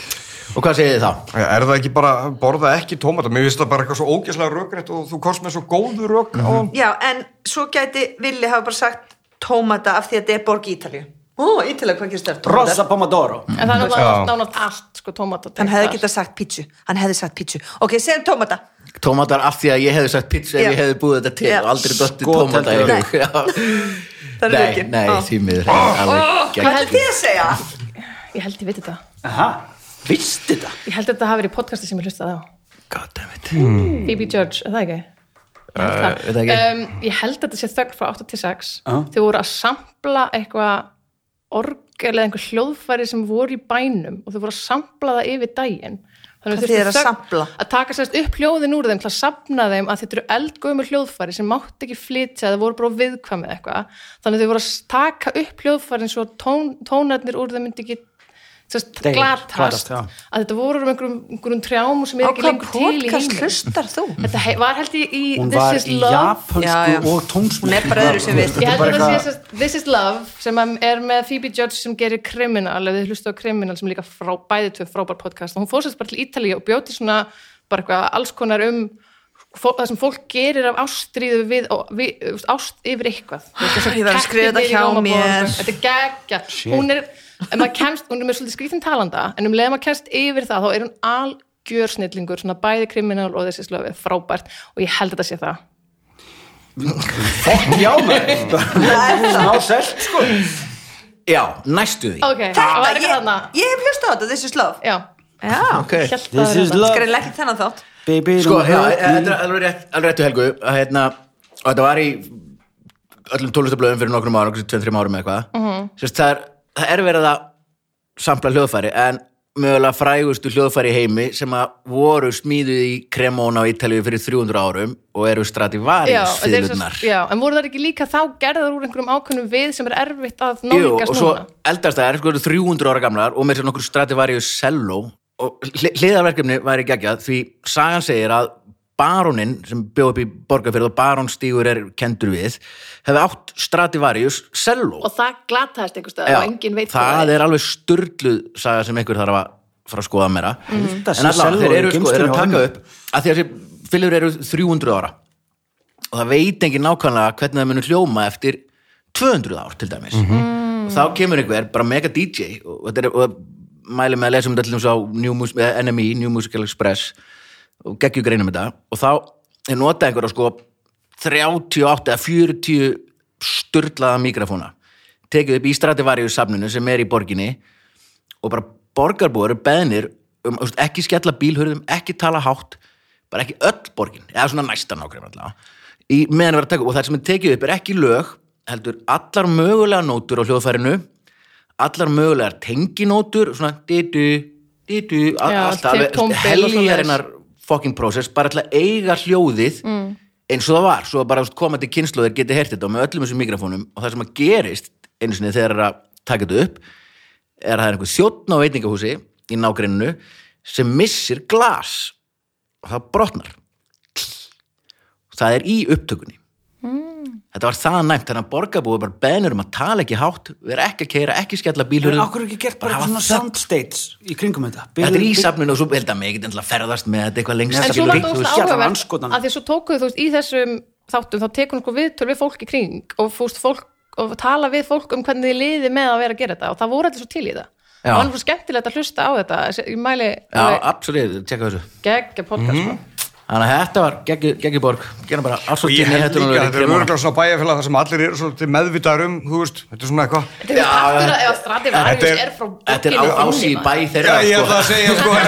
[SPEAKER 1] Og hvað segið þið þá?
[SPEAKER 4] Er það ekki bara, borða ekki tómata? Mér finnst það bara eitthvað svo ógæslega rökrætt og þú komst með svo góðu rök á hann.
[SPEAKER 3] Já, en svo gæti Villi hafa bara sagt tómata af því að þetta er borg í Ítalíu Ó, Ítalíu, hvað gerist það?
[SPEAKER 2] Rosa Pomodoro.
[SPEAKER 5] en það er
[SPEAKER 4] Já.
[SPEAKER 5] náttúrulega nánast allt sko tómata
[SPEAKER 3] Hann hefði getað sagt pítsu Hann hefði sagt pítsu Ok, segjum tómata
[SPEAKER 1] Tómatar af því að ég hefði sagt pizza ef
[SPEAKER 3] Já.
[SPEAKER 1] ég hefði búið þetta til
[SPEAKER 3] Já.
[SPEAKER 1] og aldrei dottið
[SPEAKER 2] Skot
[SPEAKER 1] tómata í
[SPEAKER 2] heldur.
[SPEAKER 1] hug. Já.
[SPEAKER 3] Það er
[SPEAKER 1] Nei,
[SPEAKER 3] rökin
[SPEAKER 1] nei,
[SPEAKER 3] Ó.
[SPEAKER 1] því miður það er alveg
[SPEAKER 3] Hvað
[SPEAKER 1] gegn-
[SPEAKER 3] er þið að segja?
[SPEAKER 5] ég held ég veit þetta
[SPEAKER 2] Aha, vist þetta?
[SPEAKER 5] ég held þetta hafi verið í podcasti sem ég hlustaði á
[SPEAKER 1] God damn it. Uh,
[SPEAKER 5] Phoebe George, er það ekki?
[SPEAKER 1] er það ekki?
[SPEAKER 5] um, ég held að þetta sé þögn frá 8 til 6
[SPEAKER 2] Já.
[SPEAKER 5] þau voru að sampla eitthvað orgel eða einhver hljóðfæri sem voru í bænum og þau voru að sampla það yfir daginn þannig
[SPEAKER 3] Hvað
[SPEAKER 5] þurfti
[SPEAKER 3] þýðir að
[SPEAKER 5] þögn-
[SPEAKER 3] sampla?
[SPEAKER 5] að taka sérst upp hljóðin úr þeim til að sapna þeim að þetta eru eldgömur hljóðfæri sem mátti ekki flytja það voru bara of viðkvæmið eitthvað þannig þau voru að s- taka upp hljóðfærin svo tón, tónarnir úr þeim myndi ekki sérst,
[SPEAKER 2] Deyja, glatast,
[SPEAKER 5] glatast
[SPEAKER 2] já.
[SPEAKER 5] að þetta voru um einhverjum, einhverjum trjám sem
[SPEAKER 3] Á
[SPEAKER 5] er ekki
[SPEAKER 3] hvað
[SPEAKER 5] lengur til í
[SPEAKER 3] podcast
[SPEAKER 5] heiminum
[SPEAKER 3] hlustar þú?
[SPEAKER 5] Þetta he- var held ég í
[SPEAKER 2] Hún
[SPEAKER 5] This
[SPEAKER 2] var
[SPEAKER 5] is
[SPEAKER 2] í
[SPEAKER 5] Love
[SPEAKER 3] Já, já.
[SPEAKER 2] japansku og tónsmíð.
[SPEAKER 3] Hún er bara öðru sem við.
[SPEAKER 5] Ég held að það
[SPEAKER 2] eitthvað-
[SPEAKER 5] sé þess að This is Love sem er með Phoebe Judge sem gerir Criminal, ef við hlustu á Criminal sem er líka frá, bæði tvö frábær podcast og hún fór sérst bara til Ítalíu og bjóti svona bara eitthvað alls konar um fó, það sem fólk gerir af ástríðu við, og við þú veist, ást yfir eitthvað Þú veist, þessi
[SPEAKER 3] Ég verð að skrifa
[SPEAKER 5] kettir
[SPEAKER 3] þetta
[SPEAKER 5] í
[SPEAKER 3] hjá
[SPEAKER 5] Rómaborg,
[SPEAKER 3] mér.
[SPEAKER 5] Þetta er geggja Hún er, ef maður kemst, hún er með svolítið skrítin talanda en um leið að maður kemst yfir það þá er hún algjör snillingur, svona bæði Criminal og þessi slöfið, frábært og ég held að þetta sé það
[SPEAKER 2] Fokk já, maður.
[SPEAKER 3] Það er það
[SPEAKER 2] Ná selt, sko.
[SPEAKER 1] Já, næstu því.
[SPEAKER 5] Ok, það
[SPEAKER 3] Þetta,
[SPEAKER 5] var eitthvað
[SPEAKER 3] ég,
[SPEAKER 5] þarna
[SPEAKER 3] ég hef hlustað á þetta, this is love
[SPEAKER 5] Já,
[SPEAKER 3] Já,
[SPEAKER 1] Ok.
[SPEAKER 5] ég held
[SPEAKER 2] This
[SPEAKER 5] að
[SPEAKER 2] is
[SPEAKER 5] það er þarna.
[SPEAKER 2] love,
[SPEAKER 3] skrænilega ekki þennan þátt
[SPEAKER 2] baby.
[SPEAKER 1] Sko,
[SPEAKER 2] don't
[SPEAKER 1] já,
[SPEAKER 2] hurt me.
[SPEAKER 1] þetta er alveg rétt, alveg réttu helgu að hérna, og þetta var í öllum tónlistablöðum fyrir nokkrum árum, okkur 2-3 árum eða eitthvað
[SPEAKER 5] Mhm.
[SPEAKER 1] Sérst, það, er, það er verið að sampla hljóðfæri en mögulega frægustu hljóðfæri í heimi sem að voru smíðuð í Cremona á Ítalíu fyrir 300 árum og eru
[SPEAKER 5] já,
[SPEAKER 1] Stradivarius
[SPEAKER 5] þetta er svo-
[SPEAKER 1] fiðlunar
[SPEAKER 5] já, en voru það ekki líka þá gerðar úr einhverjum ákveðnum við sem er erfitt að
[SPEAKER 1] Jú, og
[SPEAKER 5] nálgast
[SPEAKER 1] svo
[SPEAKER 5] núna
[SPEAKER 1] eldast það er sko eru 300 ára gamlar og með sér nokkur Stradivarius cello og hli- hliðarverkefni væri geggjað því sagan segir að barónin sem bjóð upp í borgarfyrð og barónstígur er kendur við hefði átt Stradivarius cello
[SPEAKER 5] og það glataðist einhver stöð
[SPEAKER 1] Já,
[SPEAKER 5] og enginn veit
[SPEAKER 1] það er alveg sturdluð saga sem einhver þarf að fara að skoða meira
[SPEAKER 5] Mhm.
[SPEAKER 2] held að sé
[SPEAKER 1] en allavega,
[SPEAKER 2] selló
[SPEAKER 1] þeir
[SPEAKER 2] í
[SPEAKER 1] eru sko,
[SPEAKER 2] geymslunni
[SPEAKER 1] þeir eru
[SPEAKER 2] hjá
[SPEAKER 1] að taka
[SPEAKER 2] ömmu.
[SPEAKER 1] upp að því að þessi fyllur eru 300 ára og það veit engin nákvæmlega hvernig það munur hljóma eftir 200 ár til dæmis og þá kemur einhver, bara mega DJ og þetta er, og mæli með að lesa um þetta til dæmis á New Mus eða NME, New Musical Express og geggjum greinum þetta og þá er notað einhverja sko 38 eða 40 styrlaða mikrofóna tekið upp í Stradivarius safninu sem er í borginni og bara borgarbúar eru beðnir um þú veist, ekki skella bílhörðum, ekki tala hátt bara ekki öll borgin eða svona næsta nákvæm allavega í meðan að vera að taka upp og það sem er tekið upp er ekki lög heldur allar mögulega nótur á hljóðfærinu allar mögulegar tenginótur svona ditu, ditu
[SPEAKER 5] Já,
[SPEAKER 1] allt
[SPEAKER 5] allt
[SPEAKER 1] alveg
[SPEAKER 5] tómbil og
[SPEAKER 1] heljarinnar fucking process bara til að eiga hljóðið eins og það var, svo að bara þú veist, komandi kynnslóðir geti hert þetta og með öllum þessum mikrofónum og það sem að gerist einu sinni þegar það er að taka þetta upp er að það er einhver þjóttn á veitingahúsi í nágreininu sem missir glas og það brotnar það er í upptökunni Þetta var það næmt, þannig að borgarbúið bara benur um að tala ekki hátt, vera ekki að keira, ekki skella
[SPEAKER 2] En
[SPEAKER 1] bílhörðum.
[SPEAKER 2] okkur er ekki gert bara
[SPEAKER 1] hafa
[SPEAKER 2] eitthvað svona
[SPEAKER 1] þögn.
[SPEAKER 2] soundstates í kringum þetta
[SPEAKER 1] Þetta er í safninu og svo held að mig ekki að ferðast með þetta eitthvað lengst.
[SPEAKER 5] en
[SPEAKER 2] Þetta
[SPEAKER 5] svo
[SPEAKER 1] skilur
[SPEAKER 5] var
[SPEAKER 1] við.
[SPEAKER 2] langt
[SPEAKER 5] það
[SPEAKER 2] þú
[SPEAKER 5] úrst
[SPEAKER 2] veist, hérna var
[SPEAKER 5] áhugavert
[SPEAKER 2] andskotan.
[SPEAKER 5] að því að svo tókuðu þú veist í þessum þáttum þá tekur hún sko viðtöl við fólk í kring og fúst fólk og tala við fólk um hvernig þið liði með að vera að gera þetta og það voru allir svo til í það
[SPEAKER 1] Já.
[SPEAKER 5] það var alveg svo skemmtilegt að hlusta á þetta Þessi- ég mæli
[SPEAKER 1] Já, Mhm. absolutt, tjekka þessu.
[SPEAKER 5] geggja podcast sko.
[SPEAKER 1] Þannig að þetta var geggjuborg, gera bara
[SPEAKER 4] Og ég
[SPEAKER 1] ásvöldinni
[SPEAKER 4] held líka, þetta er örgulega svona bæjarfélag þar sem allir eru svolítið meðvitaður um, þú veist, þetta er svona eitthvað.
[SPEAKER 5] þetta er partur af- ef að
[SPEAKER 4] Þetta er-
[SPEAKER 5] Stradivarius er frá
[SPEAKER 1] Þetta er á
[SPEAKER 5] borginni
[SPEAKER 1] ási í
[SPEAKER 5] Fróni,
[SPEAKER 1] bæ
[SPEAKER 5] maður.
[SPEAKER 1] þeirra,
[SPEAKER 4] Já, ég ætla að
[SPEAKER 1] sko.
[SPEAKER 4] segja, sko, ef,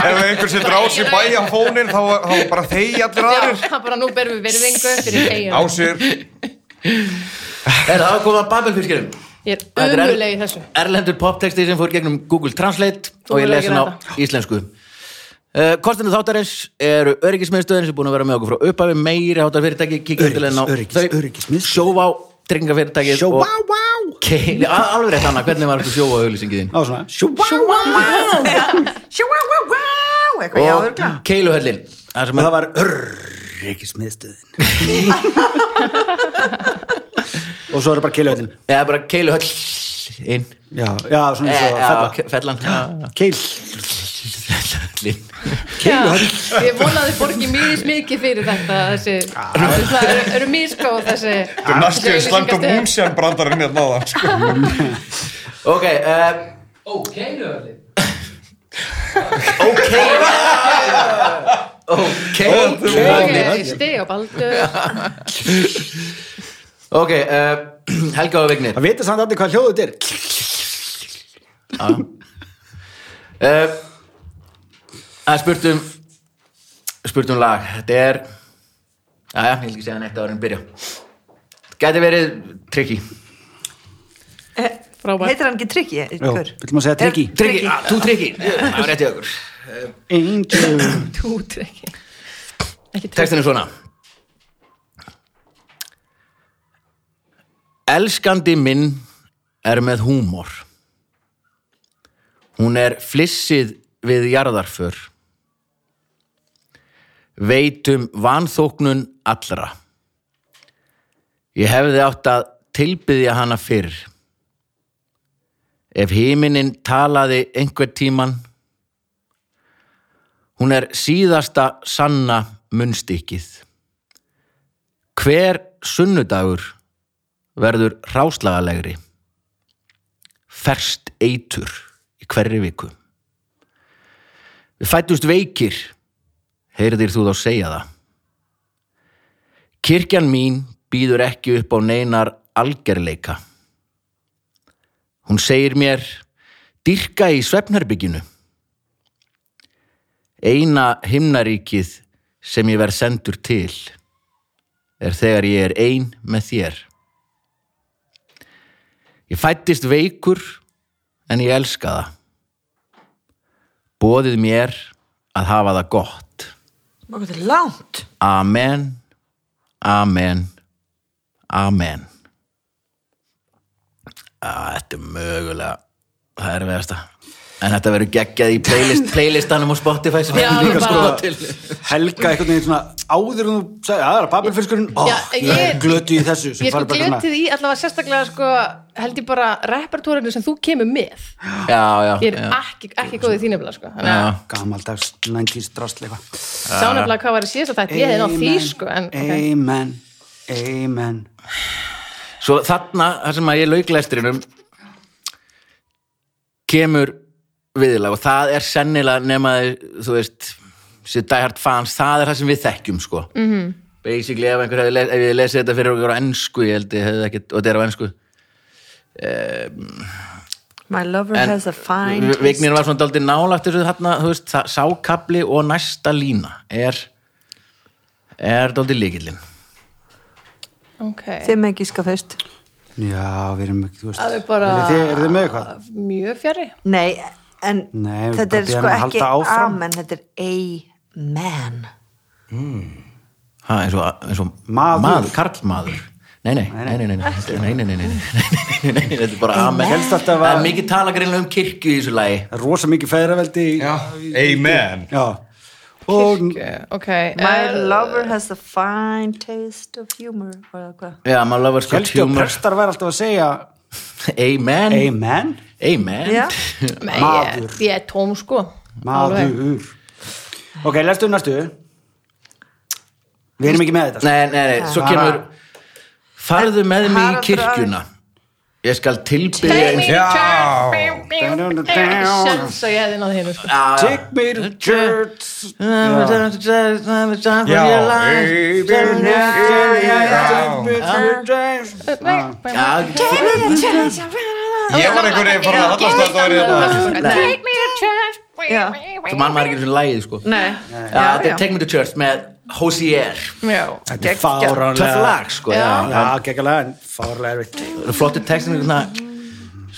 [SPEAKER 4] ef einhver setur á sig bæjafónin, þá, þá bara þegi allir
[SPEAKER 5] Já,
[SPEAKER 4] aðrir
[SPEAKER 5] það er bara nú berum við virðingu fyrir eigin
[SPEAKER 4] á sér.
[SPEAKER 1] Er það komað Babelfyrkirum?
[SPEAKER 5] ég
[SPEAKER 1] Þetta
[SPEAKER 5] er
[SPEAKER 1] er
[SPEAKER 5] umuleg í þessu
[SPEAKER 1] Erlendur poptexti sem fór gegnum Google Translate
[SPEAKER 5] Þú
[SPEAKER 1] og ég
[SPEAKER 5] verður
[SPEAKER 1] lesi
[SPEAKER 5] að
[SPEAKER 1] hann á
[SPEAKER 5] gera
[SPEAKER 1] íslensku. Uh, kostinu þáttarins eru öryggismiðstöðin sem er búin að vera með okkur frá upphafi meiri hátar fyrirtæki
[SPEAKER 2] Öryggis-
[SPEAKER 1] kíkja endilega inn á
[SPEAKER 2] öryggis- öryggismiðstöð.
[SPEAKER 1] sjóvá tryggingafyrirtæki
[SPEAKER 2] Sjóvá, vá.
[SPEAKER 1] <laughs> Keili, alveg rétt Anna, hvernig var þetta sjóvá auðlýsingið þín
[SPEAKER 2] Á svona, sjúbá, sjúbá.
[SPEAKER 3] Sjá-wá-wá-wá Eitthvað, já,
[SPEAKER 1] og
[SPEAKER 3] örgla
[SPEAKER 1] keiluhöllin þar sem
[SPEAKER 2] Og
[SPEAKER 1] að
[SPEAKER 2] það var öryggismiðstöðin. og svo eru bara keilöðin.
[SPEAKER 1] eða bara keiluhöll inn
[SPEAKER 2] Já, já, svona eins
[SPEAKER 5] Eh,
[SPEAKER 2] og fella.
[SPEAKER 1] eða fellan <laughs>
[SPEAKER 2] Keil,
[SPEAKER 1] Keiluhöllin
[SPEAKER 2] keilöðin.
[SPEAKER 5] Já, ég vonaði borgi mýðis mikið fyrir þetta þessi, það eru, eru mýskóð þessi
[SPEAKER 4] Þetta er næstu
[SPEAKER 5] þessi
[SPEAKER 4] slæmt og
[SPEAKER 5] auglýsingastöð.
[SPEAKER 4] múmsjan brandarinn hérna á það, sko.
[SPEAKER 1] ok uh,
[SPEAKER 6] Ó, keiluhöllin
[SPEAKER 1] ok ok ok
[SPEAKER 5] Ok, stig og baldur
[SPEAKER 1] ok uh, <clears throat> Helga og Vignir
[SPEAKER 2] Það vita samt allir hvað hljóðu þetta er.
[SPEAKER 1] uh, að spurtum spurtum lag þetta er aðja, ég vil ekki segja neitt ára en byrja gæti verið tricky
[SPEAKER 5] frábært
[SPEAKER 3] Heitir hann ekki Tryggi?
[SPEAKER 2] Jó, viljum að segja Tryggi.
[SPEAKER 1] tricky, ah, tú tricky það var rétt í okkur
[SPEAKER 2] Angel.
[SPEAKER 5] tútrekki ekki trygg
[SPEAKER 1] Textin er svona Elskandi minn er með húmor Hún er flissið við jarðarför Veitum vanþóknun allra Ég hefði átt að tilbyðja hana fyrr Ef himinin talaði einhver tíman Hún er síðasta sanna munnstykkið. Hver sunnudagur verður ráslagalegri, ferst eitur í hverri viku. Við fættust veikir, heyrðir þú þá segja það. Kirkjan mín býður ekki upp á neinar algerleika. Hún segir mér, dyrka í svefnherbygginu eina himnaríkið sem ég verð sendur til er þegar ég er ein með þér. Ég fættist veikur en ég elska það. Bóðið mér að hafa það gott.
[SPEAKER 3] Hvað þetta er langt
[SPEAKER 1] Amen, amen, amen. Að, þetta er mögulega það er veðasta. En þetta verður geggjað í playlist,
[SPEAKER 5] <laughs>
[SPEAKER 1] playlistanum á Spotify sem
[SPEAKER 5] Já,
[SPEAKER 1] er líka
[SPEAKER 5] bara-
[SPEAKER 1] skoða til.
[SPEAKER 2] Helga einhvern veginn svona áður en þú sagði, að það er pappirfiskurinn, ó,
[SPEAKER 5] Já,
[SPEAKER 2] ég er
[SPEAKER 5] ég-
[SPEAKER 2] glötu í þessu. sem
[SPEAKER 5] ég er sko
[SPEAKER 2] fara bara svona-
[SPEAKER 5] glötið í allavega sérstaklega sko, held ég bara repertórinu sem þú kemur með
[SPEAKER 1] Já, já.
[SPEAKER 5] ég er
[SPEAKER 1] já.
[SPEAKER 5] ekki, ekki góð í þínu bila sko. þannig að
[SPEAKER 1] Já.
[SPEAKER 2] Gamaldags, 90s drasl eitthvað.
[SPEAKER 5] sánefnilega hvað var að síðast að þetta ég hefði náð því sko en ok
[SPEAKER 2] Amen, amen.
[SPEAKER 1] Svo þarna, þar sem að ég lauk lestrinum kemur viðlag og það er sennilega nema þið- þú veist, sér dæhart fans það er það sem við þekkjum sko mm -hmm. basically ef einhver hefði, les- ef ég lesið þetta fyrir okkur á ennsku, ég held ég hefði ekkert og þetta er á ennsku
[SPEAKER 3] My lover
[SPEAKER 1] en
[SPEAKER 3] has a fine
[SPEAKER 1] Vi- Vignir var svona daldið nálagt þessu þarna, þú veist, það- sákabli og næsta lína er er daldið líkillin
[SPEAKER 5] okay.
[SPEAKER 3] Þið með gíska fyrst
[SPEAKER 2] Já, við erum ekki, þú veist.
[SPEAKER 5] Það er bara-
[SPEAKER 2] Eru þið, eru þið með eitthvað?
[SPEAKER 5] mjög fjarri
[SPEAKER 3] Nei, en
[SPEAKER 2] Nei, við
[SPEAKER 3] þetta
[SPEAKER 2] bara
[SPEAKER 3] er
[SPEAKER 2] biðjum
[SPEAKER 3] sko
[SPEAKER 2] að halda
[SPEAKER 3] ekki
[SPEAKER 2] áfram.
[SPEAKER 3] amen Þetta er amen
[SPEAKER 1] ha, eins, og, eins og
[SPEAKER 2] Maður.
[SPEAKER 1] karlmaður Nei, nei, nei, nei, nei, nei, nei, nei, nei, nei, nei, nei, nei, nei, nei, nei, þetta er bara amen.
[SPEAKER 2] Helst þetta
[SPEAKER 1] Það
[SPEAKER 2] var-
[SPEAKER 1] er mikið tala greinlega um kirkju í þessu lagi.
[SPEAKER 2] Það er rosa mikið feðraveldi í-
[SPEAKER 4] Já, amen.
[SPEAKER 2] Já, og
[SPEAKER 5] kirkju, ok.
[SPEAKER 3] My
[SPEAKER 5] eh,
[SPEAKER 3] lover has a fine taste of humor og eða hvað
[SPEAKER 1] Já, maður lafur sko
[SPEAKER 2] Helgi og
[SPEAKER 1] humor.
[SPEAKER 2] prestar væri alltaf að segja
[SPEAKER 1] Amen.
[SPEAKER 2] Amen,
[SPEAKER 1] Amen.
[SPEAKER 3] Já.
[SPEAKER 5] nei,
[SPEAKER 2] maður.
[SPEAKER 5] Ég, ég er tóm sko. Alveg.
[SPEAKER 2] maður Ok, lestu næstu Við erum ekki með þetta
[SPEAKER 1] Nei, nei, nei, svo kemur Farðu með mig í
[SPEAKER 3] Haraldur
[SPEAKER 1] kirkjuna Ég skal tilbyrja eins
[SPEAKER 4] Já.
[SPEAKER 5] Sjans að ég hefði náð hinn sko.
[SPEAKER 2] Take me to church
[SPEAKER 4] Já,
[SPEAKER 1] Já,
[SPEAKER 4] Já.
[SPEAKER 5] Ég
[SPEAKER 4] Ég var einhvern veginn farin að hallast hérna. að þetta væri þetta.
[SPEAKER 5] Take me to church
[SPEAKER 3] Já.
[SPEAKER 1] þú mann maður ekki sem lagið sko Já,
[SPEAKER 5] Nei,
[SPEAKER 1] þetta er Take Me to Church með Hosier
[SPEAKER 5] já,
[SPEAKER 2] Þetta er
[SPEAKER 1] Töff
[SPEAKER 2] fáránlega
[SPEAKER 1] lag sko, já
[SPEAKER 2] Já, geggjala, en fáránlega erfitt
[SPEAKER 1] Flottir textin er svona hérna.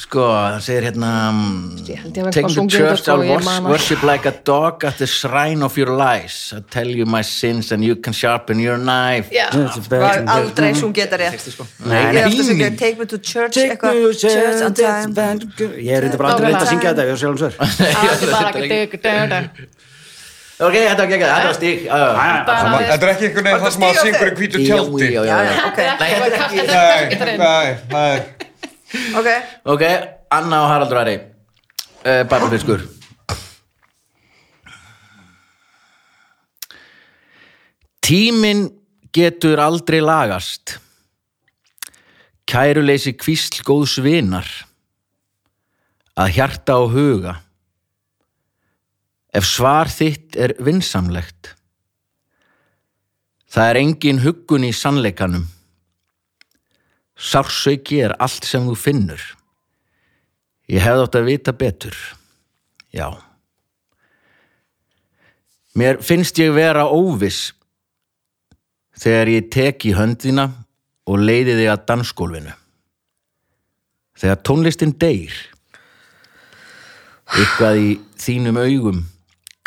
[SPEAKER 1] Sko, það segir hérna mm,
[SPEAKER 5] Ég held ég hafi
[SPEAKER 1] Take me
[SPEAKER 5] eitthvað
[SPEAKER 1] to
[SPEAKER 5] sungið
[SPEAKER 1] church,
[SPEAKER 5] þetta, sko,
[SPEAKER 1] I'll
[SPEAKER 5] ég
[SPEAKER 1] wors-
[SPEAKER 5] man að-
[SPEAKER 1] worship like a dog at the shrine of your lies I'll tell you my sins and you can sharpen your knife
[SPEAKER 5] já.
[SPEAKER 3] Var aldrei svo geta rétt
[SPEAKER 2] Nei,
[SPEAKER 3] Ég er
[SPEAKER 2] nei.
[SPEAKER 3] alltaf sem
[SPEAKER 1] <laughs>
[SPEAKER 3] getur take me to church
[SPEAKER 2] Take
[SPEAKER 3] eitthvað,
[SPEAKER 2] me to
[SPEAKER 3] church on time
[SPEAKER 2] church Ég er reynda bara aldrei reynd
[SPEAKER 5] Nákvæmlega.
[SPEAKER 2] að syngja þetta Ég er sjálfum svör
[SPEAKER 5] Allt bara ekki digg, digg, digg.
[SPEAKER 1] Ok, þetta var geggjað, þetta var stík já, já.
[SPEAKER 5] Bara-
[SPEAKER 4] Þetta er ekki einhvern veginn það sem að syngur í hvítu tjaldi.
[SPEAKER 1] Já, já, já, já.
[SPEAKER 3] Ok,
[SPEAKER 5] Þetta er
[SPEAKER 1] Nei,
[SPEAKER 5] ekki-
[SPEAKER 1] þetta
[SPEAKER 5] þetta er
[SPEAKER 4] Nei,
[SPEAKER 5] ekki þetta
[SPEAKER 4] nei,
[SPEAKER 5] er-
[SPEAKER 4] nei.
[SPEAKER 3] ok
[SPEAKER 1] Ok, Anna og Haraldur Ari uh, Barbafiskur Tíminn getur aldrei lagast Kæruleysi kvísl góðs vinar Að hjarta og huga Ef svar þitt er vinsamlegt Það er engin huggun í sannleikanum Sársauki er allt sem þú finnur. Ég hefði átt að vita betur. Já. Mér finnst ég vera óviss þegar ég tek í höndina og leiði þig að dansgólfinu. Þegar tónlistin deyr, ykkvað í þínum augum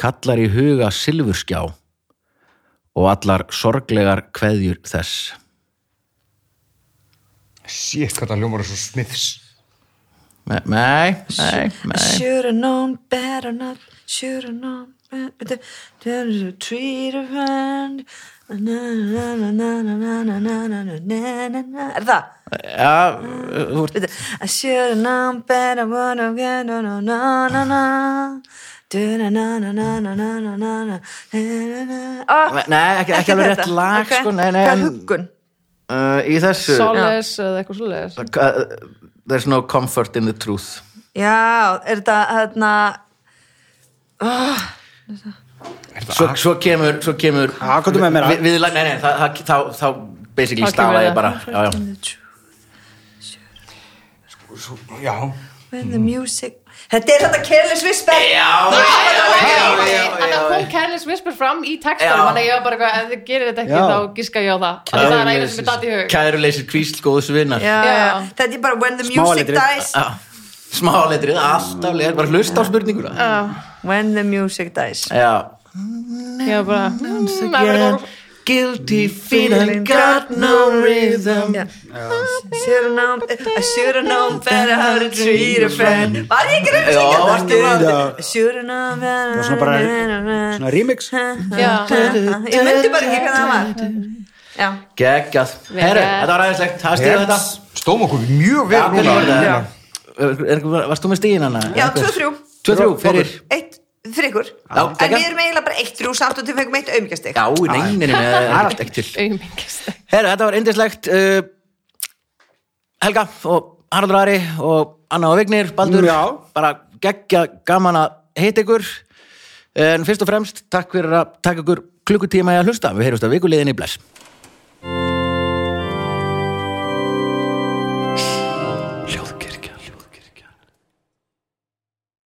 [SPEAKER 1] kallar í huga silfurskjá og allar sorglegar kveðjur þess.
[SPEAKER 4] Sér hvað það ljómar er svo smiðs.
[SPEAKER 1] Nei, nei, nei, nei.
[SPEAKER 3] Should have known better not Should have known better There's a treat of hand Na, na, na, na, na, na, na, na, na, na, na, na, na. Er það?
[SPEAKER 1] Já, þú ert
[SPEAKER 3] Bíddu. I should have known better what I'm gonna no no no no Do na na na na na na na na na na na Ah,
[SPEAKER 1] Nei, ekki, ekki alveg rétt
[SPEAKER 3] þetta.
[SPEAKER 1] lag
[SPEAKER 3] Ok.
[SPEAKER 1] sko, nei, nei,
[SPEAKER 3] Hvað er
[SPEAKER 1] en,
[SPEAKER 3] huggun?
[SPEAKER 1] uh, Í þessu
[SPEAKER 5] Solace eða eitthvað svoleiðis
[SPEAKER 1] uh, There's no comfort in the truth
[SPEAKER 3] Já, er þetta hérna ah,
[SPEAKER 1] Svo, svo kemur, svo kemur
[SPEAKER 2] Já, komdu með meira.
[SPEAKER 1] við, við, Nei, nei, það, það, þá, þá basically
[SPEAKER 5] Þá kemur
[SPEAKER 1] stafaði
[SPEAKER 5] það.
[SPEAKER 1] ég bara já, já.
[SPEAKER 4] Já.
[SPEAKER 3] When the music Þetta er þetta Careless Whisper Já,
[SPEAKER 5] Þannig að kom Careless Whisper fram í textanum
[SPEAKER 1] Já.
[SPEAKER 5] Þannig að ég var bara eitthvað, ef þið gerir þetta ekki
[SPEAKER 2] Já.
[SPEAKER 5] þá giska ég á það Þannig að það er eina sem er datt í hug
[SPEAKER 1] Kæruleysir kvísl góðs vinnar
[SPEAKER 3] já,
[SPEAKER 5] Já.
[SPEAKER 3] já. Þetta er bara When the music
[SPEAKER 2] letrið.
[SPEAKER 3] dies
[SPEAKER 1] Smáletrið, alltaf leir Bara hlusta á spurninguna
[SPEAKER 3] When the music dies
[SPEAKER 1] Já
[SPEAKER 5] Ég var bara, hmm, það verður
[SPEAKER 1] Again,
[SPEAKER 5] góð
[SPEAKER 3] Mm,
[SPEAKER 1] Guilty feet and got no rhythm
[SPEAKER 3] Já. I should have known I should have known better how to treat a friend Var ég ekki reynd að
[SPEAKER 1] Já,
[SPEAKER 3] syngja
[SPEAKER 1] varstu
[SPEAKER 3] það?
[SPEAKER 2] Já.
[SPEAKER 3] I should have known better
[SPEAKER 2] Það var svona bara Svona remix
[SPEAKER 5] Já,
[SPEAKER 3] Ég myndi bara ekki hvað það var Já,
[SPEAKER 1] Geggjað Herru, þetta var aðeinslegt, það stýrði þetta
[SPEAKER 4] Stóma okkur mjög vel
[SPEAKER 1] Já, hvernig var
[SPEAKER 4] núna. Hérna.
[SPEAKER 1] það?
[SPEAKER 4] Já.
[SPEAKER 1] Er- er- Varst þú með stíðin hana?
[SPEAKER 3] já, 2-3
[SPEAKER 1] 2-3 fyrir
[SPEAKER 3] Eitt fyrir ykkur
[SPEAKER 1] Já,
[SPEAKER 3] En
[SPEAKER 1] geggjað.
[SPEAKER 3] við erum eiginlega bara 1-3 samt og þið fengum eitt aumingastig
[SPEAKER 1] Já, í neyninni með það er ekki til
[SPEAKER 5] auðmingist
[SPEAKER 1] Herra, þetta var indislegt uh, Helga og Haraldur Ari og Anna og Vignir, Baldur
[SPEAKER 2] Já.
[SPEAKER 1] bara geggja gaman að heita ykkur en fyrst og fremst takk fyrir að taka ykkur klukkutíma í að hlusta við heyrjumst að vikuleiðinni bless